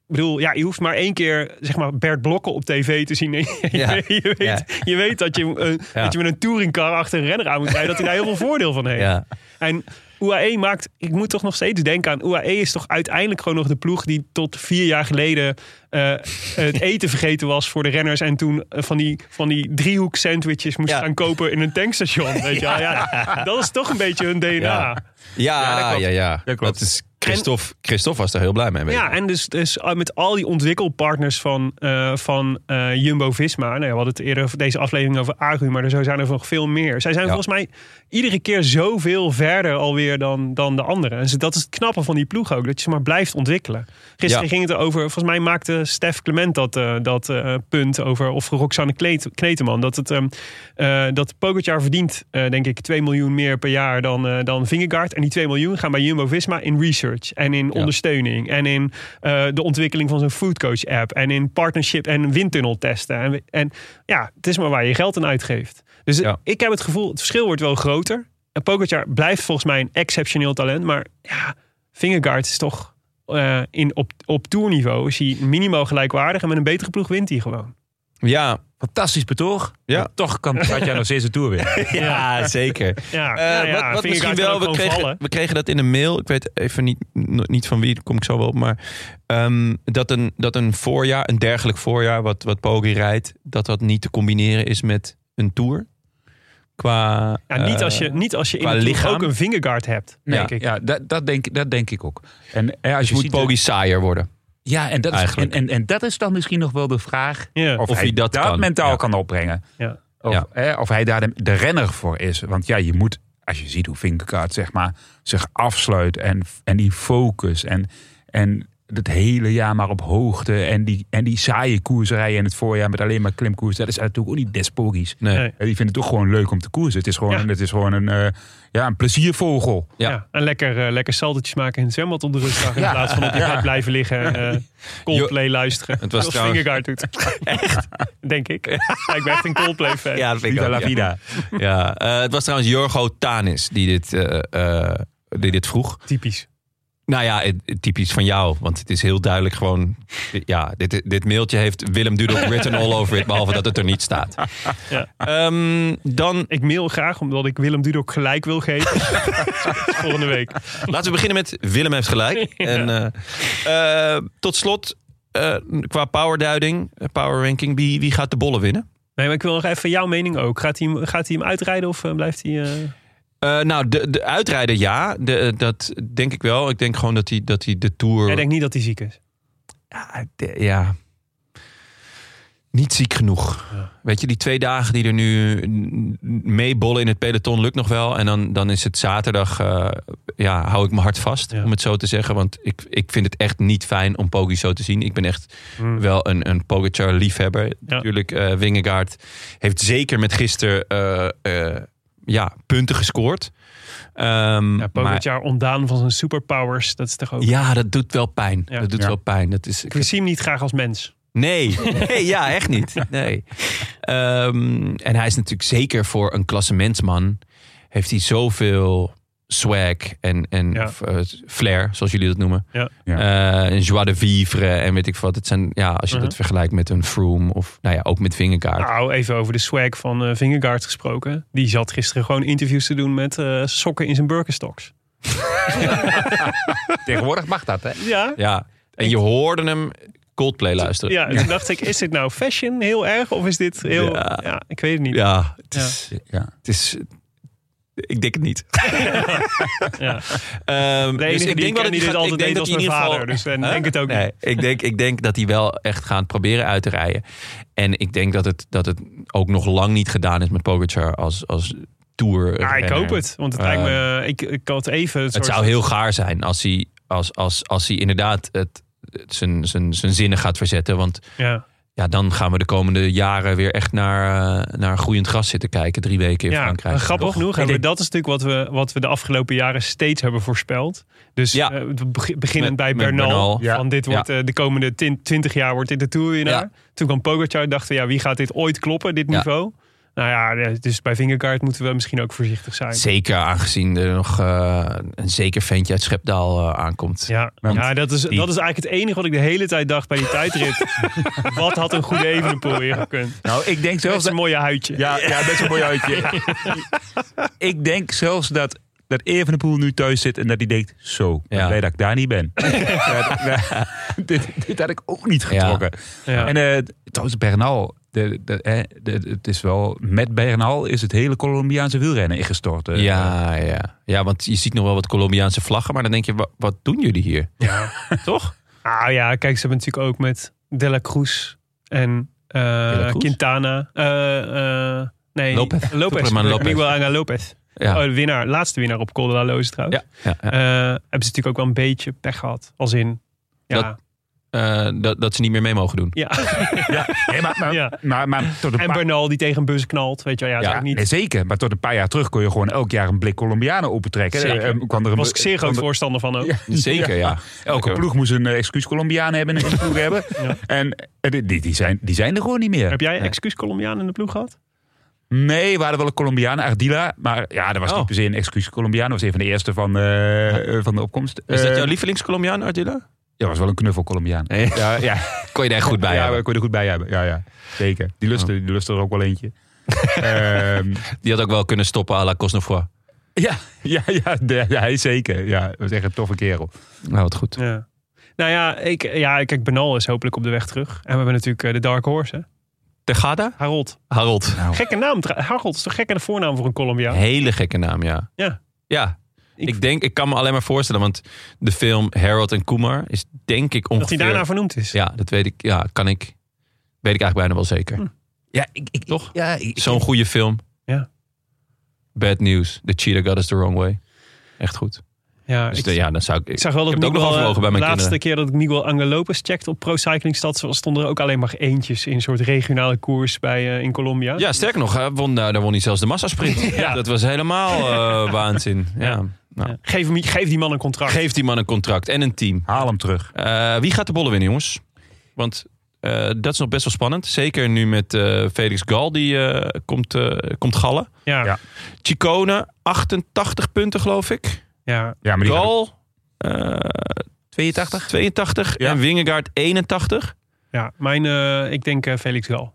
Speaker 2: ik bedoel, ja, je hoeft maar één keer zeg maar Bert Blokken op tv te zien. En je,
Speaker 1: Ja.
Speaker 2: je weet, je weet dat, je, eh,
Speaker 1: Ja.
Speaker 2: dat je met een touringcar achter een renner aan moet rijden. Dat hij daar heel veel voordeel van heeft.
Speaker 1: Ja.
Speaker 2: En UAE maakt, ik moet toch nog steeds denken aan UAE is toch uiteindelijk gewoon nog de ploeg die tot vier jaar geleden eh, het eten vergeten was voor de renners en toen eh, van die, van die driehoek sandwiches moest
Speaker 1: Ja.
Speaker 2: gaan kopen in een tankstation. Weet je wel. Ja, dat is toch een beetje hun DNA.
Speaker 1: Ja.
Speaker 2: Ja,
Speaker 1: Ja, ja,
Speaker 3: klopt.
Speaker 1: ja,
Speaker 3: Dat klopt.
Speaker 1: is Christophe, Christophe was daar heel blij mee. weet ik.
Speaker 2: en dus, dus met al die ontwikkelpartners van, eh, van eh, Jumbo-Visma. Nou ja, we hadden het eerder over deze aflevering over Agu, maar er zo zijn er nog veel meer. Zij zijn
Speaker 1: Ja.
Speaker 2: volgens mij iedere keer zoveel verder alweer dan, dan de anderen. En ze- dat is het knappe van die ploeg ook, dat je ze maar blijft ontwikkelen. Gisteren
Speaker 1: Ja.
Speaker 2: ging het over, volgens mij maakte Stef Clement dat, eh, dat eh, punt over, of Roxanne Kleet, Kneteman, dat het ehm, eh, dat Pogacar verdient, eh, denk ik, 2 miljoen meer per jaar dan, eh dan Vingegaard. En die 2 miljoen gaan bij Jumbo-Visma in research en in ondersteuning en in eh, de ontwikkeling van zo'n foodcoach app en in partnership en windtunnel testen. En, we- en ja, het is maar waar je geld aan uitgeeft. Dus
Speaker 1: Ja.
Speaker 2: ik heb het gevoel, het verschil wordt wel groter. En Pogacar blijft volgens mij een exceptioneel talent, maar ja, Vingegaard is toch... eh, in, op, op toerniveau is hij minimaal gelijkwaardig en met een betere ploeg wint hij gewoon.
Speaker 1: Ja,
Speaker 3: Fantastisch betoog.
Speaker 1: Ja.
Speaker 3: Maar toch kan Katja nog steeds de Tour winnen.
Speaker 1: Ja, zeker.
Speaker 2: Ja,
Speaker 1: Eh,
Speaker 2: nou ja,
Speaker 1: wat, wat
Speaker 2: vind ik
Speaker 1: misschien
Speaker 2: eigenlijk
Speaker 1: wel, we
Speaker 2: ook gewoon
Speaker 1: kregen,
Speaker 2: vallen.
Speaker 1: we kregen dat in een mail. Ik weet even niet, n- niet van wie, daar kom ik zo wel op. Maar ehm, dat, een, dat een voorjaar, een dergelijk voorjaar wat, wat Poggi rijdt... dat dat niet te combineren is met een Tour. Qua...
Speaker 2: Ja, niet, als je,
Speaker 1: eh,
Speaker 2: niet als je in
Speaker 1: qua
Speaker 2: het lichaam
Speaker 1: lichaam.
Speaker 2: ook een vingerguard hebt, denk ik.
Speaker 3: Ja, dat, dat, denk, dat denk ik ook. En eh, als
Speaker 1: dus
Speaker 3: je
Speaker 1: moet
Speaker 3: ziet,
Speaker 1: Poggi saaier worden.
Speaker 3: ja, en, dat is, en,
Speaker 1: eigenlijk.
Speaker 3: en, en dat is dan misschien nog wel de vraag
Speaker 2: Ja.
Speaker 3: of, hij dat,
Speaker 1: kan.
Speaker 3: mentaal
Speaker 1: Ja.
Speaker 3: kan opbrengen.
Speaker 2: Ja.
Speaker 3: Of,
Speaker 1: Ja.
Speaker 3: hè, of hij daar de, de renner voor is. Want ja, je moet, als je ziet hoe Vinkegaard zeg maar, zich afsluit en, en die focus en, en het hele jaar maar op hoogte en die, en die saaie koersrijden in het voorjaar met alleen maar klimkoers. Dat is natuurlijk ook niet despogisch.
Speaker 1: Nee.
Speaker 2: Nee.
Speaker 3: Die vinden het toch gewoon leuk om te koersen. Het is gewoon,
Speaker 2: Ja.
Speaker 3: het is gewoon een, eh, ja, een pleziervogel.
Speaker 1: Ja.
Speaker 2: Ja, en lekker, eh, lekker saltetjes maken in het zwembad op de rustdag. In plaats van op je gaat blijven liggen en eh Coldplay luisteren.
Speaker 1: Het was
Speaker 2: Zoals
Speaker 1: trouwens-
Speaker 2: Vingegaard doet. Echt? Denk ik. Ja, ik ben echt een Coldplay fan.
Speaker 1: Ja, vind ik
Speaker 3: Viva
Speaker 1: ook,
Speaker 3: la
Speaker 1: ja.
Speaker 3: vida.
Speaker 1: Ja, eh, het was trouwens Jorgo Tanis die dit, eh, eh, die dit vroeg.
Speaker 2: Typisch.
Speaker 1: Nou ja, het- het typisch van jou. Want het is heel duidelijk gewoon... Ja, dit, dit mailtje heeft Willem Dudok written all over it. Behalve dat het er niet staat.
Speaker 2: Ja.
Speaker 1: Ehm, dan
Speaker 2: Ik mail graag omdat ik Willem Dudok gelijk wil geven. Volgende week.
Speaker 1: laten we beginnen met Willem heeft gelijk. En, eh, eh, tot slot, eh, qua powerduiding, eh, power ranking. Wie, wie gaat de bollen winnen?
Speaker 2: Nee, maar ik wil nog even jouw mening ook. Gaat hij, hem- gaat hij hem uitrijden of eh, blijft hij... eh,
Speaker 1: Eh, nou, de, de uitrijden ja. De, eh, dat denk ik wel. Ik denk gewoon dat hij, dat hij de Tour...
Speaker 2: Hij denkt niet dat hij ziek is.
Speaker 1: Ja, Ah, de- ja. Niet ziek genoeg. Weet je, die twee dagen die er nu n- n- meebollen in het peloton lukt nog wel. En dan, dan is het zaterdag, eh, ja, hou ik mijn hart vast,
Speaker 2: Ja.
Speaker 1: om het zo te zeggen. Want ik, ik vind het echt niet fijn om Poggi zo te zien. Ik ben echt
Speaker 2: Hmm.
Speaker 1: wel een, een Pogacar-liefhebber. Natuurlijk, eh Wingegaard heeft zeker met gisteren eh, eh, ja, punten gescoord. Ehm,
Speaker 2: Ja,
Speaker 1: maar-
Speaker 2: Pogacar ontdaan van zijn superpowers. Dat is toch ook...
Speaker 1: ja, dat doet wel pijn.
Speaker 2: Ja.
Speaker 1: Dat doet
Speaker 3: Ja.
Speaker 1: wel pijn. Dat is,
Speaker 2: Ik zie hem niet graag als mens.
Speaker 1: Nee, nee ja, echt niet. Nee. Ehm, en hij is natuurlijk zeker voor een klassementsman. Heeft hij zoveel swag en, en
Speaker 2: Ja.
Speaker 1: f- eh, flair, zoals jullie dat noemen.
Speaker 2: Ja.
Speaker 3: Ja.
Speaker 1: Eh, en joie de vivre en weet ik wat. Het zijn, ja, als je dat
Speaker 2: Mhm.
Speaker 1: vergelijkt met een Froome of nou ja, ook met Vingegaard.
Speaker 2: Nou, even over de swag van eh Vingegaard gesproken. Die zat gisteren gewoon interviews te doen met eh, sokken in zijn Birkenstocks.
Speaker 3: Tegenwoordig mag dat, hè?
Speaker 2: Ja,
Speaker 1: Ja. En je hoorde hem Coldplay luisteren.
Speaker 2: ja. Toen dacht ik, is dit nou fashion heel erg? Of is dit heel...
Speaker 1: Ja.
Speaker 2: Ja, ik weet het niet.
Speaker 1: Ja, het is...
Speaker 3: Ja.
Speaker 1: Het is ik denk het niet.
Speaker 2: Ja.
Speaker 1: Ehm,
Speaker 2: De enige
Speaker 1: dus ik
Speaker 2: die
Speaker 1: denk wel dat
Speaker 2: ik ken
Speaker 1: hij
Speaker 2: die dit
Speaker 1: gaat-
Speaker 2: altijd
Speaker 1: ik
Speaker 2: deed
Speaker 1: denk dat
Speaker 2: was
Speaker 1: hij in
Speaker 2: mijn
Speaker 1: ieder geval-
Speaker 2: vader. Dus ik
Speaker 1: Huh?
Speaker 2: denk het ook
Speaker 1: Nee,
Speaker 2: niet.
Speaker 1: ik denk, ik denk dat die wel echt gaan proberen uit te rijden. En ik denk dat het, dat het ook nog lang niet gedaan is met Pogacar als, als tour.
Speaker 2: Ja, Ah, ik hoop het. Want het
Speaker 1: Eh,
Speaker 2: lijkt me... Ik, ik had even... een
Speaker 1: Het
Speaker 2: soort-
Speaker 1: zou heel gaar zijn als hij, als, als, als hij inderdaad het, het zijn, zijn, zijn zinnen gaat verzetten. Want
Speaker 2: Ja,
Speaker 1: ja, dan gaan we de komende jaren weer echt naar, eh, naar groeiend gras zitten kijken. Drie weken in
Speaker 2: ja
Speaker 1: Frankrijk.
Speaker 2: maar grappig
Speaker 1: Toch?
Speaker 2: genoeg.
Speaker 1: Ik
Speaker 2: Hebben,
Speaker 1: denk-
Speaker 2: dat is natuurlijk wat we, wat we de afgelopen jaren steeds hebben voorspeld. Dus
Speaker 1: Ja.
Speaker 2: ja.
Speaker 1: Met-
Speaker 2: beginnend bij
Speaker 1: met
Speaker 2: Bernal.
Speaker 1: Bernal.
Speaker 3: Ja.
Speaker 2: Van dit wordt eh, de komende twintig jaar wordt dit de toerwinnaar.
Speaker 1: Ja.
Speaker 2: Toen kwam Pogacar. Dachten we, ja, wie gaat dit ooit kloppen, dit
Speaker 1: Ja.
Speaker 2: niveau? Nou ja, eh, dus bij Vingerkaart moeten we misschien ook voorzichtig zijn.
Speaker 1: Zeker aangezien er nog eh, een zeker ventje uit Schepdaal eh, aankomt.
Speaker 2: Ja,
Speaker 3: Want
Speaker 2: ja dat, is, dat is eigenlijk het enige wat ik de hele tijd dacht bij die tijdrit. wat had een goede Evenepoel weer gekund?
Speaker 3: Nou, ik denk zelfs
Speaker 2: Dat is een mooie huidje.
Speaker 3: Ja, ja best een mooi uitje. Ik denk zelfs dat, dat Evenepoel nu thuis zit en dat hij denkt... Zo, ik ben
Speaker 1: Ja.
Speaker 3: blij dat ik daar niet ben. Ja, ja, dit, dit had ik ook niet getrokken.
Speaker 2: Ja.
Speaker 3: En eh trouwens, Bernal... De, de, hè, de- het is wel, met Bernal is het hele Colombiaanse wielrennen ingestort. eh.
Speaker 1: Ja, ja. ja, want je ziet nog wel wat Colombiaanse vlaggen, maar dan denk je, wa- wat doen jullie hier?
Speaker 2: Ja.
Speaker 1: Toch?
Speaker 2: Nou ja, kijk, ze hebben natuurlijk ook met De La Cruz en eh,
Speaker 1: La Cruz?
Speaker 2: Quintana. eh, eh, nee,
Speaker 1: Lopez.
Speaker 2: Lopez.
Speaker 1: Superman Lopez.
Speaker 2: Miguel Angel Lopez.
Speaker 1: Ja.
Speaker 2: Oh, de winnaar, laatste winnaar op Col de la Loze trouwens.
Speaker 1: Ja, ja, ja.
Speaker 2: Eh, hebben ze natuurlijk ook wel een beetje pech gehad. Als in, ja.
Speaker 1: Dat- Eh, dat, dat ze niet meer mee mogen doen.
Speaker 2: ja.
Speaker 3: Nee, maar, maar,
Speaker 2: Ja.
Speaker 3: maar, maar tot een
Speaker 2: en
Speaker 3: paar-
Speaker 2: Bernal die tegen een bus knalt. Weet je wel, ja, dat is
Speaker 3: Ja,
Speaker 2: ook niet...
Speaker 3: nee, zeker. Maar tot een paar jaar terug kon je gewoon elk jaar een blik Colombianen opentrekken.
Speaker 2: Zeker.
Speaker 3: Eh, eh, kwam er een-
Speaker 2: was ik zeer groot
Speaker 3: kwam er-
Speaker 2: voorstander van ook.
Speaker 3: Ja.
Speaker 1: Zeker, ja.
Speaker 3: Elke
Speaker 1: Oké.
Speaker 3: ploeg moest een eh, excuus Colombiaan hebben en een ploeg hebben.
Speaker 2: Ja.
Speaker 3: En eh, die, die, die zijn, die zijn er gewoon niet meer.
Speaker 2: Heb jij excuus Colombiaan in de ploeg gehad?
Speaker 3: Nee, we hadden wel een Colombiaan, Ardila. Maar ja, dat was
Speaker 1: Oh.
Speaker 3: niet per se een excuus Colombiaan. Dat was een van de eerste van, eh, eh, van de opkomst.
Speaker 1: Is dat
Speaker 3: Eh,
Speaker 1: jouw lievelingscolombiaan, Ardila?
Speaker 3: Ja, was wel een knuffel Colombiaan.
Speaker 1: Nee.
Speaker 3: Ja, ja.
Speaker 1: Kon je daar goed bij
Speaker 3: ja,
Speaker 1: hebben.
Speaker 3: we kon je er goed bij hebben. Ja, ja. Zeker. Die lustte, die lustte er ook wel eentje. Ehm,
Speaker 1: Die had ook wel kunnen stoppen à la Cosnefroid.
Speaker 3: ja, ja, ja, de- ja, hij zeker. Ja, dat was echt een toffe kerel.
Speaker 1: Nou, wat goed.
Speaker 2: Ja. Nou ja, ik, ja, kijk, Benal is hopelijk op de weg terug. En we hebben natuurlijk eh, de Dark Horse, hè?
Speaker 1: Tegada?
Speaker 2: Harold.
Speaker 1: Harold.
Speaker 2: Gekke naam. tra- Harold is toch gekke voornaam voor een Colombiaan?
Speaker 1: Hele gekke naam, ja.
Speaker 2: Ja.
Speaker 1: Ja.
Speaker 2: Ik-
Speaker 1: Ik, denk, ik kan me alleen maar voorstellen, want de film Harold en Kumar is denk ik
Speaker 2: Dat
Speaker 1: ongeveer...
Speaker 2: hij daarna vernoemd is.
Speaker 1: Ja, dat weet ik. Ja, kan ik. Weet ik eigenlijk bijna wel zeker.
Speaker 3: Ja, ik, ik,
Speaker 1: Toch?
Speaker 3: Ja, ik,
Speaker 1: Zo'n goede film.
Speaker 2: Ja.
Speaker 1: Bad News. The Cheetah Got Us The Wrong Way. Echt goed.
Speaker 2: Ja,
Speaker 1: Dus
Speaker 2: ik,
Speaker 1: de- ja, dan zou ik...
Speaker 2: ik zag wel
Speaker 1: ik
Speaker 2: dat
Speaker 1: heb het ook nog
Speaker 2: Miguel, eh,
Speaker 1: afgelogen bij mijn
Speaker 2: De laatste
Speaker 1: kinderen.
Speaker 2: keer dat ik Miguel Angel Lopez checkte op Pro Cycling Stad... stonden er ook alleen maar eentjes in een soort regionale koers bij, eh, in Colombia.
Speaker 1: Ja, sterker nog, hij won, eh, daar daar won hij zelfs de massasprint.
Speaker 2: Ja.
Speaker 1: Dat was helemaal eh, waanzin. Ja. Nou,
Speaker 2: Ja. Geef, hem- geef die man een contract.
Speaker 1: Geef die man een contract en een team.
Speaker 3: Haal hem terug.
Speaker 1: Eh, wie gaat de bollen winnen, jongens? Want eh, dat is nog best wel spannend. Zeker nu met eh, Felix Gal, die eh, komt, eh, komt gallen.
Speaker 2: Ja, ja.
Speaker 3: Ja.
Speaker 1: Chicone, 88 punten geloof ik.
Speaker 3: Ja, maar die gaat ook-
Speaker 1: Gal, eh, 82. 82.
Speaker 3: Ja.
Speaker 1: En Wingegaard, 81.
Speaker 2: ja. Mijn, eh, ik denk eh, Felix Gal.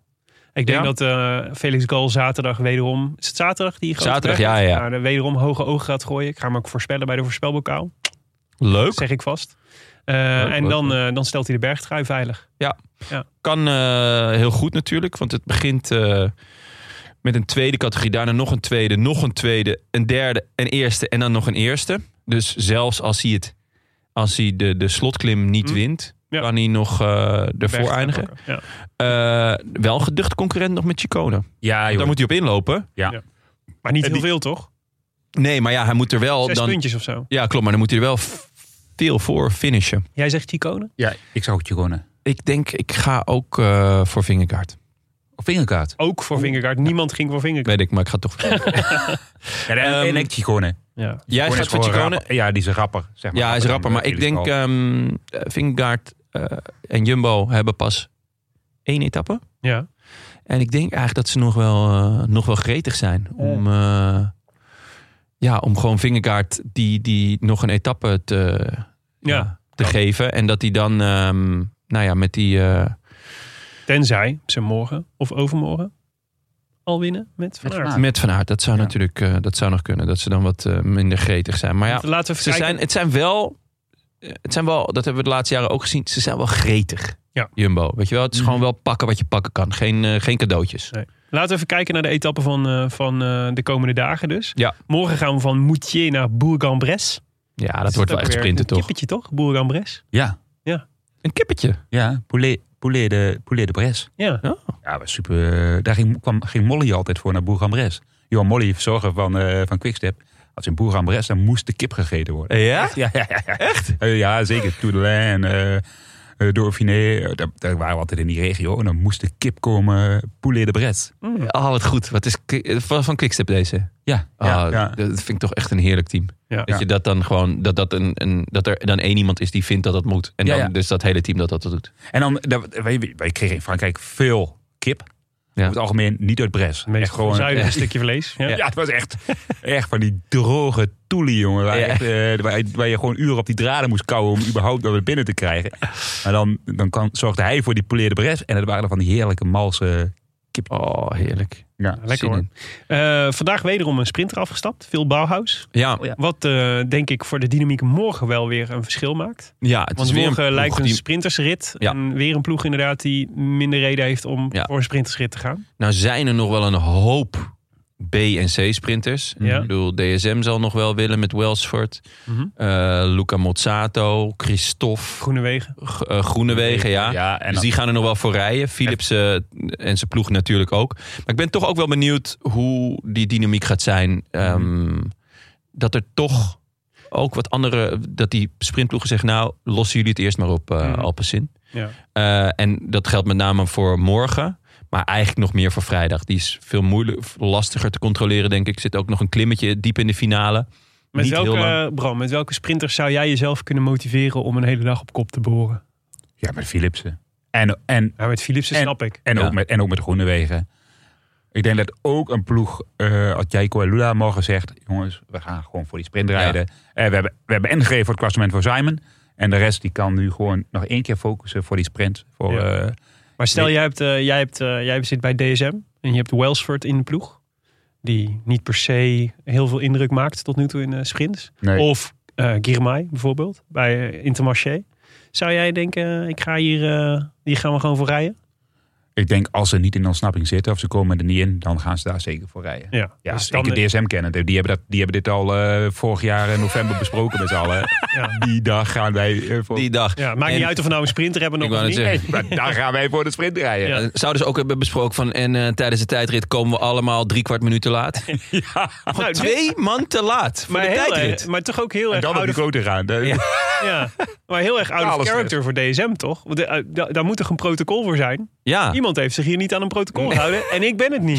Speaker 2: Ik denk
Speaker 1: Ja?
Speaker 2: dat eh, Felix Gal zaterdag wederom... Is het zaterdag die grote
Speaker 1: Zaterdag,
Speaker 2: berg?
Speaker 1: ja, ja.
Speaker 2: Nou, de wederom hoge ogen gaat gooien. Ik ga hem ook voorspellen bij de voorspelbokaal.
Speaker 1: Leuk.
Speaker 2: Dat zeg ik vast. Eh,
Speaker 1: Leuk,
Speaker 2: en
Speaker 1: leuk,
Speaker 2: dan, eh, dan stelt hij de bergtrui veilig.
Speaker 1: Kan eh, heel goed natuurlijk, want het begint eh, met een tweede categorie. Daarna nog een tweede, nog een tweede, een derde, een eerste en dan nog een eerste. Dus zelfs als hij, het, als hij de, de slotklim niet
Speaker 2: Hm.
Speaker 1: wint,
Speaker 2: Ja.
Speaker 1: kan hij nog eh ervoor
Speaker 2: Bergtrui
Speaker 1: eindigen.
Speaker 2: pakken. Ja.
Speaker 1: Eh, wel een geduchte concurrent nog met Chicone. Want
Speaker 3: Ja, joh.
Speaker 1: Daar moet hij op inlopen.
Speaker 2: Maar niet
Speaker 3: En
Speaker 2: heel
Speaker 3: die-
Speaker 2: veel, toch?
Speaker 1: Nee, maar ja, hij moet er wel
Speaker 2: Zes
Speaker 1: Oh, dan...
Speaker 2: puntjes of zo.
Speaker 1: Ja, klopt, maar dan moet hij er wel f- veel voor finishen.
Speaker 2: Jij zegt Chicone?
Speaker 3: ja, ik zou het je gonnen.
Speaker 1: Ik denk, ik ga ook eh, voor Vingerkaart.
Speaker 3: Of vingerkaart.
Speaker 2: Ook voor Vingegaard. Niemand ging voor Vingegaard.
Speaker 1: Weet ik, maar ik ga toch...
Speaker 3: Ja, en,
Speaker 1: Ehm,
Speaker 3: en ik Chicone.
Speaker 2: Ja.
Speaker 1: Jij
Speaker 3: Chicone
Speaker 1: gaat
Speaker 3: is
Speaker 1: voor
Speaker 3: gewoon een
Speaker 1: Chicone.
Speaker 3: rapper. Ja, die is een rapper. Zeg maar. eh,
Speaker 1: Ja, hij is
Speaker 3: dan
Speaker 1: rapper. Maar ik
Speaker 3: Felix
Speaker 1: denk,
Speaker 3: Gal.
Speaker 1: ehm Vingegaard eh, en Jumbo hebben pas één etappe.
Speaker 2: ja.
Speaker 1: En ik denk eigenlijk dat ze nog wel, eh, nog wel gretig zijn. Om, eh, ja, om gewoon Vingegaard die, die nog een etappe te,
Speaker 2: Ja.
Speaker 1: te geven. En dat hij dan, ehm, nou ja, met die... eh,
Speaker 2: Tenzij ze morgen of overmorgen al winnen met Van
Speaker 3: Met Van
Speaker 2: Aert.
Speaker 3: Aert.
Speaker 1: met Van Aert, dat zou
Speaker 3: Ja.
Speaker 1: natuurlijk eh, dat zou nog kunnen. Dat ze dan wat eh, minder gretig zijn. Maar ja,
Speaker 2: Want Laten we even
Speaker 1: ze
Speaker 2: kijken.
Speaker 1: zijn, het zijn wel... eh, Het zijn wel, dat hebben we de laatste jaren ook gezien. Ze zijn wel gretig.
Speaker 2: Ja.
Speaker 1: Jumbo. Weet je wel, het is
Speaker 3: Mhm.
Speaker 1: gewoon wel pakken wat je pakken kan. Geen, eh, geen cadeautjes.
Speaker 2: Laten we even kijken naar de etappen van, eh, van eh, de komende dagen dus.
Speaker 1: Ja.
Speaker 2: Morgen gaan we van Moutier naar Bourg-en-Bresse.
Speaker 1: Ja, dat wordt wel echt sprinten
Speaker 2: Een
Speaker 1: toch?
Speaker 2: kippetje toch? Bourg-en-Bresse.
Speaker 3: Ja,
Speaker 1: Een kippetje.
Speaker 3: ja. Poulet, poulet, de, poulet de Bres.
Speaker 2: Ja.
Speaker 3: Ja, was super. eh, Daar ging, kwam, ging Molly altijd voor naar Bourg-en-Bresse. Johan Molly, verzorger van, eh van Quickstep. Als in Bourg-en-Bresse, dan moest de kip gegeten worden.
Speaker 1: Ja?
Speaker 3: Ja, ja, ja, Echt? ja, zeker. Toedelain, eh eh, Dauphiné. eh, Daar, daar waren we altijd in die regio. En dan moest de kip komen, eh, poulet de Bresse.
Speaker 1: Oh, wat goed. Wat is ki- eh, van van Quickstep deze?
Speaker 3: Ja, ja,
Speaker 1: Ja,
Speaker 3: ja.
Speaker 1: Dat vind ik toch echt een heerlijk team.
Speaker 2: Ja.
Speaker 1: Dat je dat dan gewoon, dat, dat, een, een, dat er dan één iemand is die vindt dat dat moet. En
Speaker 3: Ja,
Speaker 1: dan
Speaker 3: ja.
Speaker 1: dus dat hele team dat dat doet.
Speaker 3: En dan, daar- wij, wij kregen in Frankrijk veel kip.
Speaker 1: Ja.
Speaker 3: Over het algemeen niet uit Bres.
Speaker 2: Het meest
Speaker 3: Echt gewoon-
Speaker 2: zuidige
Speaker 3: Ja.
Speaker 2: stukje vlees. Ja.
Speaker 3: Ja. het was echt, echt van die droge toelie, jongen. Waar,
Speaker 1: Ja.
Speaker 3: echt, eh, waar, waar je gewoon uren op die draden moest kouwen om überhaupt dat weer binnen te krijgen. Maar dan, dan kan, zorgde hij voor die poleerde bres. En het waren van die heerlijke malse...
Speaker 1: Oh, heerlijk.
Speaker 3: Ja,
Speaker 2: Lekker
Speaker 1: Zin
Speaker 2: hoor.
Speaker 1: in.
Speaker 2: Eh, vandaag wederom een sprinter afgestapt. Phil Bauhaus.
Speaker 1: Ja,
Speaker 3: Oh, ja.
Speaker 2: Wat eh, denk ik voor de dynamiek morgen wel weer een verschil maakt.
Speaker 1: ja het
Speaker 2: Want
Speaker 1: is weer
Speaker 2: morgen
Speaker 1: een
Speaker 2: lijkt
Speaker 1: ploeg
Speaker 2: een
Speaker 1: die-
Speaker 2: sprintersrit.
Speaker 1: Ja.
Speaker 2: En weer een ploeg inderdaad die minder reden heeft om
Speaker 1: Ja.
Speaker 2: voor een sprintersrit te gaan.
Speaker 1: Nou zijn er nog wel een hoop B- en C-sprinters.
Speaker 2: Ja.
Speaker 1: Ik bedoel, DSM zal nog wel willen met Welsford.
Speaker 2: Mhm.
Speaker 1: Eh, Luca Mozzato, Christophe,
Speaker 2: Groene wegen.
Speaker 1: G- eh, Groenewegen, ja.
Speaker 3: ja en
Speaker 1: dus die gaan er nog wel voor rijden. Philips eh, en zijn ploeg natuurlijk ook. Maar ik ben toch ook wel benieuwd hoe die dynamiek gaat zijn. Ehm, Dat er toch ook wat andere... Dat die sprintploegen zeggen, nou, lossen jullie het eerst maar op eh
Speaker 2: Mhm.
Speaker 1: Alpecin.
Speaker 2: Ja.
Speaker 1: Eh, en dat geldt met name voor morgen. Maar eigenlijk nog meer voor vrijdag. Die is veel moeilijker, lastiger te controleren, denk ik. Zit ook nog een klimmetje diep in de finale.
Speaker 2: Met
Speaker 1: Niet heel lang.
Speaker 2: welke, Bram, met welke sprinters zou jij jezelf kunnen motiveren om een hele dag op kop te boren?
Speaker 3: Ja, met Philipsen. En, en,
Speaker 2: Ja, met Philipsen
Speaker 3: En-
Speaker 2: snap ik.
Speaker 3: en,
Speaker 1: Ja.
Speaker 3: ook met, en ook met Groenewegen. Ik denk dat ook een ploeg, eh als Jaiko en Lula morgen zegt... Jongens, we gaan gewoon voor die sprint rijden. Eh, we, hebben, we hebben en gegeven voor het klassement voor Simon... En de rest die kan nu gewoon nog één keer focussen voor die sprint. Voor,
Speaker 2: Ja.
Speaker 3: eh,
Speaker 2: Maar stel,
Speaker 3: Nee.
Speaker 2: jij, hebt, eh, jij, hebt, eh, jij zit bij DSM en je hebt Welsford in de ploeg. Die niet per se heel veel indruk maakt tot nu toe in eh, sprints.
Speaker 3: nee.
Speaker 2: Of eh Girmay bijvoorbeeld, bij eh, Intermarché. Zou jij denken, ik ga hier, eh, hier gaan we gewoon voor rijden?
Speaker 3: Ik denk als ze niet in ontsnapping zitten of ze komen er niet in, dan gaan ze daar zeker voor rijden.
Speaker 2: Ja,
Speaker 3: Ja,
Speaker 2: Dus dan-
Speaker 3: zeker DSM kennen. Die hebben, dat, die hebben dit al eh, vorig jaar in november besproken met z'n allen.
Speaker 2: Ja.
Speaker 3: Die dag gaan wij eh, voor,
Speaker 1: Die dag.
Speaker 2: ja, maakt
Speaker 1: En-
Speaker 2: niet uit of we nou een sprinter hebben
Speaker 1: Ik
Speaker 2: of
Speaker 1: wou
Speaker 2: niet.
Speaker 1: net zeggen.
Speaker 3: Maar daar gaan wij voor de sprint rijden.
Speaker 2: Ja.
Speaker 3: Ja.
Speaker 1: Eh, Zouden ze ook hebben besproken van. En eh, tijdens de tijdrit komen we allemaal drie kwart minuut te laat. Gewoon
Speaker 2: Nou, dit-
Speaker 1: twee man te laat voor
Speaker 2: maar,
Speaker 1: de
Speaker 2: heel,
Speaker 1: tijdrit.
Speaker 2: erg- maar toch ook heel
Speaker 3: En
Speaker 2: erg
Speaker 3: dan op
Speaker 2: out
Speaker 3: de
Speaker 2: of,
Speaker 3: grote gaan. De-
Speaker 2: ja, maar heel erg out of
Speaker 3: Alles
Speaker 2: character voor DSM, toch? Want, eh, da- daar moet toch een protocol voor zijn?
Speaker 1: ja,
Speaker 2: Iemand heeft zich hier niet aan een protocol gehouden en ik ben het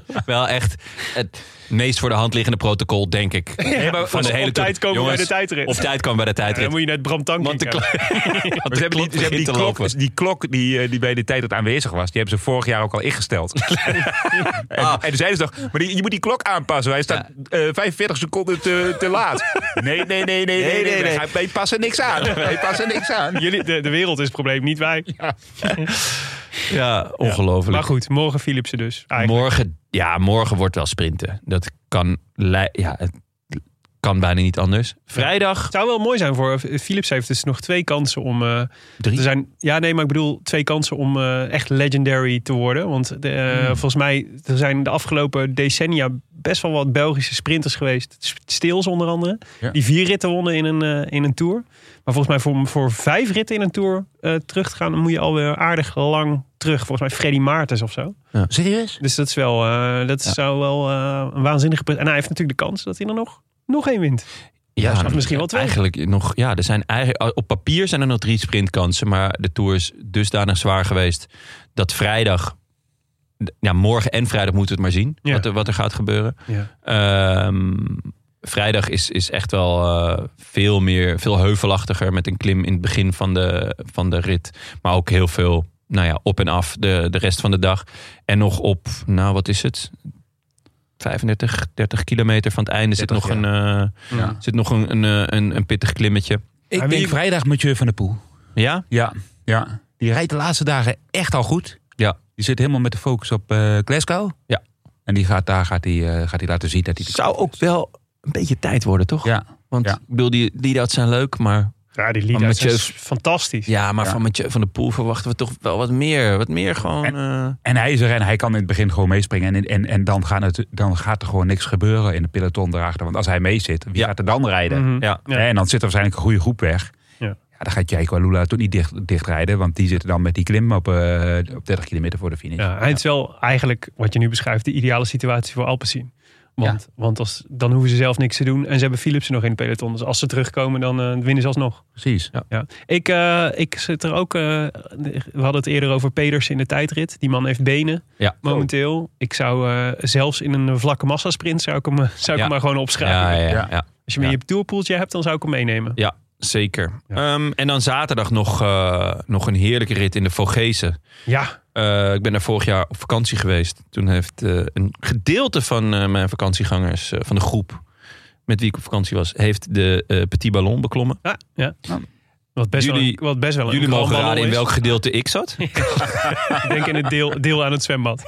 Speaker 2: niet.
Speaker 1: wel echt het meest voor de hand liggende protocol, denk ik.
Speaker 2: maar als we op
Speaker 1: tour.
Speaker 2: tijd komen bij de tijdrit.
Speaker 1: Op tijd komen bij de
Speaker 2: Ja, dan
Speaker 1: tijdrit.
Speaker 2: moet je net Bram Tank
Speaker 1: Want de
Speaker 2: kijken.
Speaker 3: Maar ze hebben, die, ze hebben die, klok, die klok die, eh, die bij de tijd dat aanwezig was, die hebben ze vorig jaar ook al ingesteld. en, en toen zeiden ze toch, maar die- je moet die klok aanpassen. Hij staat eh, 45 seconden te, te laat. Nee, nee, nee, nee, nee, nee.
Speaker 1: nee, nee.
Speaker 3: Wij, gaan- wij passen niks aan. Wij passen niks aan.
Speaker 2: Jullie, de, de wereld is het probleem, niet wij.
Speaker 1: Ja, ongelooflijk.
Speaker 2: Maar goed, morgen Philipsen dus. Eigenlijk.
Speaker 1: Morgen, ja, morgen wordt wel sprinten. Dat kan, lei- ja, het kan bijna niet anders. Vrijdag.
Speaker 2: Het zou wel mooi zijn voor Philips heeft dus nog twee kansen om. eh,
Speaker 1: Drie.
Speaker 2: er zijn, ja, nee, maar ik bedoel twee kansen om eh, echt legendary te worden. Want de,
Speaker 1: Hmm.
Speaker 2: eh, volgens mij er zijn de afgelopen decennia best wel wat Belgische sprinters geweest. Sp- Stils onder andere.
Speaker 3: Ja.
Speaker 2: Die vier ritten wonnen in een, eh, in een tour. Maar volgens mij voor, voor vijf ritten in een tour eh, terug te gaan, dan moet je alweer aardig lang terug. Volgens mij Freddy Maartens of zo.
Speaker 3: Serieus?
Speaker 2: Dus dat is wel, eh, dat
Speaker 1: Ja.
Speaker 2: zou wel eh, een waanzinnige. pre- En hij heeft natuurlijk de kans dat hij er nog, nog één wint.
Speaker 1: Ja,
Speaker 2: dat is misschien wel twee.
Speaker 1: Eigenlijk nog, ja, er zijn eigenlijk, op papier zijn er nog drie sprintkansen. Maar de Tour is dusdanig zwaar geweest dat vrijdag, ja, morgen en vrijdag moeten we het maar zien.
Speaker 2: Ja.
Speaker 1: Wat, er, wat er gaat gebeuren.
Speaker 2: Ja.
Speaker 1: Ehm, vrijdag is, is echt wel eh, veel meer, veel heuvelachtiger met een klim in het begin van de, van de rit. Maar ook heel veel, nou ja, op en af de, de rest van de dag. En nog op, nou wat is het? 35, 30 kilometer van het einde zit
Speaker 3: 30,
Speaker 1: nog een... eh,
Speaker 3: Ja.
Speaker 1: zit nog een, een, eh, een, een pittig klimmetje.
Speaker 3: Ik
Speaker 2: Maar wie-
Speaker 3: denk vrijdag Mathieu van der Poel.
Speaker 1: Ja?
Speaker 3: Ja, ja. Die rijdt de laatste dagen echt al goed.
Speaker 1: Ja.
Speaker 3: Die zit helemaal met de focus op eh, Glasgow.
Speaker 1: Ja.
Speaker 3: En die gaat, daar gaat hij eh, gaat hij laten zien dat hij... de-
Speaker 1: Zou ook wel een beetje tijd worden, toch?
Speaker 3: Ja.
Speaker 1: Want
Speaker 3: Ja.
Speaker 1: ik bedoel, die lead-outs zijn leuk, maar...
Speaker 2: Ja, die
Speaker 1: Maar
Speaker 2: lied
Speaker 1: Mathieu-
Speaker 2: is fantastisch.
Speaker 1: Ja, maar
Speaker 3: Ja.
Speaker 1: van Mathieu van de Poel verwachten we toch wel wat meer. Wat meer gewoon...
Speaker 3: En-
Speaker 1: eh,
Speaker 3: En hij is er en hij kan in het begin gewoon meespringen. En, en, en dan, gaat het, dan gaat er gewoon niks gebeuren in de peloton erachter. Want als hij mee zit, wie
Speaker 1: Ja.
Speaker 3: gaat er dan rijden?
Speaker 2: Mhm.
Speaker 1: ja.
Speaker 2: Ja.
Speaker 3: En dan zit er waarschijnlijk een goede groep weg.
Speaker 2: Ja.
Speaker 3: Ja. dan gaat Jaiko Lula toch niet dicht, dichtrijden. Want die zitten dan met die klim op, eh, op 30 kilometer voor de finish.
Speaker 2: Ja, hij is wel eigenlijk, wat je nu beschrijft, de ideale situatie voor Alpecin. Want, want als, dan hoeven ze zelf niks te doen. En ze hebben Philipsen nog in de peloton. Dus als ze terugkomen, dan eh, winnen ze alsnog.
Speaker 3: Precies.
Speaker 2: Ja. Ik, eh, ik zit er ook... eh, we hadden het eerder over Peders in de tijdrit. Die man heeft benen
Speaker 1: Ja.
Speaker 2: momenteel. Ik zou eh, zelfs in een vlakke massasprint... zou ik hem, eh, zou ik
Speaker 1: Ja.
Speaker 2: hem maar gewoon
Speaker 1: Ja, ja,
Speaker 2: opschrijven.
Speaker 1: ja,
Speaker 3: Ja.
Speaker 1: ja,
Speaker 2: Als je hem in je tourpoeltje hebt, dan zou ik hem meenemen.
Speaker 1: zeker. Ehm, en dan zaterdag nog, eh, nog een heerlijke rit in de Vogezen.
Speaker 2: Ja,
Speaker 1: Eh, ik ben daar vorig jaar op vakantie geweest. Toen heeft eh, een gedeelte van eh, mijn vakantiegangers, eh, van de groep met wie ik op vakantie was, heeft de eh, Petit Ballon beklommen.
Speaker 2: ja. ja. Wat best wel,
Speaker 1: Jullie-
Speaker 2: een- wat best wel een
Speaker 1: Jullie mogen
Speaker 2: knalballon
Speaker 1: raden in
Speaker 2: is.
Speaker 1: welk gedeelte ik zat.
Speaker 2: Ik denk in het deel, deel aan het zwembad.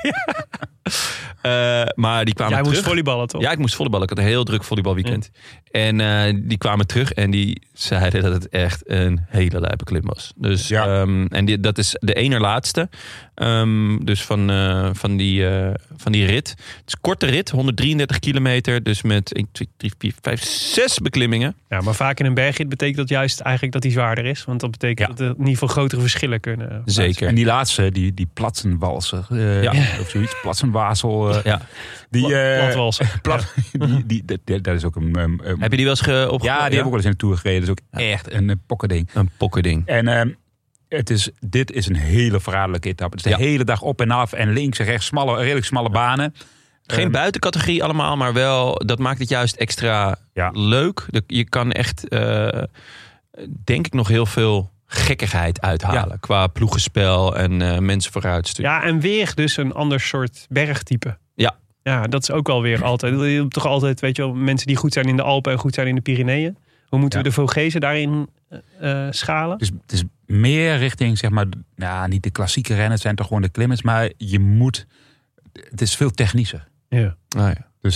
Speaker 1: Eh, maar die kwamen
Speaker 2: Jij
Speaker 1: terug.
Speaker 2: moest volleyballen, toch?
Speaker 1: Ja, ik moest volleyballen. Ik had een heel druk volleybalweekend. En eh, die kwamen terug en die zeiden dat het echt een hele lijpe klim was. Dus,
Speaker 3: Ja.
Speaker 1: ehm, en die, dat is de ene laatste. Ehm, dus van, eh, van, die, eh, van die rit. Het is een korte rit, 133 kilometer. Dus met 1, 2, 3, 4, 5, 6 beklimmingen.
Speaker 2: Ja, maar vaak in een bergrit betekent dat juist eigenlijk dat die zwaarder is. Want dat betekent
Speaker 3: Ja.
Speaker 2: dat er in ieder geval grotere verschillen kunnen. eh,
Speaker 3: En
Speaker 1: Zeker.
Speaker 3: die laatste, die, die platsenwalser. eh,
Speaker 1: Ja.
Speaker 3: Of zoiets, platsenwazel. eh,
Speaker 1: Ja.
Speaker 3: die, eh,
Speaker 2: Platwalsen.
Speaker 3: plat, die, die, dat- dat- dat is ook een... een- een-
Speaker 1: Heb je die wel eens ge- opge-
Speaker 3: ja, die hebben heb ik wel eens in de Tour gereden. Dat is ook echt een eh, pokkerding.
Speaker 1: Een pokkerding.
Speaker 3: En ehm, het is, dit is een hele verraderlijke etappe. Het is de hele dag op en af en links en rechts, smalle, redelijk smalle banen.
Speaker 1: Geen
Speaker 3: Ehm,
Speaker 1: buitencategorie allemaal, maar wel, dat maakt het juist extra
Speaker 3: Ja.
Speaker 1: leuk. De- Je kan echt, eh, denk ik, nog heel veel gekkigheid uithalen. Qua ploegenspel en eh, mensen vooruit sturen.
Speaker 2: Ja, en weer dus een ander soort bergtype.
Speaker 1: Ja.
Speaker 2: Ja, dat is ook alweer altijd. Je hebt toch altijd, weet je wel, mensen die goed zijn in de Alpen en goed zijn in de Pyreneeën. Hoe moeten
Speaker 3: Ja.
Speaker 2: we de Vogezen daarin eh, eh, schalen?
Speaker 3: Dus het is meer richting, zeg maar, ja, niet de klassieke rennen, het zijn toch gewoon de klimmers, maar je moet, het is veel technischer.
Speaker 2: Ja.
Speaker 1: Ah, ja.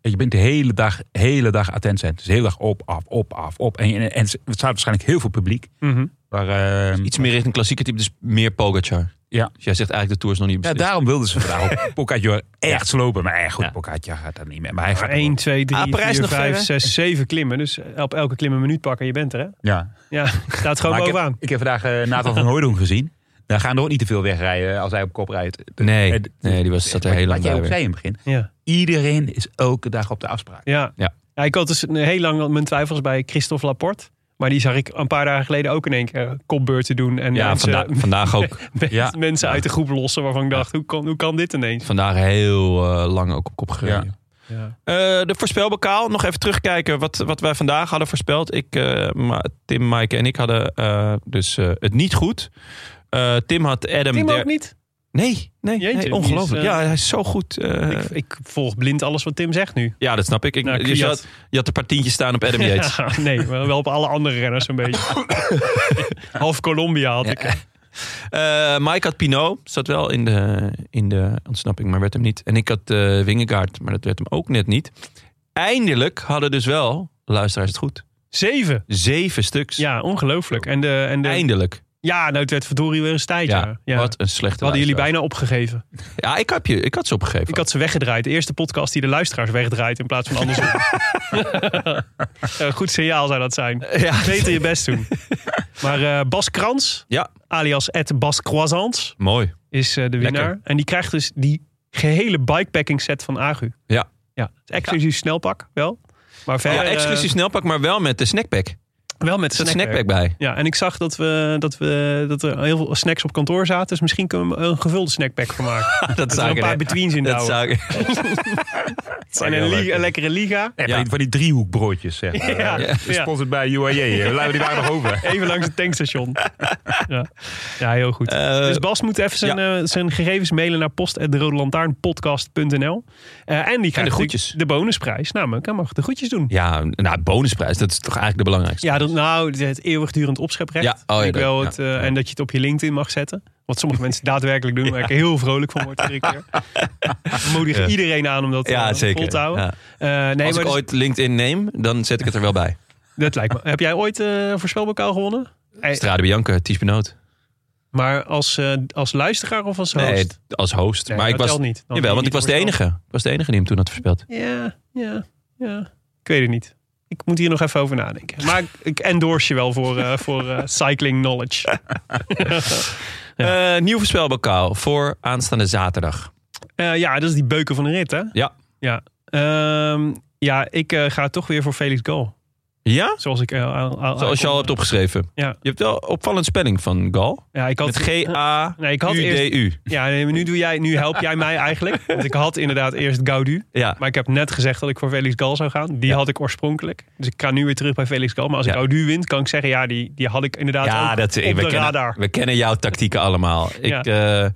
Speaker 3: Je bent de hele dag, hele dag attent zijn. Dus heel erg op, af, op, af, op. En, en, en er staat waarschijnlijk heel veel publiek.
Speaker 2: Mhm.
Speaker 3: Maar, eh,
Speaker 1: Iets meer richting klassieke type, dus meer Pogacar.
Speaker 3: Ja.
Speaker 1: Dus jij zegt eigenlijk de Tour is nog niet
Speaker 3: ja,
Speaker 1: beslist.
Speaker 3: daarom wilden ze vandaag Pogacar echt slopen. Maar eh, goed,
Speaker 1: Ja.
Speaker 3: Pogacar gaat dat niet meer. Maar hij gaat
Speaker 2: Maar 1, 2, 3,
Speaker 1: Ah, Parijs
Speaker 2: 4,
Speaker 1: nog
Speaker 2: 5,
Speaker 1: verder?
Speaker 2: 6, 7 klimmen. Dus op elke klim een minuut pakken en je bent er, hè?
Speaker 3: Ja.
Speaker 2: Ja, staat gewoon
Speaker 3: Maar ik, heb,
Speaker 2: bovenaan.
Speaker 3: ik heb vandaag eh, Nathan van Hooydonk gezien. Daar gaan er ook niet te veel wegrijden als hij op kop rijdt.
Speaker 1: nee,
Speaker 3: Eh, d-
Speaker 1: nee, die was, zat er
Speaker 3: Wat-
Speaker 1: heel lang
Speaker 3: Wat jij
Speaker 1: bij.
Speaker 3: ook
Speaker 1: weer.
Speaker 3: zei in het begin.
Speaker 2: Ja.
Speaker 3: Iedereen is elke dag op de afspraak.
Speaker 2: Ja.
Speaker 1: Ja.
Speaker 2: Ja, ik had dus een- heel lang mijn twijfels bij Christophe Laporte. Maar die zag ik een paar dagen geleden ook in één keer eh, kopbeurten doen. En
Speaker 1: Ja,
Speaker 2: mensen,
Speaker 1: vanda- vandaag ook.
Speaker 2: men-
Speaker 3: Ja.
Speaker 2: mensen uit de groep lossen waarvan ik dacht, hoe kan, hoe kan dit ineens?
Speaker 1: Vandaag heel eh, lang ook op kop gereden.
Speaker 3: Ja.
Speaker 2: Ja.
Speaker 1: Eh, de voorspelbokaal. Nog even terugkijken wat, wat wij vandaag hadden voorspeld. Ik, eh, Ma- Tim, Maaike en ik hadden eh, dus eh, het niet goed. Eh, Tim had Adam...
Speaker 2: Tim
Speaker 1: Der-
Speaker 2: ook niet.
Speaker 1: Nee, nee,
Speaker 2: Jeetje,
Speaker 1: nee,
Speaker 2: die
Speaker 1: ongelooflijk.
Speaker 2: is, eh,
Speaker 1: Ja, hij is zo goed. eh,
Speaker 2: ik, ik volg blind alles wat Tim zegt nu.
Speaker 1: ja, dat snap ik. ik
Speaker 2: Nou,
Speaker 1: je,
Speaker 2: Kwiat.
Speaker 1: had, je had een paar tientjes staan op Adam Yates.
Speaker 2: Ja, nee, maar wel op alle andere renners een beetje. Half Colombia had ik.
Speaker 1: Eh, Mike had Pinot, zat wel in de, in de ontsnapping, maar werd hem niet. En ik had eh Wingegaard, maar dat werd hem ook net niet. Eindelijk hadden dus wel, luisteraars het goed,
Speaker 2: Zeven.
Speaker 1: zeven stuks.
Speaker 2: Ja, ongelooflijk. En de, en de,
Speaker 1: Eindelijk.
Speaker 2: Ja, nou, het werd verdorie weer eens tijd. Ja.
Speaker 1: Ja,
Speaker 2: Ja.
Speaker 1: Wat een slechte
Speaker 2: We hadden jullie
Speaker 1: luisteraar.
Speaker 2: bijna opgegeven.
Speaker 1: Ja, ik, heb je, ik had ze opgegeven.
Speaker 2: Ik had ze weggedraaid. De eerste podcast die de luisteraars wegdraait in plaats van andersom. Een goed signaal zou dat zijn.
Speaker 1: Ja.
Speaker 2: Beter je best doen. Maar eh, Bas Krans,
Speaker 1: Ja.
Speaker 2: alias Ed Bas Croissants,
Speaker 1: Mooi.
Speaker 2: is eh, de winnaar.
Speaker 1: Lekker.
Speaker 2: En die krijgt dus die gehele bikepacking set van Agu.
Speaker 1: Ja.
Speaker 2: ja. Het is Exclusief snelpak, wel. Maar verder,
Speaker 1: Ja, exclusief
Speaker 2: eh,
Speaker 1: snelpak, maar wel met de snackpack. Er
Speaker 2: wel met
Speaker 1: zat
Speaker 2: snackwerk.
Speaker 1: snackpack bij.
Speaker 2: Ja, en ik zag dat, we, dat, we, dat er heel veel snacks op kantoor zaten. Dus misschien kunnen we er een gevulde snackpack van maken.
Speaker 1: Dat,
Speaker 2: Dat er een paar
Speaker 1: hè?
Speaker 2: betweens in
Speaker 1: Dat
Speaker 2: douwen.
Speaker 1: zou ik-
Speaker 2: En een, li- een lekkere liga.
Speaker 3: En
Speaker 1: Ja.
Speaker 3: van die- van die driehoekbroodjes, zeg maar.
Speaker 2: Ja,
Speaker 3: Eh,
Speaker 2: ja.
Speaker 3: Gesponsord bij UAJ. Eh, Laten we die daar nog over.
Speaker 2: Even langs het tankstation. Ja, ja heel goed.
Speaker 1: Eh,
Speaker 2: dus Bas moet even zijn, eh, zijn gegevens mailen naar post.rodelantaarnpodcast.nl. Eh en die krijgt
Speaker 1: groetjes.
Speaker 2: De, de bonusprijs. Namelijk, hij mag de groetjes doen.
Speaker 1: Ja, nou, bonusprijs, dat is toch eigenlijk de belangrijkste.
Speaker 2: Ja, dat, nou, het eeuwigdurend opscheprecht.
Speaker 1: Ja, oh ja,
Speaker 2: ik wel
Speaker 1: dat-
Speaker 2: het,
Speaker 1: ja,
Speaker 2: eh,
Speaker 1: ja.
Speaker 2: En dat je het op je LinkedIn mag zetten. Wat sommige mensen daadwerkelijk doen, waar ik heel vrolijk van word iedere keer. Ik Moedig
Speaker 1: Ja.
Speaker 2: iedereen aan om dat eh,
Speaker 1: Ja, zeker.
Speaker 2: vol te houden.
Speaker 1: Ja.
Speaker 2: Eh, nee,
Speaker 1: Als
Speaker 2: maar
Speaker 1: ik
Speaker 2: dus-
Speaker 1: ooit LinkedIn neem, dan zet ik het er wel bij.
Speaker 2: dat lijkt me. Heb jij ooit eh voorspelbokaal gewonnen? Eh,
Speaker 1: Strade Bianca, Ties Benoot.
Speaker 2: Maar als, eh, als luisteraar of als host?
Speaker 1: Nee, als host.
Speaker 2: Nee,
Speaker 1: maar ik
Speaker 2: dat
Speaker 1: was,
Speaker 2: telt niet. Dan
Speaker 1: jawel,
Speaker 2: kun
Speaker 1: want
Speaker 2: je
Speaker 1: ik was de
Speaker 2: niet
Speaker 1: enige. Ik was de enige die hem toen had voorspeld.
Speaker 2: Ja, ja, ja. Ik weet het niet. Ik moet hier nog even over nadenken. Maar ik- ik endorse je wel voor, eh, voor eh, cycling knowledge.
Speaker 1: Eh, nieuw voorspelbokaal voor aanstaande zaterdag.
Speaker 2: Eh, ja, dat is die beuken van de rit, hè?
Speaker 1: Ja.
Speaker 2: Ja, Ehm, ja ik eh, ga toch weer voor Felix Gal.
Speaker 1: Ja?
Speaker 2: Zoals ik... eh, al- al-
Speaker 1: Zoals je al hebt opgeschreven.
Speaker 2: Ja.
Speaker 1: Je hebt wel opvallend spelling van Gal.
Speaker 2: Ja, ik had...
Speaker 1: Met G-A...
Speaker 2: Nee, ik had eerst...
Speaker 1: UDU.
Speaker 2: Ja, nee, maar nu, doe jij, nu help jij mij eigenlijk. Want ik had inderdaad eerst Gaudu.
Speaker 1: Ja.
Speaker 2: Maar ik heb net gezegd dat ik voor Felix Gal zou gaan. Die had ik oorspronkelijk. Dus ik ga nu weer terug bij Felix Gal. Maar als
Speaker 1: Ja.
Speaker 2: Gaudu wint, kan ik zeggen... Ja, die, die had ik inderdaad
Speaker 1: Ja,
Speaker 2: ook
Speaker 1: dat, eh,
Speaker 2: op
Speaker 1: we,
Speaker 2: de
Speaker 1: kennen,
Speaker 2: radar.
Speaker 1: we kennen jouw tactieken allemaal. Ik, eh, eh,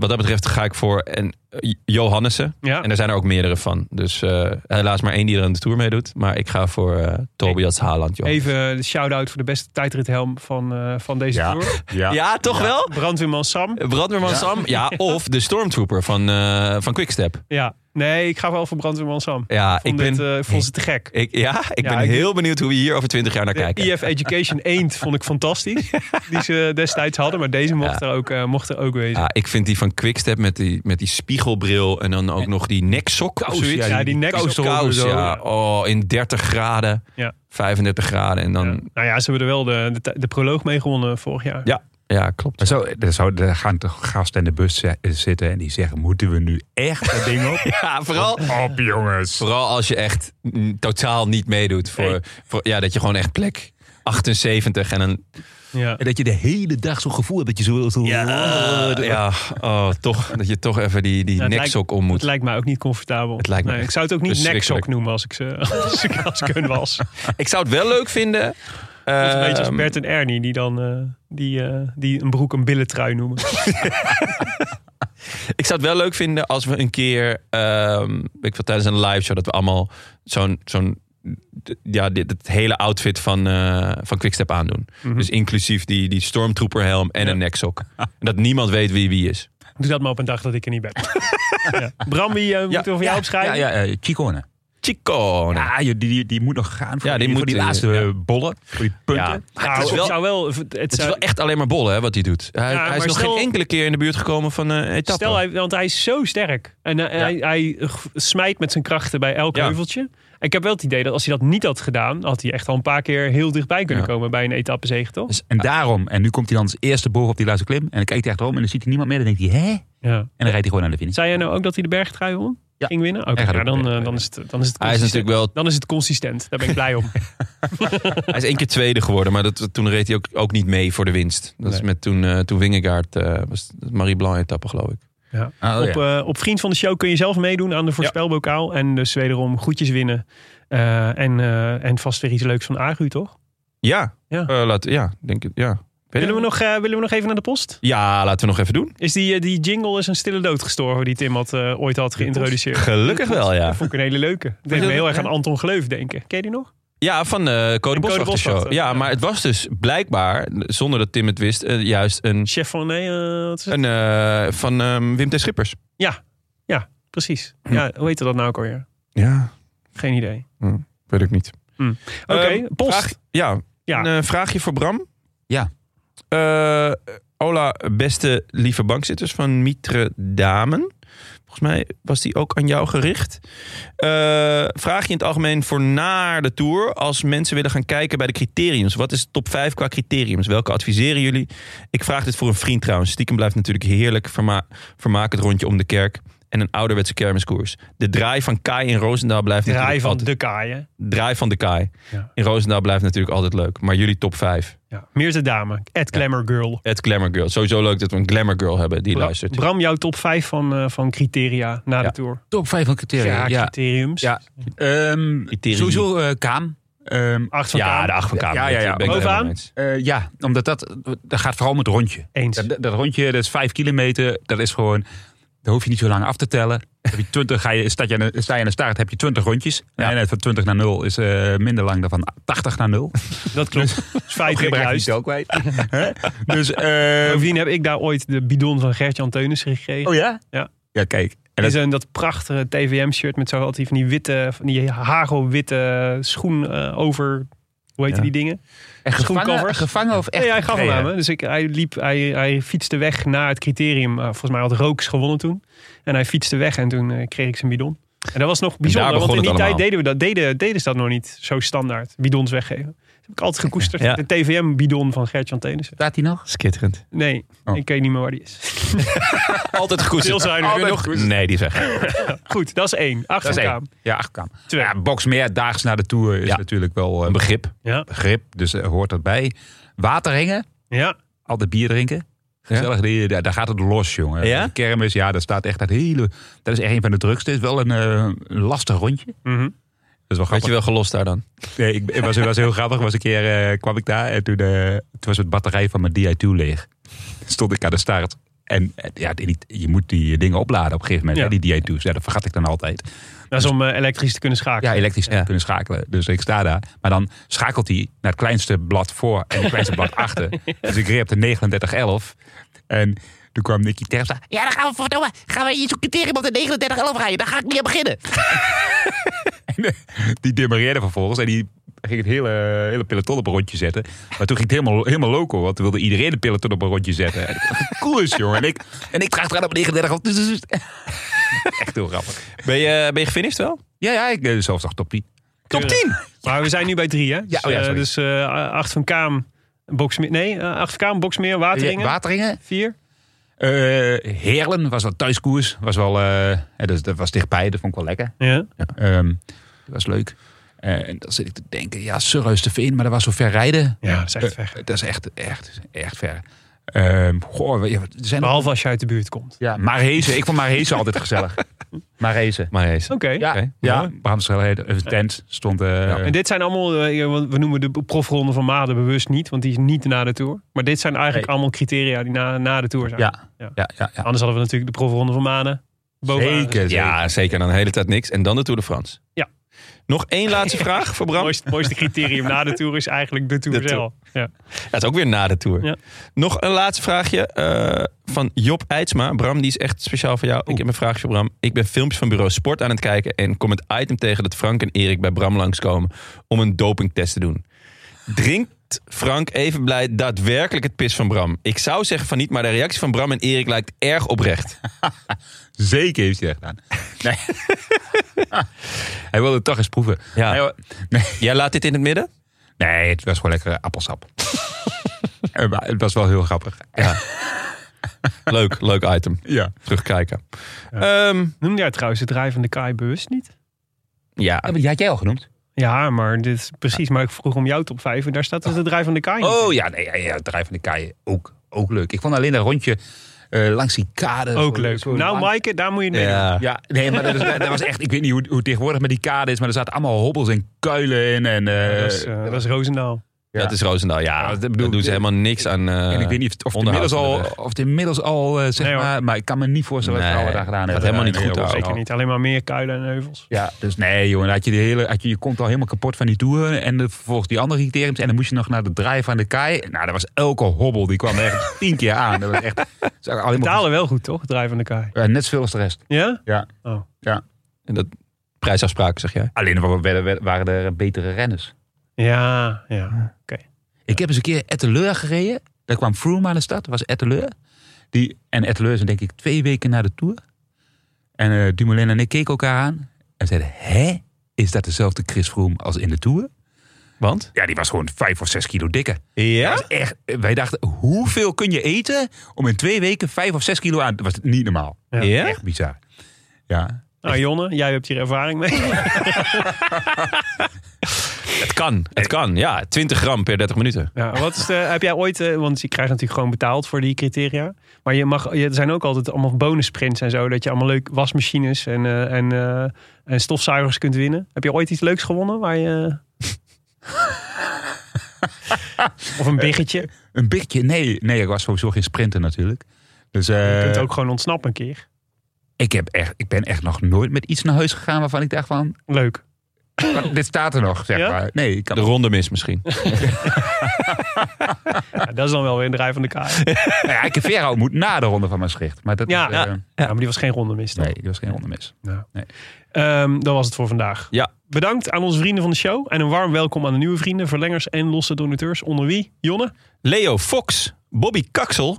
Speaker 1: wat dat betreft ga ik voor en, eh, Johannessen.
Speaker 2: Ja.
Speaker 1: En er zijn er ook meerdere van. Dus eh, helaas maar één die er aan de Tour meedoet. Maar ik ga voor eh, Tobias Haaland. joh.
Speaker 2: Even de shout-out voor de beste tijdrithelm van, eh, van deze
Speaker 3: Ja.
Speaker 2: tour.
Speaker 3: Ja.
Speaker 1: Ja, toch wel?
Speaker 2: Brandweerman Sam.
Speaker 1: Brandweerman
Speaker 3: Ja.
Speaker 1: Sam. Ja, of de Stormtrooper van, eh van Quickstep.
Speaker 2: Ja. Nee, ik ga wel voor Brandweerman Sam.
Speaker 1: Ja, ik
Speaker 2: Vond
Speaker 1: ben,
Speaker 2: dit, eh, vond ze te gek.
Speaker 1: ik, ja, ik
Speaker 2: Ja,
Speaker 1: ben
Speaker 2: ik-
Speaker 1: heel benieuwd hoe we hier over twintig jaar naar
Speaker 2: De
Speaker 1: kijken.
Speaker 2: EF Education Eend vond ik fantastisch. Die ze destijds hadden. Maar deze mocht,
Speaker 1: Ja.
Speaker 2: er, ook, eh, mocht er ook wezen.
Speaker 1: Ja, Ah, ik vind die van Quickstep met die, met die spiegelbril en dan ook nog die neksok of
Speaker 3: Kous,
Speaker 1: zoiets.
Speaker 3: ja,
Speaker 2: die- die neksok.
Speaker 1: kous, kous,
Speaker 3: Zo,
Speaker 1: ja.
Speaker 2: ja.
Speaker 1: Oh, in 30 graden,
Speaker 2: Ja.
Speaker 1: 35 graden en dan...
Speaker 2: Ja.
Speaker 1: Ja,
Speaker 2: Nou ja, ze hebben er wel de, de, de proloog mee gewonnen vorig jaar.
Speaker 1: klopt.
Speaker 3: Maar zo, er, zou, er gaan toch gasten in de bus zi- zitten en die zeggen, moeten we nu echt dat ding op?
Speaker 1: Ja, vooral,
Speaker 3: op jongens.
Speaker 1: vooral als je echt mm, totaal niet meedoet. Voor,
Speaker 2: Nee.
Speaker 1: voor, ja, dat je gewoon echt plek 78 en een...
Speaker 2: Ja.
Speaker 3: En dat je de hele dag zo'n gevoel hebt dat je zo wil...
Speaker 1: Ja, ja oh, toch, dat je toch even die, die
Speaker 2: Ja, het
Speaker 1: neksok om
Speaker 2: Het
Speaker 1: moet.
Speaker 2: lijkt mij ook niet comfortabel.
Speaker 1: Het lijkt me
Speaker 2: nee,
Speaker 1: echt
Speaker 2: ik zou het ook niet
Speaker 1: verschrikkelijk.
Speaker 2: neksok noemen als ik ze als ik, als ik hun was.
Speaker 1: Ik zou het wel leuk vinden...
Speaker 2: Dat is een beetje als
Speaker 1: ehm,
Speaker 2: Bert en Ernie die dan eh, die, eh, die een broek een billentrui noemen.
Speaker 1: Ik zou het wel leuk vinden als we een keer, ehm, weet ik veel, tijdens een live show, dat we allemaal zo'n zo'n d- ja, dit, het hele outfit van, eh van Quickstep aandoen.
Speaker 2: Mhm.
Speaker 1: Dus inclusief die, die stormtrooper helm en een neksok. En dat niemand weet wie wie is.
Speaker 2: Doe dat maar op een dag dat ik er niet ben. ja. Bram, wie eh, moeten we voor jou opschrijven?
Speaker 3: Ja, ja eh, Chicone.
Speaker 1: Chico.
Speaker 3: Ah, joh, die, die, die moet nog gaan voor
Speaker 1: Ja,
Speaker 3: die,
Speaker 1: die
Speaker 3: voor
Speaker 1: moet,
Speaker 3: die
Speaker 1: eh,
Speaker 3: laatste
Speaker 1: ja.
Speaker 3: eh, bollen. Voor die punten.
Speaker 1: Ja.
Speaker 2: Nou,
Speaker 1: het is wel-
Speaker 2: het zou wel, het
Speaker 1: Het is
Speaker 2: zou-
Speaker 1: wel echt alleen maar bollen hè, wat hij doet. Hij,
Speaker 2: Ja,
Speaker 1: hij is
Speaker 2: maar
Speaker 1: nog
Speaker 2: stel-
Speaker 1: geen enkele keer in de buurt gekomen van eh etappe.
Speaker 2: Stel, hij, want hij is zo sterk. En eh, hij, hij g- smijt met zijn krachten bij elk
Speaker 1: Ja.
Speaker 2: heuveltje. Ik heb wel het idee dat als hij dat niet had gedaan... had hij echt al een paar keer heel dichtbij kunnen
Speaker 1: Ja. Dus-
Speaker 2: komen bij een etappezege, toch?
Speaker 3: Dus, En daarom, en nu komt hij dan als eerste boven op die laatste klim. En dan kijkt hij achterom en dan ziet hij niemand meer. Dan denkt hij, hè? En
Speaker 2: Ja.
Speaker 3: dan rijdt hij gewoon naar de finish.
Speaker 2: Zei jij nou ook dat hij de bergtrui won?
Speaker 3: Ja.
Speaker 2: Ging winnen? Oké,
Speaker 3: Hij gaat
Speaker 2: nou,
Speaker 3: ook
Speaker 2: dan,
Speaker 3: de
Speaker 2: eh,
Speaker 3: berg-
Speaker 2: dan, is het, dan is het
Speaker 1: hij is
Speaker 2: consistent.
Speaker 1: natuurlijk wel
Speaker 2: Dan is het consistent. Daar ben ik blij om.
Speaker 1: Hij is één keer tweede geworden, maar dat, toen reed hij ook, ook niet mee voor de winst. Dat is
Speaker 2: Nee.
Speaker 1: met toen, eh toen Wingegaard, eh was het Marie Blanc etappe geloof ik.
Speaker 2: Ja.
Speaker 3: Ah, oh
Speaker 2: op, eh, op Vriend van de Show kun je zelf meedoen aan de voorspelbokaal. En dus wederom goedjes winnen. Eh, en, eh, en vast weer iets leuks van Agu, toch?
Speaker 1: Ja,
Speaker 2: Ja.
Speaker 1: Eh, laat, ja denk ik, ja. Weet
Speaker 2: Willen we,
Speaker 1: ik-
Speaker 2: nog, eh, willen we nog even naar de post?
Speaker 1: Ja, laten we nog even doen.
Speaker 2: Is die, eh, die jingle is een stille dood gestorven die Tim had, eh, ooit had geïntroduceerd.
Speaker 1: Gelukkig wel, ja.
Speaker 2: Vond ik een hele leuke. Dat deed
Speaker 1: je
Speaker 2: me heel
Speaker 1: dat-
Speaker 2: erg aan
Speaker 1: ja?
Speaker 2: Anton Gleuf denken. Ken je die nog?
Speaker 1: Ja, van de Code
Speaker 2: Code
Speaker 1: Boswachter Show.
Speaker 2: Boswachter,
Speaker 1: Ja,
Speaker 2: ja.
Speaker 1: maar het was dus blijkbaar, zonder dat Tim het wist, eh, juist een,
Speaker 2: Chef van... Nee, eh, wat is het?
Speaker 1: een eh, van ehm, Wim T. Schippers.
Speaker 2: Ja, ja, precies.
Speaker 1: Hm.
Speaker 2: Ja, hoe heette dat nou ook alweer?
Speaker 1: Ja,
Speaker 2: Geen idee.
Speaker 1: weet ik niet.
Speaker 2: Oké,
Speaker 1: Ehm,
Speaker 2: post.
Speaker 1: Vraag, ja,
Speaker 2: Ja.
Speaker 1: een eh, vraagje voor Bram.
Speaker 3: Ja.
Speaker 1: Eh, Ola, beste lieve bankzitters van Mitre Damen. Volgens mij was die ook aan jou gericht. Eh, vraag je in het algemeen voor na de tour. Als mensen willen gaan kijken bij de criteriums. Wat is top 5 qua criteriums? Welke adviseren jullie? Ik vraag dit voor een vriend trouwens. Stiekem blijft natuurlijk heerlijk. Verma vermaak het rondje om de kerk. En een ouderwetse kermiskoers. De draai van Kai in Roosendaal blijft
Speaker 2: Draai
Speaker 1: natuurlijk
Speaker 2: van
Speaker 1: altijd
Speaker 2: de kaaien.
Speaker 1: draai van de Kai.
Speaker 2: Ja.
Speaker 1: In Roosendaal blijft natuurlijk altijd leuk. Maar jullie top 5.
Speaker 2: Ja. Meerte Dame, Ed Glamour Girl.
Speaker 1: Het Glamour Girl. Sowieso leuk dat we een Glamour Girl hebben die
Speaker 2: Bra-
Speaker 1: luistert.
Speaker 2: Bram, jouw top 5 van, eh, van criteria na de
Speaker 1: Ja.
Speaker 2: tour.
Speaker 3: Top 5 van criteria.
Speaker 2: Ja,
Speaker 3: ja.
Speaker 2: criteriums.
Speaker 3: Ja. Ehm,
Speaker 1: Criteria.
Speaker 3: sowieso eh, Kaam. Ehm,
Speaker 2: Acht van
Speaker 1: ja,
Speaker 2: Kaam.
Speaker 1: de acht van Kamer.
Speaker 3: Ja, ja, ja.
Speaker 1: Ben ik het
Speaker 2: Bovenaan?
Speaker 1: helemaal mee eens.
Speaker 3: eh, ja, omdat dat, dat gaat vooral om het rondje.
Speaker 2: Eens.
Speaker 3: Dat, dat rondje, dat is vijf kilometer. Dat is gewoon, daar hoef je niet zo lang af te tellen. Heb je 20, ga je, sta, je aan de, sta je aan de start, heb je 20 rondjes. De eenheid van 20 naar 0 is eh, minder lang dan van 80 naar 0.
Speaker 2: Dat klopt.
Speaker 3: Oh,
Speaker 2: Dat is feitelijk juist.
Speaker 3: ook kwijt. Hè? dus, eh,
Speaker 2: Bovendien heb ik daar ooit de bidon van Gert-Jan Teunissen gekregen.
Speaker 3: oh ja?
Speaker 2: Ja.
Speaker 3: Ja, kijk. En
Speaker 2: En
Speaker 3: dat,
Speaker 2: is een, dat prachtige TVM-shirt met zo altijd van die witte, van die hagelwitte schoen eh, over. Hoe heet
Speaker 1: Ja.
Speaker 2: die dingen?
Speaker 3: en gevangen,
Speaker 2: schoencovers?
Speaker 3: gevangen of echt?
Speaker 2: nee, hij gaf hem aan
Speaker 3: gekregen?
Speaker 2: me. Dus ik, hij, liep, hij, hij fietste weg naar het criterium. Eh, volgens mij had Rooks gewonnen toen. En hij fietste weg en toen eh, kreeg ik zijn bidon. En dat was nog bijzonder,
Speaker 1: begon
Speaker 2: want in
Speaker 1: het
Speaker 2: die tijd
Speaker 1: allemaal.
Speaker 2: deden, we dat, deden, deden ze dat nog niet zo standaard. Bidons weggeven. Dat heb ik altijd gekoesterd.
Speaker 1: Ja.
Speaker 2: De TVM-bidon van Gert-Jan Teunissen.
Speaker 3: Staat hij nog?
Speaker 1: Schitterend.
Speaker 2: Nee,
Speaker 3: Oh.
Speaker 2: ik weet niet meer waar die is.
Speaker 1: Altijd
Speaker 2: Veel
Speaker 1: gekoesterd.
Speaker 2: zuiniger.
Speaker 1: Heb je nog? Nee, die zeg.
Speaker 2: Goed, dat is één. Achter
Speaker 3: Dat is één.
Speaker 2: elkaar.
Speaker 3: Ja, achterkant.
Speaker 2: Twee.
Speaker 3: Ja, box meer daags na de Tour is
Speaker 1: Ja.
Speaker 3: natuurlijk wel
Speaker 1: Een
Speaker 3: een
Speaker 1: begrip.
Speaker 2: Ja.
Speaker 3: begrip. Dus eh, hoort dat bij. Waterringen.
Speaker 2: ja.
Speaker 3: altijd bier drinken. Gezellig, die, daar, daar gaat het los, jongen.
Speaker 1: Ja?
Speaker 3: De kermis, ja, daar staat echt dat hele... Dat is echt een van de drukste. Het is wel een, eh, een lastig rondje.
Speaker 2: Mhm.
Speaker 3: Dat is wel
Speaker 1: Had je
Speaker 3: grappig.
Speaker 1: wel gelost daar dan?
Speaker 3: Nee, ik, het was, het was heel grappig. Was een keer eh, kwam ik daar en toen, eh, toen was het batterij van mijn Di2 leeg. Stond ik aan de start. En eh, ja, die- die- je moet die dingen opladen op een gegeven moment,
Speaker 2: Ja.
Speaker 3: hè, die Di2's. Ja, dat vergat ik dan altijd.
Speaker 2: Dat is om eh, elektrisch te kunnen schakelen.
Speaker 3: Ja, elektrisch
Speaker 1: Ja.
Speaker 3: kunnen schakelen. Dus ik sta daar. Maar dan schakelt hij naar het kleinste blad voor en het kleinste blad achter. Dus ik reed op de 3911. En toen kwam Nicky Terpstra. Ja, dan gaan we verdomme. Gaan we iets criterium op de 3911 rijden. Daar ga ik niet aan beginnen. En, eh, die demareerde vervolgens en die ging het hele, hele peloton op een rondje zetten. Maar toen ging het helemaal, helemaal loco, want toen wilde iedereen de peloton op een rondje zetten. En, cool is, jongen. En ik, en ik draag eraan op 3911. Echt heel grappig.
Speaker 1: Ben je, ben je gefinished wel?
Speaker 3: Ja, ja, ik eh, zelfs nog top 10.
Speaker 1: Top 10!
Speaker 2: Maar we zijn nu bij drie, hè? Dus,
Speaker 3: oh ja,
Speaker 2: eh,
Speaker 3: sorry.
Speaker 2: dus eh, acht van Kaam, Boksmeer. Nee, eh, acht van Kaam, Boksmeer, Wateringen.
Speaker 3: Wateringen.
Speaker 2: vier.
Speaker 3: Eh Heerlen was wel thuiskoers. Was wel, eh, eh, dus, dat was dichtbij, dat vond ik wel lekker.
Speaker 2: Ja.
Speaker 3: Ehm, dat was leuk. Eh, en dan zit ik te denken, ja, Surreus te Veen, maar dat was zo ver rijden.
Speaker 2: ja, dat is echt ver.
Speaker 3: Eh, dat is echt, echt, echt ver. Ehm goh, we- ja, er zijn nog-
Speaker 2: Behalve als je uit de buurt komt.
Speaker 3: ja, Marhezen. Ik vond Marhezen altijd gezellig. Marhezen.
Speaker 1: Maar eens.
Speaker 2: Oké.
Speaker 3: Ja,
Speaker 1: Oké,
Speaker 3: ja.
Speaker 1: mooi.
Speaker 3: Bram Strelheide, een tent stond. eh,
Speaker 2: En dit zijn allemaal, eh, want we noemen de profronde van Maden bewust niet, want die is niet na de Tour. Maar dit zijn eigenlijk
Speaker 3: Nee.
Speaker 2: allemaal criteria die na, na de Tour zijn.
Speaker 3: ja,
Speaker 2: Ja.
Speaker 3: ja, ja, ja.
Speaker 2: Anders hadden we natuurlijk de profronde van Maden bovenaan.
Speaker 3: Zeker, zeker.
Speaker 1: Ja, zeker. En dan de hele tijd niks. En dan de Tour de France.
Speaker 2: Ja.
Speaker 1: Nog één laatste vraag voor Bram.
Speaker 2: mooiste, mooiste criterium na de Tour is eigenlijk de Tour
Speaker 1: De
Speaker 2: zelf. Ja.
Speaker 1: Ja, het is ook weer na de Tour.
Speaker 2: Ja.
Speaker 1: Nog een laatste vraagje eh, van Job Eidsma. Bram, die is echt speciaal voor jou. Ik heb een vraagje voor Bram. Ik ben filmpjes van Bureau Sport aan het kijken... en kom het item tegen dat Frank en Erik bij Bram langskomen... om een dopingtest te doen. Drinkt Frank even blij daadwerkelijk het pis van Bram? Ik zou zeggen van niet, maar de reactie van Bram en Erik lijkt erg oprecht.
Speaker 3: Zeker heeft hij dat gedaan. Nee. hij wilde het toch eens proeven.
Speaker 1: Ja.
Speaker 3: Hij wil- nee.
Speaker 1: Jij laat dit in het midden?
Speaker 3: nee, het was gewoon lekkere appelsap. Eh, maar het was wel heel grappig.
Speaker 1: Leuk, leuk item.
Speaker 3: Ja.
Speaker 1: Terugkijken. Ehm, Ja,
Speaker 2: Noem jij trouwens het rij van de Kai bewust niet?
Speaker 1: ja.
Speaker 3: Die had jij al genoemd.
Speaker 2: Ja, maar dit is precies. Maar ik vroeg om jouw top 5 en daar staat dus het rij van de Kai. niet.
Speaker 3: Oh ja, nee, ja, ja, het Rij van de Kaaien. Ook, ook leuk. Ik vond alleen een rondje eh, langs die kade.
Speaker 2: Ook
Speaker 3: zo-
Speaker 2: leuk.
Speaker 3: zo
Speaker 2: Nou,
Speaker 3: lang-
Speaker 2: Maaike, daar moet je mee. doen.
Speaker 1: ja.
Speaker 3: Ja, nee, maar dat, is, dat was echt... Ik weet niet hoe, hoe het tegenwoordig met die kade is, maar er zaten allemaal hobbels en kuilen in. En, eh,
Speaker 2: dat, is, eh, dat is Roosendaal.
Speaker 3: Ja.
Speaker 1: Dat is Roosendaal. Ja,
Speaker 3: Ja, dat
Speaker 1: daar
Speaker 3: bedoel-
Speaker 1: doen ze helemaal niks aan. eh,
Speaker 3: en ik weet niet of, het
Speaker 1: onderhoud
Speaker 3: inmiddels al,
Speaker 1: van de weg.
Speaker 3: of het inmiddels al eh, zeg
Speaker 2: Nee, hoor.
Speaker 3: maar, maar ik kan me niet voorstellen wat
Speaker 1: Nee,
Speaker 3: we daar gedaan
Speaker 1: gaat
Speaker 3: hebben.
Speaker 1: helemaal niet
Speaker 3: Nee,
Speaker 1: goed,
Speaker 3: hoor,
Speaker 1: hoor.
Speaker 3: zeker
Speaker 2: Zeker
Speaker 3: niet.
Speaker 2: niet. Alleen maar meer kuilen en heuvels.
Speaker 3: Ja, dus nee, jongen. Had je, de hele, had je, je komt al helemaal kapot van die tour. En de, vervolgens die andere criteriums. En dan moest je nog naar de draai van de Kai. Nou, dat was elke hobbel. Die kwam er echt tien keer aan. Dat was echt. zag alleen maar-
Speaker 2: Talen wel goed, toch? Het rij van de Kai.
Speaker 3: Eh, net zoveel als de rest.
Speaker 2: Ja?
Speaker 3: Ja.
Speaker 2: Oh.
Speaker 3: ja.
Speaker 1: En dat prijsafspraken, zeg jij.
Speaker 3: Alleen wa- werden- werden- waren er betere renners.
Speaker 2: Ja, ja.
Speaker 3: Ik heb eens een keer Etteleur gereden. Daar kwam Froome aan de stad. Dat was Etteleur. Die, en Etteleur is denk ik twee weken na de Tour. En eh, Dumoulin en ik keken elkaar aan. En zeiden, hè? Is dat dezelfde Chris Froome als in de Tour?
Speaker 1: Want?
Speaker 3: Ja, die was gewoon vijf of zes kilo dikker.
Speaker 1: Ja?
Speaker 3: Dat is echt, wij dachten, hoeveel kun je eten om in twee weken vijf of zes kilo aan... Dat was niet normaal.
Speaker 2: Ja.
Speaker 1: Ja?
Speaker 3: Echt bizar. Ja.
Speaker 2: Nou, Jonne, jij hebt hier ervaring mee.
Speaker 1: Het kan. Het kan. Ja, 20 gram per 30 minuten.
Speaker 2: Ja, wat is de, heb jij ooit, eh, want je krijgt natuurlijk gewoon betaald voor die criteria. Maar je mag, je- er zijn ook altijd allemaal bonussprints en zo. Dat je allemaal leuk wasmachines en, eh, en, eh, en stofzuigers kunt winnen. Heb je ooit iets leuks gewonnen waar je... of een biggetje. Je
Speaker 3: Een beetje, nee, nee, ik was sowieso geen sprinter natuurlijk. Dus eh,
Speaker 2: kunt ook gewoon ontsnappen een keer.
Speaker 3: ik, heb echt, ik ben echt nog nooit met iets naar huis gegaan waarvan ik dacht van,
Speaker 2: Leuk.
Speaker 3: van, dit staat er nog, zeg
Speaker 2: Ja?
Speaker 3: maar. Nee, ik kan
Speaker 1: De ronde mis misschien.
Speaker 2: Ja, dat is dan wel weer een draai van de kaart. Ja,
Speaker 3: Nou ja, ik heb Vera ontmoet na de ronde van Maastricht. Maar dat
Speaker 2: Ja,
Speaker 3: is, eh,
Speaker 2: ja. maar die was geen ronde mis. toch?
Speaker 3: nee, dat was geen ronde mis.
Speaker 2: Ehm, dat was het voor vandaag.
Speaker 1: Ja.
Speaker 2: Bedankt aan onze vrienden van de show. En een warm welkom aan de nieuwe vrienden, verlengers en losse donateurs. Onder wie? Jonne?
Speaker 1: Leo Fox. Bobby Kaksel.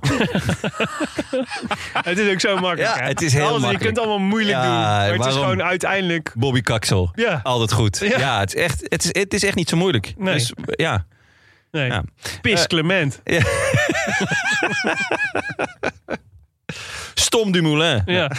Speaker 2: Het is ook zo makkelijk.
Speaker 1: Ja,
Speaker 2: hè?
Speaker 1: het is heel
Speaker 2: Alles- Je
Speaker 1: makkelijk.
Speaker 2: kunt allemaal moeilijk
Speaker 1: Ja,
Speaker 2: doen. Maar het is
Speaker 1: waarom?
Speaker 2: gewoon uiteindelijk.
Speaker 1: Bobby Kaksel.
Speaker 2: Ja.
Speaker 1: Altijd goed.
Speaker 2: Ja.
Speaker 1: Ja, het, is echt, het, is, het is echt niet zo moeilijk.
Speaker 2: Nee.
Speaker 1: Dus ja.
Speaker 2: Nee.
Speaker 1: Ja.
Speaker 2: Pis
Speaker 1: Eh,
Speaker 2: Clement.
Speaker 1: Stom Dumoulin.
Speaker 2: Ja.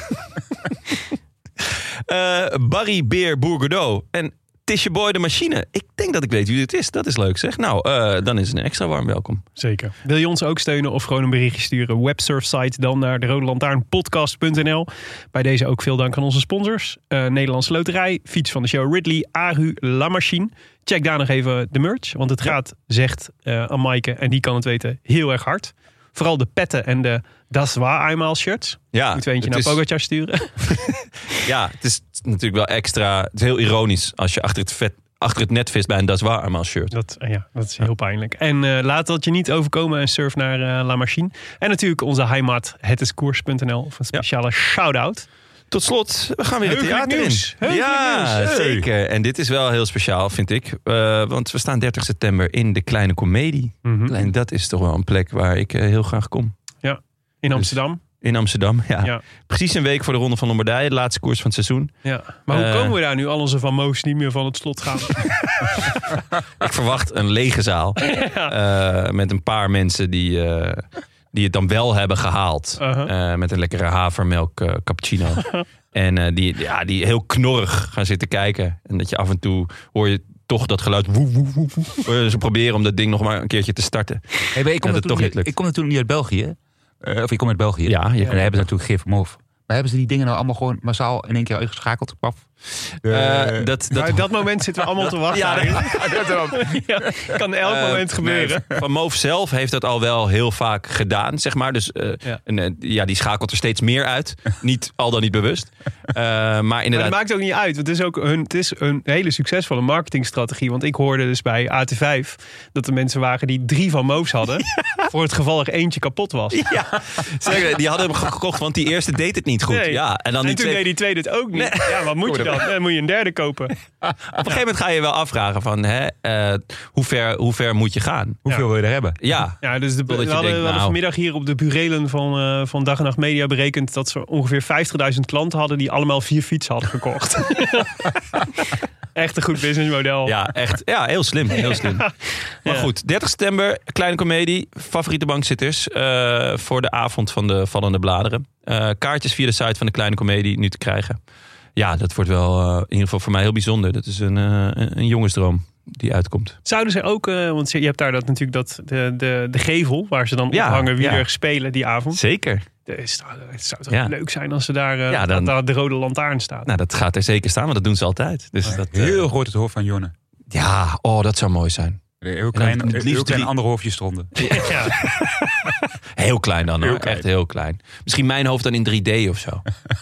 Speaker 1: Eh, Barry Beer Bourgedeau. En Tisje Boy de Machine. Ik denk dat ik weet wie dit is. Dat is leuk zeg. Nou, eh, dan is het een extra warm welkom.
Speaker 2: Zeker. Wil je ons ook steunen of gewoon een berichtje sturen? Websurfsite dan naar de Rode Lantaarnpodcast.nl. Bij deze ook veel dank aan onze sponsors: Eh Nederlandse Loterij, Fiets van de Show Ridley, Aru, La Machine. Check daar nog even de merch, want het gaat, zegt eh aan Maaike, en die kan het weten, heel erg hard. Vooral de petten en de Das war einmal shirts.
Speaker 1: Ja,
Speaker 2: Moeten we eentje
Speaker 1: het
Speaker 2: naar
Speaker 1: is-
Speaker 2: Pogacar sturen.
Speaker 1: Ja, het is natuurlijk wel extra. Het is heel ironisch als je achter het, vet, achter het net vist bij een Das Waar Armaal shirt.
Speaker 2: Dat, eh, ja, dat is heel pijnlijk. En eh, laat dat je niet overkomen en surf naar eh, La Machine. En natuurlijk onze heimat, hetiskoers.nl. Of een speciale shout-out.
Speaker 1: Tot slot, we gaan weer het
Speaker 2: Heugelijk
Speaker 1: theater
Speaker 2: nieuws.
Speaker 1: in.
Speaker 2: Heugelijk
Speaker 1: ja,
Speaker 2: nieuws. Hey.
Speaker 1: zeker. En dit is wel heel speciaal, vind ik. Eh, want we staan 30 september in de Kleine Comedie.
Speaker 2: Mhm.
Speaker 1: En dat is toch wel een plek waar ik eh, heel graag kom. Dus-
Speaker 2: In Amsterdam.
Speaker 1: In Amsterdam, ja.
Speaker 2: Ja.
Speaker 1: Precies een week voor de Ronde van Lombardije, de laatste koers van het seizoen.
Speaker 2: Ja. Maar hoe
Speaker 1: Eh.
Speaker 2: komen we daar nu? Al onze Van Moos niet meer van het slot gaan.
Speaker 1: Ik verwacht een lege zaal. Eh, met een paar mensen die, eh, die het dan wel hebben gehaald.
Speaker 2: Uh-huh.
Speaker 1: Eh, met een lekkere havermelk eh, cappuccino. en eh, die, ja, die heel knorrig gaan zitten kijken. En dat je af en toe hoor je toch dat geluid. Woe, woe, woe, woe. Eh, Ze proberen om dat ding nog maar een keertje te starten.
Speaker 3: Hey, maar ik, kom
Speaker 1: dat het
Speaker 3: natuurlijk
Speaker 1: toch niet
Speaker 3: niet,
Speaker 1: lukt.
Speaker 3: ik kom natuurlijk niet uit België. Eh, of ik kom uit België.
Speaker 1: Ja, je
Speaker 3: En daar hebben ze natuurlijk geen vermogen. Maar hebben ze die dingen nou allemaal gewoon massaal in één keer uitgeschakeld? Paf.
Speaker 1: Eh,
Speaker 3: Eh,
Speaker 1: dat,
Speaker 2: Maar
Speaker 1: dat,
Speaker 2: op dat moment zitten we allemaal te wachten.
Speaker 1: Ja,
Speaker 2: eigenlijk.
Speaker 3: dat erop.
Speaker 2: Ja, kan elk
Speaker 1: Eh,
Speaker 2: moment gebeuren.
Speaker 1: nee, Van Moof zelf heeft dat al wel heel vaak gedaan, zeg maar. Dus eh,
Speaker 2: Ja.
Speaker 1: en, eh, ja, die schakelt er steeds meer uit. Niet, al dan niet bewust. Eh, maar
Speaker 2: Maar
Speaker 1: inderdaad,
Speaker 2: dat maakt ook niet uit. Want het is ook een, het is een hele succesvolle marketingstrategie. Want ik hoorde dus bij AT5 dat er mensen waren die drie van Moos hadden. Voor het geval er eentje kapot was.
Speaker 1: ja, zeker, die hadden hem gekocht, want die eerste deed het niet goed.
Speaker 2: Nee.
Speaker 1: Ja, en dan
Speaker 2: en
Speaker 1: die
Speaker 2: toen
Speaker 1: twee-
Speaker 2: deed die tweede het ook niet. Ja, wat moet je dan? Dan moet je een derde kopen.
Speaker 1: Op een gegeven moment ga je wel afvragen van, hè, eh, hoe, ver, hoe ver moet je gaan?
Speaker 3: Hoeveel wil je er hebben?
Speaker 1: Ja,
Speaker 2: Ja, dus de, we
Speaker 1: Totdat je
Speaker 2: hadden, we
Speaker 1: denkt,
Speaker 2: hadden
Speaker 1: nou.
Speaker 2: vanmiddag hier op de burelen van, eh, van Dag en Nacht Media berekend... dat ze ongeveer 50.000 klanten hadden die allemaal vier fietsen hadden gekocht. Echt een goed businessmodel.
Speaker 1: ja echt. Ja, heel slim. Heel slim. Maar
Speaker 2: Ja.
Speaker 1: goed, 30 september, kleine komedie. Favoriete bankzitters eh, voor de avond van de Vallende Bladeren. Eh, kaartjes via de site van de Kleine Comedie nu te krijgen. Ja, dat wordt wel eh, in ieder geval voor mij heel bijzonder. Dat is een, eh, een een jongensdroom die uitkomt.
Speaker 2: Zouden ze ook, eh, want je hebt daar dat natuurlijk dat, de, de, de gevel waar ze dan
Speaker 1: Ja,
Speaker 2: ophangen wie
Speaker 1: ja.
Speaker 2: er spelen die avond.
Speaker 1: Zeker.
Speaker 2: Dat is toch- Het zou toch
Speaker 1: Ja.
Speaker 2: leuk zijn als ze daar, eh,
Speaker 1: Ja,
Speaker 2: dat
Speaker 1: dan-
Speaker 2: daar de rode lantaarn staat.
Speaker 1: Nou, dat gaat er zeker staan, want dat doen ze altijd. Dus dat, eh,
Speaker 3: Heel groot het hoofd van Jonne.
Speaker 1: ja, oh, dat zou mooi zijn.
Speaker 3: Heel klein,
Speaker 1: het liefst
Speaker 3: heel klein
Speaker 1: drie-
Speaker 3: andere hoofdjes eronder.
Speaker 2: Ja.
Speaker 1: Heel klein dan, hoor.
Speaker 3: Heel klein.
Speaker 1: echt heel klein. Misschien mijn hoofd dan in 3D of zo.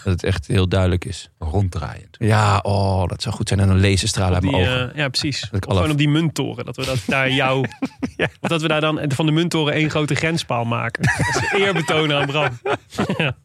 Speaker 1: dat het echt heel duidelijk is.
Speaker 3: Ronddraaiend.
Speaker 1: Ja, oh, dat zou goed zijn. En een laserstraal uit
Speaker 2: Die,
Speaker 1: mijn ogen.
Speaker 2: eh, ja, precies.
Speaker 1: ik
Speaker 2: Of
Speaker 1: alle-
Speaker 2: Gewoon op die munttoren. Dat we dat daar jou. of dat we daar dan van de munttoren één grote grenspaal maken. Dat is een eerbetoon aan Bram. ja.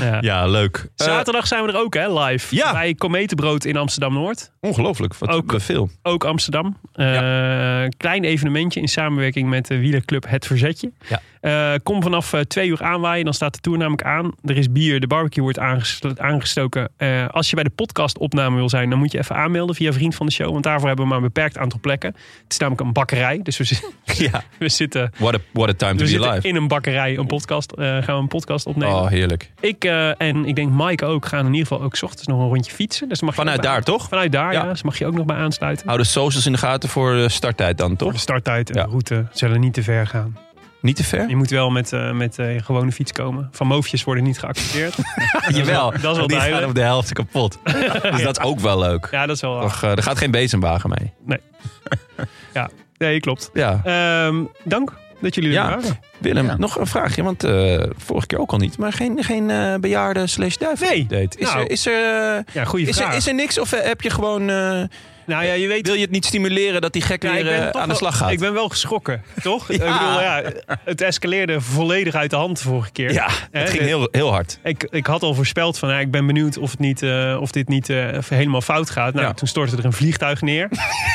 Speaker 2: Ja.
Speaker 1: Ja, leuk. Eh,
Speaker 2: Zaterdag zijn we er ook, hè? Live.
Speaker 1: Ja.
Speaker 2: Bij Kometenbrood in Amsterdam Noord.
Speaker 1: Ongelooflijk, wat
Speaker 2: Ook.
Speaker 1: een film.
Speaker 2: ook Amsterdam. Eh, Klein evenementje in samenwerking met de wielerclub Het Verzetje.
Speaker 1: Ja.
Speaker 2: Eh, kom vanaf eh, twee uur aanwaaien, dan staat de tour namelijk aan. Er is bier, de barbecue wordt aangeslo- aangestoken. Eh, als je bij de podcastopname wil zijn, dan moet je even aanmelden via Vriend van de Show. Want daarvoor hebben we maar een beperkt aantal plekken. Het is namelijk een bakkerij, dus we, zi-
Speaker 1: Ja.
Speaker 2: we zitten,
Speaker 1: What a, what a time to
Speaker 2: we
Speaker 1: be
Speaker 2: zitten
Speaker 1: alive.
Speaker 2: in een bakkerij een podcast, eh, gaan we een podcast opnemen.
Speaker 1: Oh, heerlijk.
Speaker 2: Ik eh, en ik denk Mike ook gaan in ieder geval ook 's ochtends nog een rondje fietsen. Dus dan mag je
Speaker 1: Vanuit
Speaker 2: ook bij-
Speaker 1: daar, toch?
Speaker 2: Vanuit daar, ja.
Speaker 1: Ja.
Speaker 2: Dus mag je ook nog bij aansluiten.
Speaker 1: Hou de socials in de gaten voor de starttijd dan, toch?
Speaker 2: De starttijd en
Speaker 1: Ja.
Speaker 2: de route zullen niet te ver gaan.
Speaker 1: Niet te ver?
Speaker 2: Je moet wel met, eh, met eh, je gewone fiets komen. Van moofjes worden niet geaccepteerd.
Speaker 1: Jawel.
Speaker 2: dat is wel
Speaker 1: want die
Speaker 2: duidelijk.
Speaker 1: gaan op de helft kapot. Dus dat is ook wel leuk.
Speaker 2: ja, dat is wel...
Speaker 1: Toch, eh, er gaat geen bezemwagen mee.
Speaker 2: Nee, klopt.
Speaker 1: Ja.
Speaker 2: Ehm, dank dat jullie er
Speaker 1: Ja.
Speaker 2: waren.
Speaker 1: Willem,
Speaker 3: Ja.
Speaker 1: nog een vraagje. Want eh, vorige keer ook al niet. Maar geen, geen eh bejaarde slash duif
Speaker 2: Nee.
Speaker 1: date. Is,
Speaker 2: Nou.
Speaker 1: er, is, er, eh,
Speaker 2: Ja, goede
Speaker 1: is,
Speaker 2: vraag.
Speaker 1: er, is er niks? Of eh, heb je gewoon... eh,
Speaker 2: nou ja, je weet...
Speaker 1: wil je het niet stimuleren dat die gek
Speaker 2: Ja, ik
Speaker 1: weer
Speaker 2: ben
Speaker 1: eh,
Speaker 2: toch
Speaker 1: aan de
Speaker 2: wel-
Speaker 1: slag gaat?
Speaker 2: Ik ben wel geschrokken, toch? Ik bedoel, ja, het escaleerde volledig uit de hand de vorige keer.
Speaker 1: Ja,
Speaker 2: Hè,
Speaker 1: het ging
Speaker 2: de-
Speaker 1: heel, heel hard.
Speaker 2: Ik, ik had al voorspeld van, ja, ik ben benieuwd of, het niet, eh, of dit niet eh, helemaal fout gaat. Nou,
Speaker 1: Ja.
Speaker 2: toen stortte er een vliegtuig neer.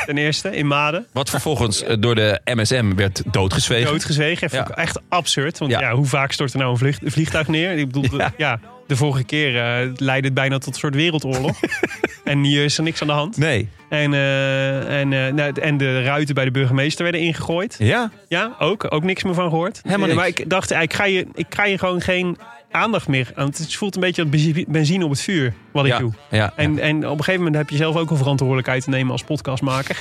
Speaker 2: ten eerste, in Maden.
Speaker 1: Wat vervolgens eh, door de MSM werd doodgezwegen.
Speaker 2: doodgezwegen. Vond ik echt absurd. Want ja.
Speaker 1: Ja.
Speaker 2: hoe vaak stort er nou een vlieg- een vliegtuig neer? Ik bedoel, de- ja.
Speaker 1: Ja.
Speaker 2: de vorige keer eh, leidde het bijna tot een soort wereldoorlog. en hier is er niks aan de hand.
Speaker 1: Nee.
Speaker 2: En, eh, en, eh, nou, en de ruiten bij de burgemeester werden ingegooid.
Speaker 1: Ja?
Speaker 2: Ja, ook. Ook niks meer van gehoord.
Speaker 1: Helemaal
Speaker 2: Eh,
Speaker 1: niks.
Speaker 2: Maar ik dacht, eh, ik ga je, ik ga je gewoon geen aandacht meer... Want het voelt een beetje als benzi- benzine op het vuur, wat ik
Speaker 1: ja.
Speaker 2: doe.
Speaker 1: Ja.
Speaker 2: En, en op een gegeven moment heb je zelf ook een verantwoordelijkheid te nemen als podcastmaker.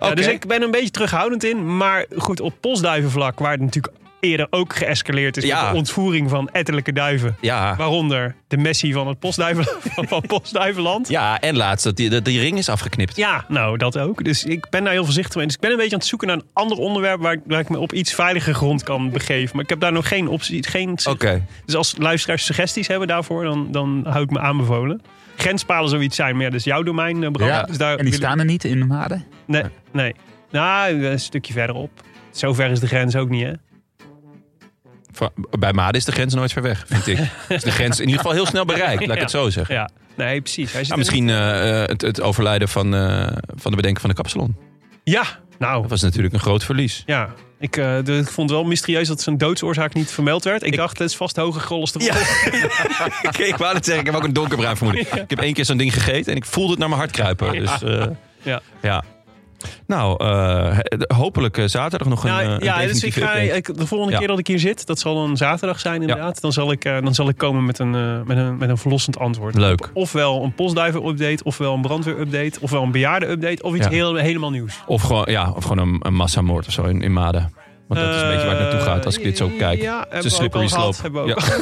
Speaker 2: ja, dus
Speaker 1: Oké.
Speaker 2: ik ben er een beetje terughoudend in. Maar goed, op postduivenvlak, waar het natuurlijk eerder ook geëscaleerd is...
Speaker 1: Ja.
Speaker 2: met de ontvoering van ettelijke duiven.
Speaker 1: ja.
Speaker 2: Waaronder de Messi van het postduiven, van, van postduivenland.
Speaker 1: Ja, en laatst dat die, dat die ring is afgeknipt.
Speaker 2: Ja, nou, dat ook. Dus ik ben daar heel voorzichtig mee. Dus ik ben een beetje aan het zoeken naar een ander onderwerp... waar, ik- waar ik me op iets veiliger grond kan begeven. Maar ik heb daar nog geen optie, geen
Speaker 1: Oké.
Speaker 2: dus als luisteraars suggesties hebben daarvoor, dan, dan hou ik me aanbevolen. Grenspalen zoiets zijn, maar ja, dat is jouw domein, eh, Bram.
Speaker 3: Ja,
Speaker 2: Dus daar
Speaker 3: En die
Speaker 2: wil ik-
Speaker 3: staan er niet in de maden?
Speaker 2: Nee, nee. Nou, een stukje verderop. Zover is de grens ook niet, hè?
Speaker 1: Va- Bij Maden is de grens nooit ver weg, vind ik. Is de grens in ieder geval heel snel bereikt, laat ik het zo zeggen.
Speaker 2: Ja, nee, precies. Hij zit
Speaker 1: Ja,
Speaker 2: er
Speaker 1: misschien eh, eh, het, het overlijden van, eh, van de bedenker van de kapsalon.
Speaker 2: niet. Ja, nou,
Speaker 1: Dat was natuurlijk een groot verlies.
Speaker 2: ja. Ik, eh, de- ik vond het wel mysterieus dat zijn doodsoorzaak niet vermeld werd. Ik,
Speaker 1: Ik-
Speaker 2: dacht, het is vast hoge grolles te
Speaker 1: Ja.
Speaker 2: volgen.
Speaker 1: Oké, ik wou het zeggen, ik heb ook een donkerbruin vermoeden. Ik heb één keer zo'n ding gegeten en ik voelde het naar mijn hart kruipen. Dus, eh,
Speaker 2: Ja.
Speaker 1: ja. Nou, eh, hopelijk eh, zaterdag nog een,
Speaker 2: Nou,
Speaker 1: eh, een
Speaker 2: ja, dus ik
Speaker 1: definitieve
Speaker 2: ga,
Speaker 1: update.
Speaker 2: ik- de volgende
Speaker 1: Ja.
Speaker 2: keer dat ik hier zit, dat zal een zaterdag zijn inderdaad. Dan, zal ik, eh, dan zal ik komen met een, eh, met een, met een verlossend antwoord.
Speaker 1: Leuk.
Speaker 2: Ofwel een postduiven-update, ofwel een brandweer-update, ofwel een bejaarden-update, of iets
Speaker 1: Ja.
Speaker 2: heel, helemaal nieuws.
Speaker 1: Of gewoon, ja, of gewoon een, een massamoord of zo in, in Maden. Want dat is een beetje waar het naartoe gaat als ik dit zo kijk.
Speaker 2: Eh, Ja,
Speaker 1: het
Speaker 2: hebben
Speaker 1: is
Speaker 2: we
Speaker 1: een
Speaker 2: ook al
Speaker 1: slippery
Speaker 2: gehad,
Speaker 1: slope.
Speaker 2: hebben we
Speaker 1: Ja.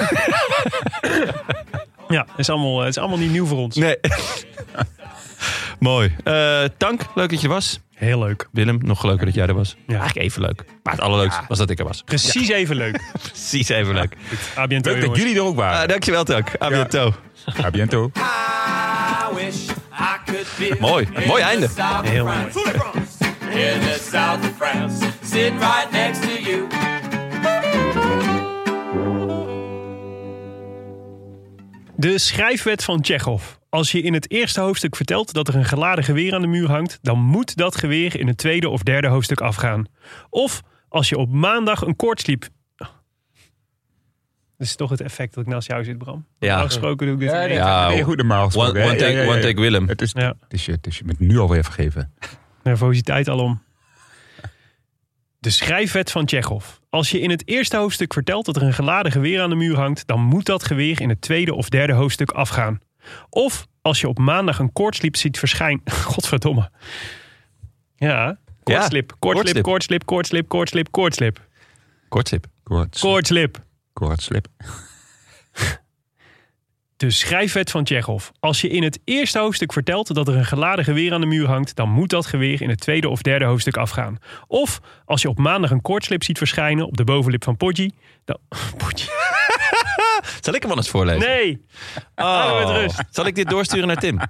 Speaker 2: ook Ja, het is allemaal, het is allemaal niet nieuw voor ons.
Speaker 1: Nee. Mooi. Eh, Tank, leuk dat je was.
Speaker 2: Heel leuk.
Speaker 1: Willem, nog leuker dat jij er was.
Speaker 2: Ja.
Speaker 1: Eigenlijk even leuk. Maar het allerleukste was dat ik er was.
Speaker 2: Precies even leuk.
Speaker 1: Precies even leuk.
Speaker 2: A biento,
Speaker 3: Leuk dat
Speaker 2: jongens.
Speaker 3: jullie er ook
Speaker 1: Ah,
Speaker 3: waren.
Speaker 1: dankjewel, Tank. A bientôt.
Speaker 3: A biento.
Speaker 4: I wish I could be
Speaker 1: Mooi.
Speaker 4: in
Speaker 1: Mooi
Speaker 4: the
Speaker 1: einde.
Speaker 4: south of
Speaker 2: Heel
Speaker 4: France. In the south of France, sit right next to you.
Speaker 2: De schrijfwet van Tsjechov. Als je in het eerste hoofdstuk vertelt dat er een geladen geweer aan de muur hangt, dan moet dat geweer in het tweede of derde hoofdstuk afgaan. Of als je op maandag een koorts liep. Dat is toch het effect dat ik naast jou zit, Bram.
Speaker 1: Ja.
Speaker 2: Afgesproken doe ik dit. in één keer.
Speaker 1: Ja,
Speaker 3: Weer goed normaal
Speaker 1: one,
Speaker 3: gesproken, hè?
Speaker 1: one
Speaker 3: Ja, ja,
Speaker 1: take,
Speaker 3: ja,
Speaker 1: one
Speaker 3: ja.
Speaker 1: take Willem.
Speaker 3: Het is,
Speaker 2: Ja.
Speaker 3: het, is, je- het is je met nu alweer vergeven.
Speaker 2: Nervositeit alom. De schrijfwet van Tsjechov. Als je in het eerste hoofdstuk vertelt dat er een geladen geweer aan de muur hangt, dan moet dat geweer in het tweede of derde hoofdstuk afgaan. Of als je op maandag een koortslip ziet verschijnen. Godverdomme. Ja, koortslip, koortslip,
Speaker 1: koortslip.
Speaker 2: koortslip, koortslip, koortslip, koortslip.
Speaker 1: Kortslip.
Speaker 3: Koorts,
Speaker 2: Koortslip.
Speaker 3: koortslip.
Speaker 2: De schrijfwet van Tsjechov. Als je in het eerste hoofdstuk vertelt dat er een geladen geweer aan de muur hangt, dan moet dat geweer in het tweede of derde hoofdstuk afgaan. Of als je op maandag een koortslip ziet verschijnen op de bovenlip van Podgy, dan. Podgy.
Speaker 1: Zal ik hem anders voorlezen?
Speaker 2: Nee!
Speaker 1: Oh.
Speaker 2: met rust.
Speaker 1: Zal ik dit doorsturen naar Tim?